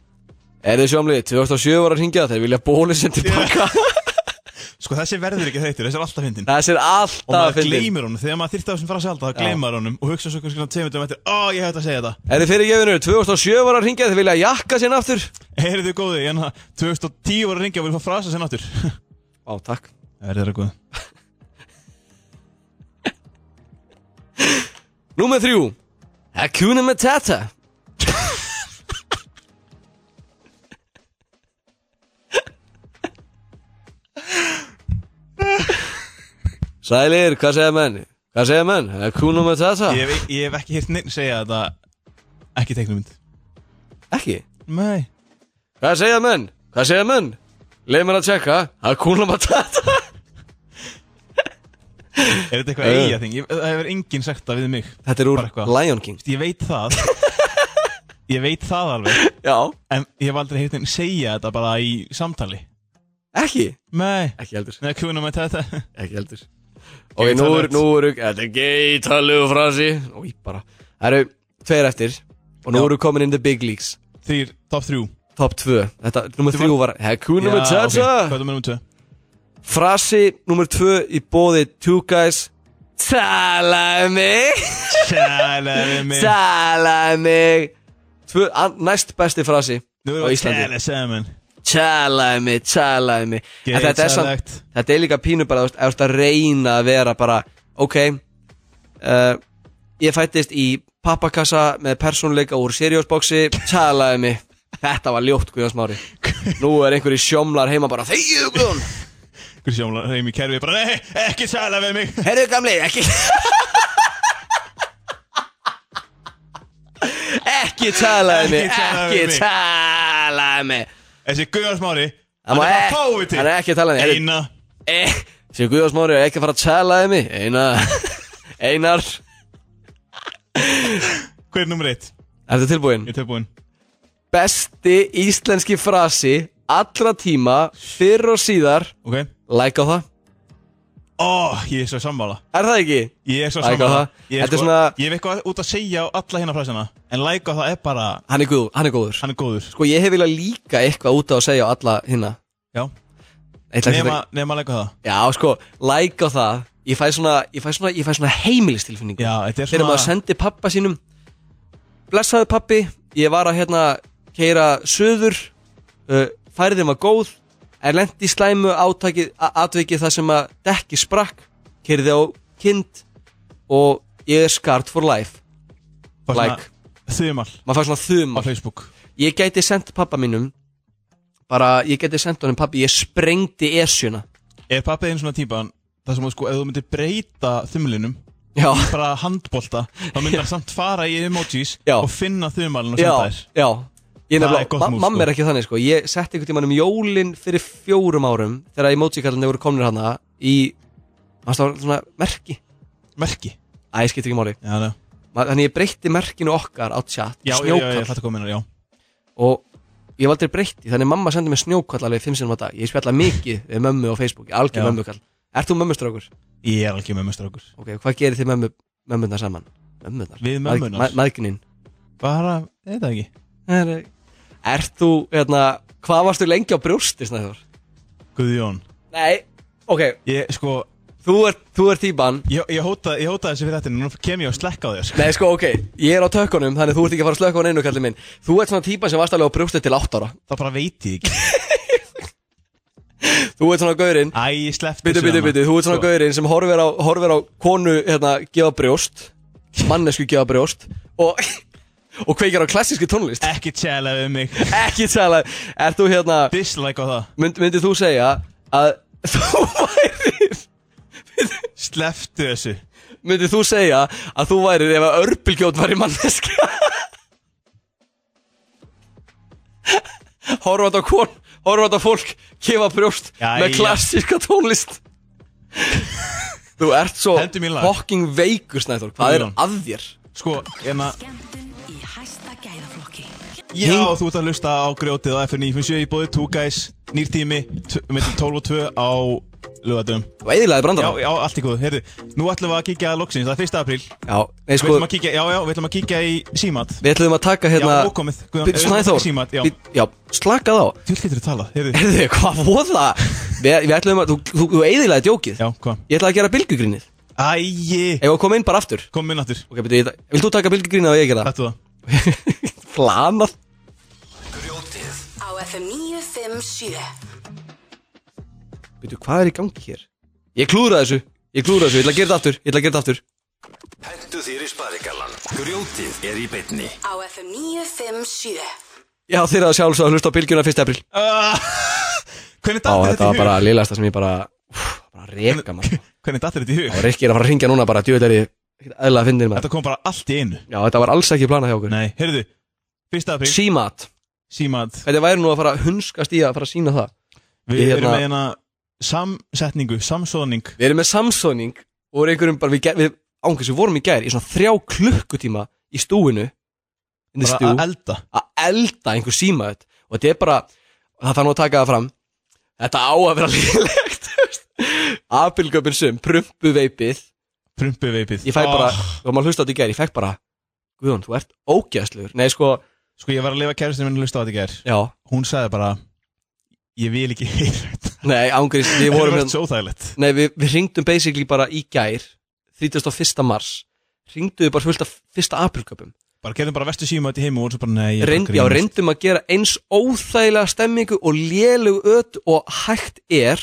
S3: Er þið sjómlið 2007 var að hringja þeir vilja bóli sem tilbaka
S8: Sko þessi verður ekki þreytur, þessi er alltaf fyndin
S3: Þessi er
S8: Og
S3: alltaf
S8: maður
S3: fyndin.
S8: gleymir honum, þegar maður þyrta á þessum frasa alltaf þá gleymar honum og hugsa svo kannski svona tveimur dögum eftir Ó, ég hef þetta að segja þetta
S3: Er þið fyrir gefinur 2007 var að hringja þeir vilja jakka sinn aftur
S8: Heyrðu góði, en það 2010 voru að ringja og vil fá frasa sér náttúr
S3: Á takk
S8: Það er þeirra góð
S3: Númer þrjú Hakuna Matata Sælir, hvað segja menn? Hvað segja menn? Hakuna Matata?
S8: ég, hef- ég hef ekki hýrt neinn segja þetta ekki teiknum mynd
S3: Ekki
S8: Nei
S3: Hvað segja menn? Hvað segja menn? Leif mér að tjekka Hakuna Matata
S8: Er þetta eitthvað eiga þing? Ég- Það hefur enginn sagt það við mig
S3: Þetta er úr
S8: Bara eitthvað.
S3: Lion King
S8: Ég veit það Ég veit það alveg
S3: Já,
S8: En ég hef aldrei heyrt einn segja þetta bara í samtali
S3: ekki
S8: Nei
S3: Ekki heldur
S8: Nei, kúnum að þetta
S3: Ekki heldur Ok, nú eru, nú eru, þetta er gay talegu frasi Úi, bara Það eru tveir eftir Og nú
S8: Já.
S3: eru komin in the big leagues
S8: Þrýr, top þrjú
S3: Top 2 Þetta, nummer
S8: Þú
S3: 3 var Heku nummer
S8: Já, ok.
S3: 2
S8: Hvað er nummer tvö?
S3: Frasi nummer 2 í bóði Two guys Tala um mig
S8: Tælaði mig
S3: Tala um mig Tvö, an- Næst besti frasi
S8: Nú
S3: á
S8: erum við
S3: Íslandi.
S8: tæla saman
S3: Tala um mig, tala um mig En þetta er samt
S8: Geisalegt
S3: þetta er líka pínu bara, þú veist, ef þú ert að reyna að vera bara, ok uh, ég fættist í pappakassa með persónuleika úr seriósboksi, talaði mig þetta var ljótt Guðjón Smári nú er einhverju sjómlar heima bara þegið Guðjón,
S8: Hver sjáumlega heim í kerfi bara Nei, ekki tala við mig
S3: herðu gamli, ekki ekki talaði mig
S8: Ekki talaðu við
S3: ekki
S8: mig.
S3: talaði mig
S8: Þessi Guðjónsmári
S3: Hann
S8: Hann
S3: má
S8: er bara
S3: ekki-
S8: fáviti
S3: hann er ekki að tala við þig. Heyrðu,
S8: Eina
S3: Eh, Sér Guðjóns Mári er ekki að fara að talaði mig Einar Einar
S8: Hver er nummer eitt?
S3: Er þetta tilbúin?
S8: Ég er tilbúinn
S3: Besti íslenski frasi allra tíma fyrr og síðar
S8: Ok
S3: Like á það
S8: Ó, ég er svo sammála
S3: Er það ekki?
S8: Ég er svo
S3: Like á
S8: sammála
S3: það.
S8: Ég er,
S3: Þetta er
S8: sko,
S3: svona-
S8: ég hef eitthvað út að segja á alla hérna fræsina En like á það er bara
S3: Hann er, guð, hann er góður
S8: Hann er góður
S3: Sko ég hef viljað líka eitthvað út á að segja á alla hinna
S8: Já
S3: Eitt lag sem
S8: Nefna, nefna like á það
S3: þetta- Já sko, like á það Ég fæ svona, ég fæ svona, ég fæ svona heimilistilfinningu
S8: Já, þetta er
S3: Þegar Hérna maður
S8: svona
S3: sendi pappa sínum Blessaðu pappi, ég var að hérna keira söður uh, Færðin var góð Er lendi slæmu átakið a- Atvikið það sem að dekki sprakk Keirði á kind Og ég er skart for life
S8: bara svona
S3: like.
S8: Þumal
S3: Maður fær svona
S8: á
S3: þum
S8: Facebook
S3: Ég gæti sendt pappa mínum Bara, ég gæti sendt honum pappi Ég sprengdi esjuna
S8: Er pappið einn svona típan Það sem að sko, ef þú myndir breyta þumlinum
S3: Já,
S8: Bara handbolta Þá myndir það samt fara í emojis
S3: Já.
S8: Og finna þumalinn og
S3: já,
S8: senda þær
S3: já Ég
S8: Það er
S3: nefnilega,
S8: gott
S3: ma
S8: mús,
S3: mamma
S8: sko.
S3: er ekki þannig sko Ég setti einhvern tímann um jólin fyrir fjórum árum Þegar emoji-kallinni voru komnir hana Í, það var svona merki
S8: Merki
S3: Æ, skiptir ekki máli
S8: Já, já,
S3: Ma- Þannig ég breytti merkinu okkar á chat í
S8: já, já, já,
S3: Snjókall
S8: ég hlætti komin Já,
S3: Og ég hef aldrei breytti Þannig mamma sendi mér snjókall alveg fimm sinum á dag Ég spjalla mikið við mömmu á Facebook Algjör
S8: Já.
S3: mömmukall Ert þú mömmustrákur?
S8: ég er alveg með möstrákur
S3: Ok, hvað gerir þið mömmu, mömmunar saman? Mömmunar?
S8: Við mömmurnar?
S3: Mað, maðginin
S8: Bara, eða ekki
S3: Ert þú, hérna, hvað varstu lengi á brjósti, Snæður?
S8: Guðjón
S3: Nei, ok,
S8: Ég, sko,
S3: þú ert, þú ert típan
S8: ég, ég, hóta, ég hóta þessi fyrir þetta Nú kem ég að slekka á þér sko.
S3: Nei, sko, ok, ég er á tökkunum Þannig þú ert ekki að fara að slöka á neinu, kallið minn Þú ert svona típan sem varst alveg á brjóstið til 8 ára
S8: Það bara veit ég ekki
S3: Þú ert svona gaurinn
S8: Æ, ég sleppti Sko,
S3: Bitu, bitu, bitu, þú ert svona gaurinn sem horfir á, horfir á konu, hérna, gefa brjóst Mannesku gefa brjóst Og, og kveikir á klassísku tónlist
S8: Ekki tjæla við mig
S3: Ekki tala, ert þú hérna
S8: Dislike á það
S3: mynd, Myndið þú segja að þú værir
S8: Slepptu þessu
S3: Myndið þú segja að þú værir ef að örpilgjót væri manneska Horfat á kon, horfat á fólk Kefa brjóst
S8: Jæja.
S3: með klassíska tónlist Þú ert svo
S8: Hentu mér lag.
S3: fucking veikur Snæður Hvað er
S8: Guðjón.
S3: að þér?
S8: Sko, en að
S2: Skemmtun í hæsta gæðaflokki
S8: Já, þú ert að hlusta á grjótið á FN 957 í bóði 2 guys, nýr tími Mittum 12 og 2 á lögatum
S3: Þú eðilaði
S8: Já,
S3: brandara
S8: já, allt í góðu, heyrðu Nú ætlum við að kíkja að loksins, það er 1. apríl
S3: Já, nei
S8: Við
S3: sko
S8: ætlum að kíkja, já, já, við ætlum að kíkja í símat
S3: Við ætlum að taka
S8: Já,
S3: hérna
S8: ókomið, Guðjón,
S3: Bíddu,
S8: við ætlum að taka
S3: Snæþór
S8: símat, já.
S3: bíddu, já, slakað á
S8: Þú getur að tala, heyrðu
S3: Herðu, hvað voða? Við, við ætlum að, þú, þú, þú eðilaði djókið
S8: Já, hvað?
S3: Ég ætla að gera bylgugrinnið
S8: Æi,
S3: Ef að koma inn bara aftur
S8: kom minn aftur
S3: Ok, betur, ég, vil þú taka bylgugrína og ég gera
S8: Þetta það
S3: það? Flanað
S2: á FM 957
S3: Betur, hvað er í gangi hér? Ég klúra þessu, ég klúra þessu, ég ætla að gera þetta aftur, ég ætla að gera þetta aftur
S1: Hentu þér í sparigallan Grjótið er í beinni
S2: á FM 957
S3: Já, þeir að sjálfsög að hlusta á bylgjuna 1. april
S8: Ah, Hvernig
S3: Á,
S8: dattir þetta
S3: þetta
S8: í
S3: var
S8: hug?
S3: bara lilasta sem ég bara, úf, bara reka maður
S8: Hvernig dattir þetta í hug?
S3: Og Rikki er að fara að ringja núna bara, djúvel er ég ekkert eðla að fyndin maður
S8: Þetta kom bara allt í einu
S3: Já, þetta var alls ekki planað hjá okkur
S8: Nei, heyrðu, 1. apríl
S3: Símat,
S8: Símat,
S3: þetta væri nú að fara að hunskast í að fara að sína það
S8: við
S3: Ég hérna-
S8: erum með hérna samsetningu, samsóðning
S3: Við erum með samsóning og úr einhverjum bara við, ger- við ángur sem vorum í gær í svona þrjá klukkutíma í stúinu in the
S8: Bara
S3: stew
S8: að elda
S3: að elda einhver símaðut og þetta er bara, það þarf nú að taka það fram þetta á að vera líðilegt apilgöpin sum, prumpu veipið
S8: Prumpu veipið
S3: ég fæk bara,
S8: Ah,
S3: og maður hlusta á þetta í gær, ég fæk bara Guðjón, þú ert ógæðslugur Nei, sko,
S8: Sko ég var að lifa kæristinu minn að hlusta á þetta í gær
S3: já,
S8: Hún sagði bara Ég vil ekki heyra þetta
S3: nei, ángrís Við
S8: Það
S3: vorum
S8: var
S3: hérna,
S8: svo þægilegt
S3: nei, við, við ringdum basically bara í gær 31. mars Ringduðu bara fullt af fyrsta aprilköpum
S8: Bara gerðum bara vestu síma þetta í heim og voru svo bara Nei, ég er bara
S3: Reynd,
S8: að
S3: Já,
S8: grínast.
S3: reyndum að gera eins óþægilega stemmingu og lélug öt og hægt er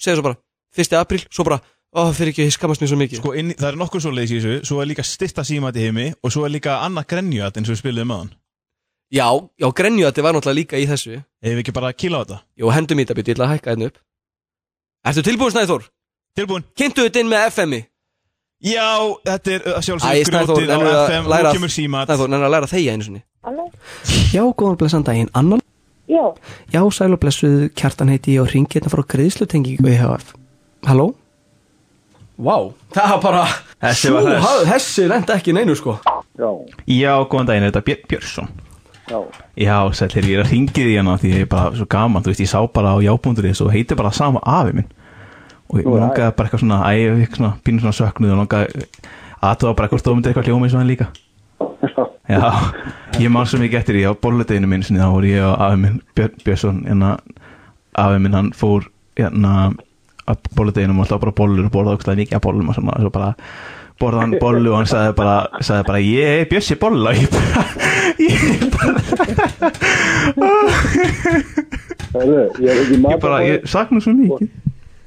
S3: segja svo bara, 1. apríl, svo bara ó, fyrir ekki, ég skammast mér svo mikið
S8: Sko, inn, í- það er nokkuð svo leiðis í þessu, svo er líka styrta símat í heimi og svo er líka annað grenjuat eins og við spiluðum aðan.
S3: Já, já, grenju að þetta var náttúrulega líka í þessu
S8: Ef við ekki bara að kíla á þetta.
S3: Jú, hendum í þetta býtt, ég ætla að hækka hérna upp Ertu tilbúin, Snæþór?
S8: Tilbúin?
S3: Kynntu þetta inn með FM-i
S8: Já, þetta er uh,
S3: Æ,
S8: sjálfsögur
S3: Snæþór,
S8: grjótið á
S3: nennirðu að
S8: FM,
S3: læra
S8: nú
S3: að-
S8: kemur símat.
S3: Snæþór, nennir að læra að þegja einu sinni
S9: Halló?
S3: Já, góðan blessan daginn, annan
S9: Já,
S3: Já, sæl og blessuð, kjartan heiti ég og ringi hérna frá greiðslutengingu EHF Halló? Vá, wow, það var bara
S8: Þessi var hress.
S3: hafði- Þessi lendi ekki í neinu sko
S10: Já,
S8: Já, góðan daginn, er þetta Björn Björnsson?
S10: já,
S8: Já, sætlir, ég er að ringið í hana því ég er bara svo gaman, þú veist, ég sá bara á jábúndurins og heitir bara sama afi minn. Og ég langaði bara eitthvað svona, æ, ég fikk svona pínu svona söknuð og langaði aðtöða bara eitthvað stóðmyndir eitthvað hljóma eins og hann líka. Já, ég man svo mikið eftir því á bolluteginu minn sinni, þá voru ég og afi minn Björn Björnsson en að afi minn hann fór hérna að bolluteginum og alltaf bara bollur og borðaði okkur mikið að bollum og svona og svo bara borðaði hann bollu og hann sagði bara, sagði bara ég er Bjössi bolla ég bara, ég bara,
S10: Hörðu, ég er ekki
S8: ég bara ég sakna svo mikið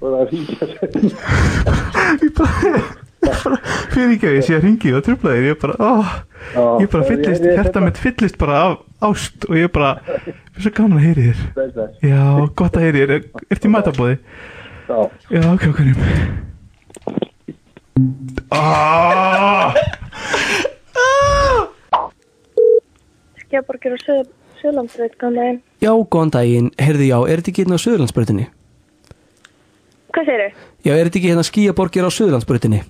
S10: Það er hringja sér.
S8: ég bara, ég bara fyrir ekki að ég sé að ringi og trubla þér ég bara, oh, ég bara fyllist hjarta mitt fyllist bara af ást og ég bara, ég er svo gaman að heyri þér Já, gott að heyri, er, ertu í matabóði? Já Já, ok, okkur
S9: Skjáborgir og Suð- Suðurlandsveit, góðan daginn.
S3: Já, góðan daginn, heyrðu já, er þetta ekki hérna á Suðurlandsbrötinni?
S9: Hvað segir þau?
S3: Já, er þetta ekki hérna skýjaborgir á Suðurlandsbrötinni?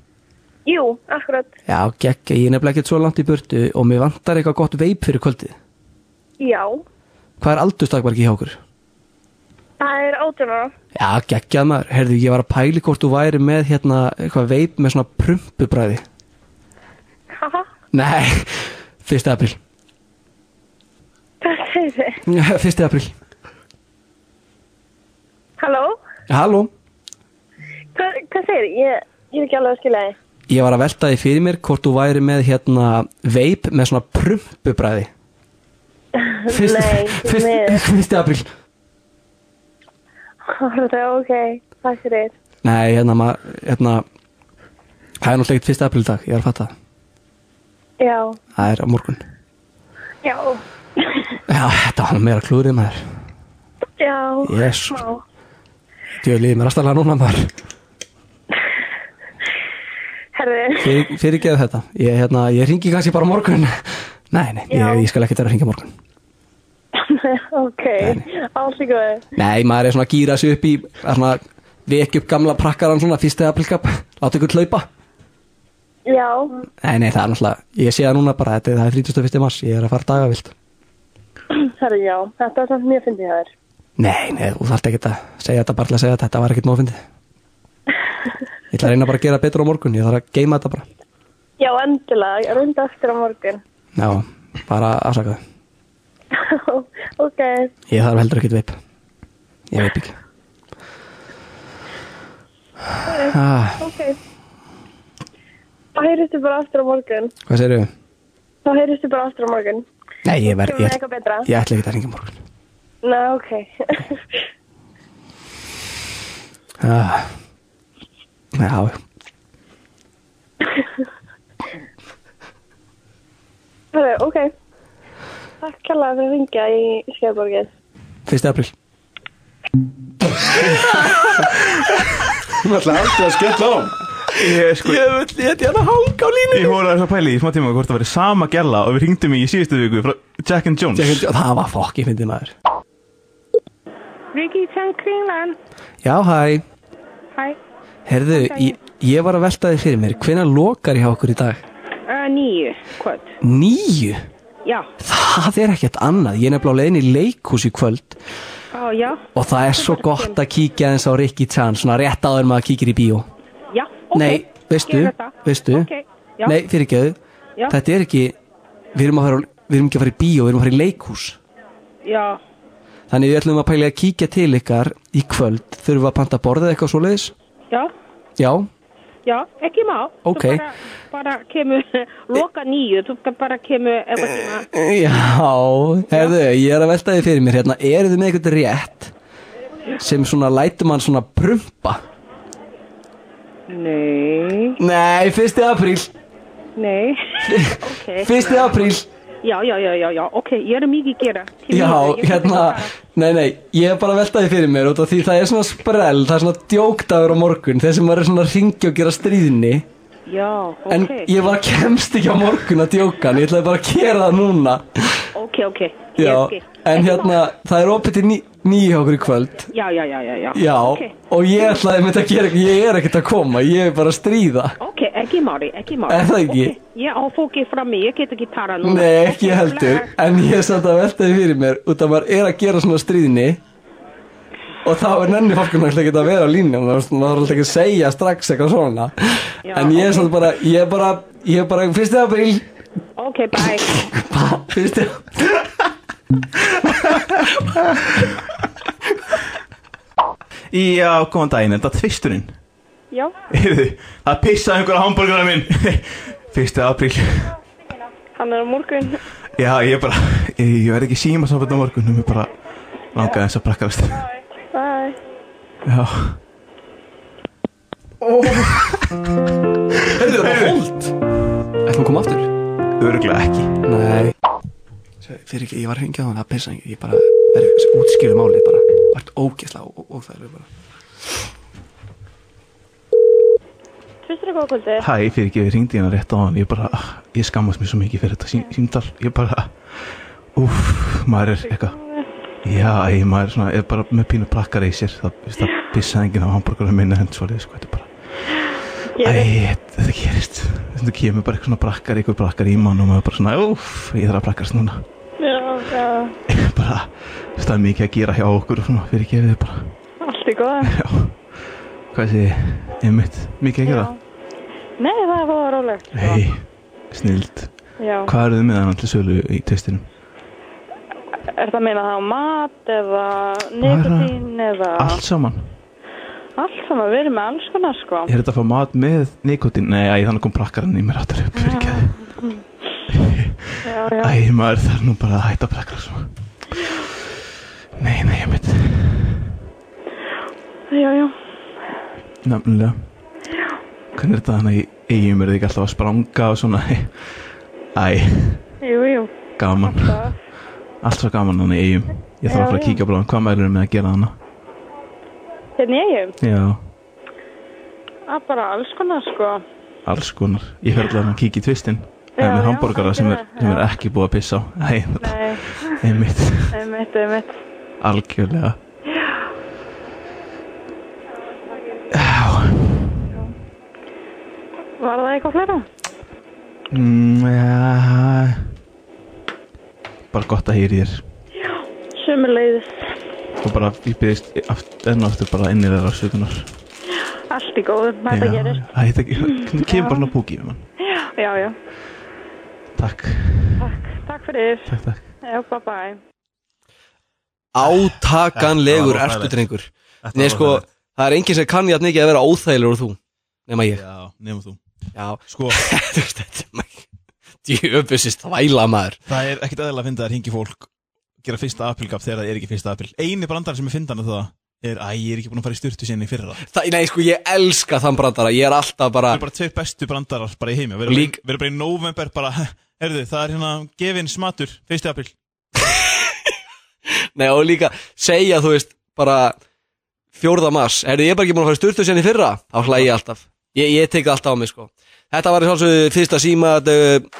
S9: Jú, akkurat,
S3: Já, gekk, ég er nefnilega ekkert svo langt í burtu og mér vantar eitthvað gott veip fyrir kvöldið
S9: já.
S3: Hvað er aldurstakmarki hjá okkur?
S9: Það er átjónara.
S3: Já, geggjað maður, heyrðu, ég var að pæli hvort þú væri með hérna, eitthvað veip með svona prumpubræði
S9: Haha,
S3: Nei, 1. apríl
S9: hvað segir þau?
S3: 1. apríl
S9: Halló?
S3: Halló,
S9: Hvað, hvað segir þau? Ég, ég er ekki alveg að skilja þið.
S3: ég var að velta því fyrir mér hvort þú væri með hérna veip með svona prumpubræði
S9: Nei, því miður.
S3: 1. apríl
S9: Hörðu, ok, takk fyrir.
S3: Nei, hérna, ma, hérna Það er náttúrulega ekkert 1. apríl í dag, ég var að fatta það.
S9: Já,
S3: Það er á morgun
S9: já,
S3: Já, þetta var nú meira klúrið maður
S9: já.
S3: Jesús.
S9: Má.
S3: Djöliði mér aðstæðlega núna maður
S9: Herðu,
S3: Fyrir, Fyrirgeðu þetta Ég, hérna, ég ringi kannski bara á morgun Nei, nei, ég,
S9: Já.
S3: ég skal ekki vera að ringja morgun
S9: ok, allt í góðu.
S3: Nei, maður er svona að gýra sig upp í að svona vekja upp gamla prakkaran svona fyrsta aprilkap, láta ykkur hlaupa
S9: Já,
S3: Nei, nei, það er náttúrulega, ég sé það núna bara þetta, er- það er 31. mars, ég er að fara dagavild
S9: herðu, já, þetta er samt mjög fyndið hjá þér.
S3: Nei, nei, þú þarft ekki að segja þetta bara til að segja þetta, þetta var ekkert mófindi Ég ætla að reyna bara að gera betur á morgun, ég þarf að geima þetta bara
S9: Já, endilega, runda aftur á morgun.
S3: Já, bara afsaka það
S9: ok,
S3: Ég þarf heldur ekkert veip Ég veip ekki ah,
S9: ok. Þá heyrðist þið bara aftur á morgun.
S3: Hvað segirðu?
S9: Þá heyrðist þið bara aftur á morgun.
S3: Nei, ég verð, ég,
S9: Kemur það eitthvað betra?
S3: ég ætla ekki að ringja morgun
S9: Nei, ok.
S3: ah. Já,
S9: Herðu, ok. Takk kærlega fyrir að ringja í Skjöborgið.
S3: 1. apríl
S11: Hún ætlaði aldrei að skella á
S8: Ég, sko,
S3: Ég vil, ég ætla
S4: hérna
S3: að hanga á línu
S8: ég voru að þess að pæli í smá tíma hvort það væri sama gæla og við ringdum í í síðustu viku frá Jack and Jones
S3: Það var fokki fyndið maður
S9: Viki Tján Kringland.
S3: Já, hæ
S9: Hæ.
S3: Herðu, ég, Ég var að velta þið fyrir mér, hvenær lokar ég hjá okkur í dag?
S12: Uh, nýju, hvað?
S3: Níu?
S12: Já,
S3: Það er ekkert annað, ég er nefnilega á leiðin í leikhús í kvöld
S12: á, já,
S3: og það er svo gott að kíkja eins á Rikki Chan, svona rétt áður en maður kíkir í bíó.
S12: já, ok.
S3: Nei, veistu,
S12: Gerum þetta.
S3: veistu,
S12: Ok, já,
S3: nei, fyrirgeðu,
S12: Já.
S3: þetta er ekki, við erum, að fara, á- við erum ekki að fara í bíó, við erum að fara í leikhús.
S12: já,
S3: Þannig við ætlum að pæli að kíkja til ykkar í kvöld, þurfum við að panta borðið eitthvað svoleiðis?
S12: já,
S3: Já,
S12: já, ekki má.
S3: Ok.
S12: Þú bara, bara kemur, loka nýju, þú bara kemur eitthvað tíma.
S3: Já, herðu, ég er að velta því fyrir mér hérna, eru þið með eitthvað rétt sem svona lætur mann svona prumpa?
S12: Nei,
S3: Nei, 1. apríl,
S12: nei, ok.
S3: 1. apríl,
S12: Já, já, já, já, já, ok, ég er mikið að gera. Tími
S3: já,
S12: mínu, ég þarf
S3: hérna,
S12: að fara.
S3: nei, nei, ég er bara að velta því fyrir mér út af því það er svona sprell, það er svona djókdagur á morgun, þessi maður er svona að ringja og gera stríðni,
S12: Já, ok.
S3: en ég var kemst ekki á morgun að djókan, ég ætlaði bara að gera það núna,
S12: Ok, ok, ég
S3: já,
S12: skil.
S3: en
S12: Ekki
S3: hérna,
S12: mál.
S3: það er opið til ní- níu hjá okkur í kvöld,
S12: Já, já, já, já, já.
S3: Já,
S12: Ok,
S3: og ég ætlaði mitt að gera eitthvað, ég er ekkert að koma, ég er bara að stríða.
S12: ok, ekki máli, ekki máli.
S3: Er það ekki?
S12: Ok, Ég á fókið fram mig, ég get ekki tara núna.
S3: Nei, ekki
S12: Ok,
S3: heldur,
S12: bless.
S3: en ég er samt að velta því fyrir mér, út að maður er að gera svona stríðni og þá er nenni fólkun alltaf ekki að vera á línu, maður maður þarf alltaf ekki að segja strax eitthvað svona.
S12: Já,
S3: en ég er
S12: ok.
S3: samt bara, ég er bara, ég er bara, fyrst eða apríl,
S12: Ok, bye.
S3: fyrst eða...
S4: Já, góðan daginn, er þetta tvisturinn?
S9: Já.
S4: Heyrðu, það pissaði einhverja hambúrgara minn Fyrsti apríl
S9: Hann er á morgun.
S4: Já, ég bara, ég verð ekki síma samvætt á morgun Mér bara langaði eins að brakkarast
S9: Bye.
S4: Já
S3: Hörðu, það var hold! Ætlum að koma aftur?
S4: Örgulega ekki
S3: Nei. Fyrir ekki, ég var hringið á hann, það pissa ekki, ég bara, verður, útskýrðu málið bara, vart ógeðslega og, og það er bara.
S9: Tvistur góða kvöldi.
S4: Hæ, fyrir ekki, ég ringdi hérna rétt á hann Ég bara, ég skammast mér svo mikið fyrir þetta sí, símtal Ég bara, úff, maður er eitthvað Já, ég maður er svona, er bara með pínu brakkara í sér Það, veist, það pissaði enginn á hambúrgara minna En svolítið, sko, þetta er bara Æ, þetta gerist Þetta kemur bara eitthvað svona brakkar, eitthvað brakkar í mann og maður bara svona, uff, ég þarf að brakkarast núna
S9: Já, já.
S4: bara, veist, það er mikið að gera hjá okkur og svona, fyrir gefið bara,
S9: Allt í góða.
S4: já hvað sé, einmitt, mikið að gera
S9: Nei, það er búið að rólegt. sko.
S4: hei, snild
S9: Já.
S4: hvað eruð þið með hann til sölu í testinum
S9: Er það að meina það á mat eða
S4: Bara-
S9: nikotín eða...
S4: allt saman,
S9: Allt saman, við erum með alls konar sko.
S4: er þetta að fá mat með nikotin, nei, æ, þannig kom brakkarinn í mér áttur upp, fyrir gefið
S9: Já, já.
S4: æ, maður þarf nú bara að hætta að brakkara svona nei, nei, einmitt
S9: Já, já.
S4: nefnilega hvernig er þetta hann í eigum, er þið ekki alltaf að spranga og svona, æ
S9: Jú, jú.
S4: gaman allt svo gaman hann í eigum ég þarf
S9: Já,
S4: að fara að
S9: já.
S4: kíkja bara á hann. hvað mælur með að gera hana
S9: Hérna ég er.
S4: já,
S9: Það er bara alls konar sko.
S4: alls konar ég fer allavega að kíkja í tvistinn það
S9: Já,
S4: er með
S9: já,
S4: hambúrgara
S9: það
S4: sem,
S9: gerir
S4: er,
S9: það,
S4: sem er
S9: já.
S4: ekki búið að pissa á Æ,
S9: Nei,
S4: einmitt
S9: einmitt, einmitt.
S4: algjörlega
S9: Var það eitthvað fleira?
S4: mm, ja. bara gott að heyri þér
S9: Sumulegðis.
S4: og bara ég byrðist enn og aftur bara innir þeirra sögunar
S9: Allt í góðu, þetta
S4: Já,
S9: gerist.
S4: Æ, þetta þetta kemur bara svona púki við mann
S9: Já, já.
S4: takk,
S9: Takk fyrir.
S4: takk, takk
S9: Já, bye bye.
S3: átakanlegur
S4: Þetta var
S3: ertu
S4: óþægilegt.
S3: drengur Nei sko, það er enginn sem kann jafn mikið að vera óþægilegur og þú nema ég
S4: já, nefnum þú
S3: Já,
S4: sko,
S3: þú veist þetta Djöfusist þvæla maður
S4: Það er ekkert aðeins að finna að ringi fólk gera fyrsta aprilgap þegar það er ekki fyrsta april Einu brandar sem er fyndan að það er Æ, ég er ekki búin að fara í styrtu sinni í fyrra Það
S3: það, Nei sko, ég elska þann brandara Ég er alltaf bara
S4: eru bara tveir bestu brandarar bara í heimi Við
S3: Lík-
S4: erum bara í november bara Erðu, það er hérna gefin smatur, fyrsti april
S3: Nei og líka segja þú veist bara fjórða mars Er ég er bara ekki búin að fara styrtu sérni fyrra? Þá hlæg ég alltaf Ég, ég tek það alltaf á mig sko Þetta var sjálfsögðu fyrsta símat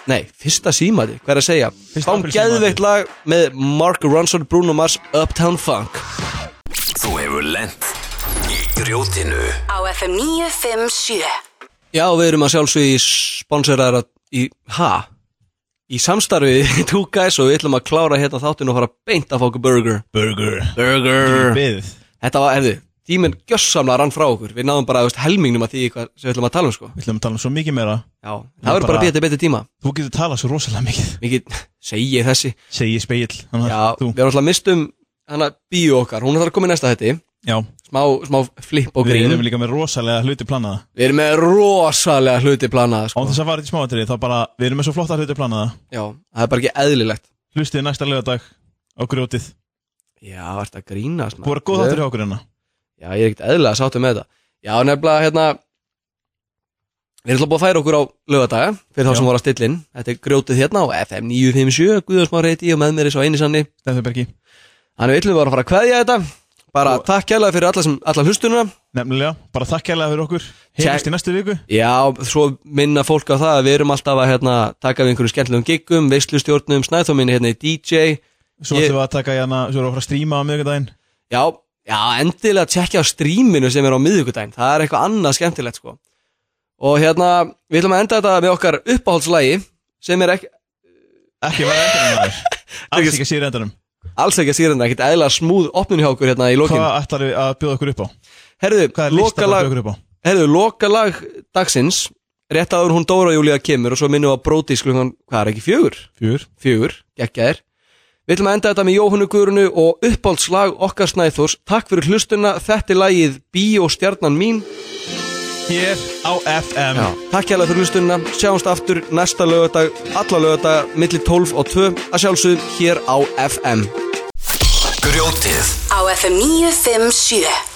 S3: Nei, fyrsta símat, hvað er að segja?
S4: Fyrsta
S3: Fáum
S4: apríl símaði.
S3: geðveikt lag með Mark Ronson, Bruno Mars, Uptown Funk
S1: Þú hefur lent í grjótinu
S2: Á FM 957
S3: Já, við erum að sjálfsögja í sponsorar í, ha? Í samstarfið Two Guys og við ætlum að klára hérna þáttinn og fara beint að fá okkur burger
S8: Burger
S3: Burger
S8: Bið
S3: Þetta var, erðu, tíminn gjössamlega rann frá okkur Við náðum bara, þú veist, helmingnum að því hvað sem við ætlum að tala um, sko
S8: Við ætlum að tala um svo mikið meira
S3: Já, það verður bara að býja til betri tíma
S8: Þú getur talað svo rosalega mikið
S3: Mikið, segi ég þessi
S8: Segji speill
S3: Já,
S8: þú
S3: við erum alltaf mistum hana bíu okkar Hún er það að koma í næsta þetta
S8: Já
S3: Smá, smá flip og
S8: Við
S3: grín
S8: erum líka með rosalega hluti planaða
S3: Við erum með rosalega hluti planaða,
S8: Án
S3: sko
S8: þess að fara í smáatrið Þá bara Við erum með svo flotta hluti planaða
S3: Já, það er bara ekki eðlilegt
S8: Hlustið næsta lögadag Á grjótið
S3: Já, ertu að grínast maður?
S8: Þú var góð þáttur hjá okkur hérna
S3: Já, ég er ekkert eðlilega sáttu með þetta Já, nefnilega, hérna Við erum alltaf búið að færa okkur á lögadaga Fyrir þá
S8: Já.
S3: sem voru að stillin Þetta er grjótið hérna á FM 957 Guðjóðsmár heiti ég og með mér er svo eini sanni
S8: Steffi Bergi
S3: Þannig við ætlum bara að fara að kveðja þetta Bara takk kærlega fyrir alla, sem, alla hlustununa
S8: Nefnilega Bara takk kærlega fyrir okkur Heyrjumst í næstu viku
S3: Já, svo minna fólk á það að Við erum alltaf að hérna, taka við einhverjum skemmtilegum giggum Veislustjórnum, snæðþóminni hérna í DJ
S8: Svo
S3: Ég-
S8: ætlum við að taka hérna Svo erum við að fara að stríma á miðvikudaginn
S3: Já, já endilega tjekkja á stríminu sem er á miðvikudaginn Það er eitthvað annað skemmtilegt sko Og hérna, við ætlum að enda þetta með okkar uppáhaldslægi Sem er ekki,
S8: Ekki vera endanum maður Alls ekki að síður endanum
S3: alls ekki að sýrenda Ekkert eðla smúð opnun hjá okkur hérna í
S8: Hvað
S3: lokinu
S8: ætlar við að bjóða okkur upp á?
S3: Herðu,
S8: Hvað er listan að
S3: lokalag,
S8: bjóða okkur upp á?
S3: herðu, lokalag dagsins Rétt áður hún Dóra Júlía kemur Og svo minnum við að bróti sklungan, hvað er ekki fjögur?
S8: Fjör
S3: Fjögur, geggjaðir Við ætlum að enda þetta með Jóhannu Guðrunu og uppáhaldslag okkar Snæþórs Takk fyrir hlustuna, þetta er lagið Bíó stjarnan mín
S8: Hér á FM
S3: Já. Takk hérlega fyrir hlustunina, sjáumst aftur næsta lögadag, alla lögadag, milli 12 og 2 að sjálfsögum hér á FM.
S1: Grjótið
S2: á FM 957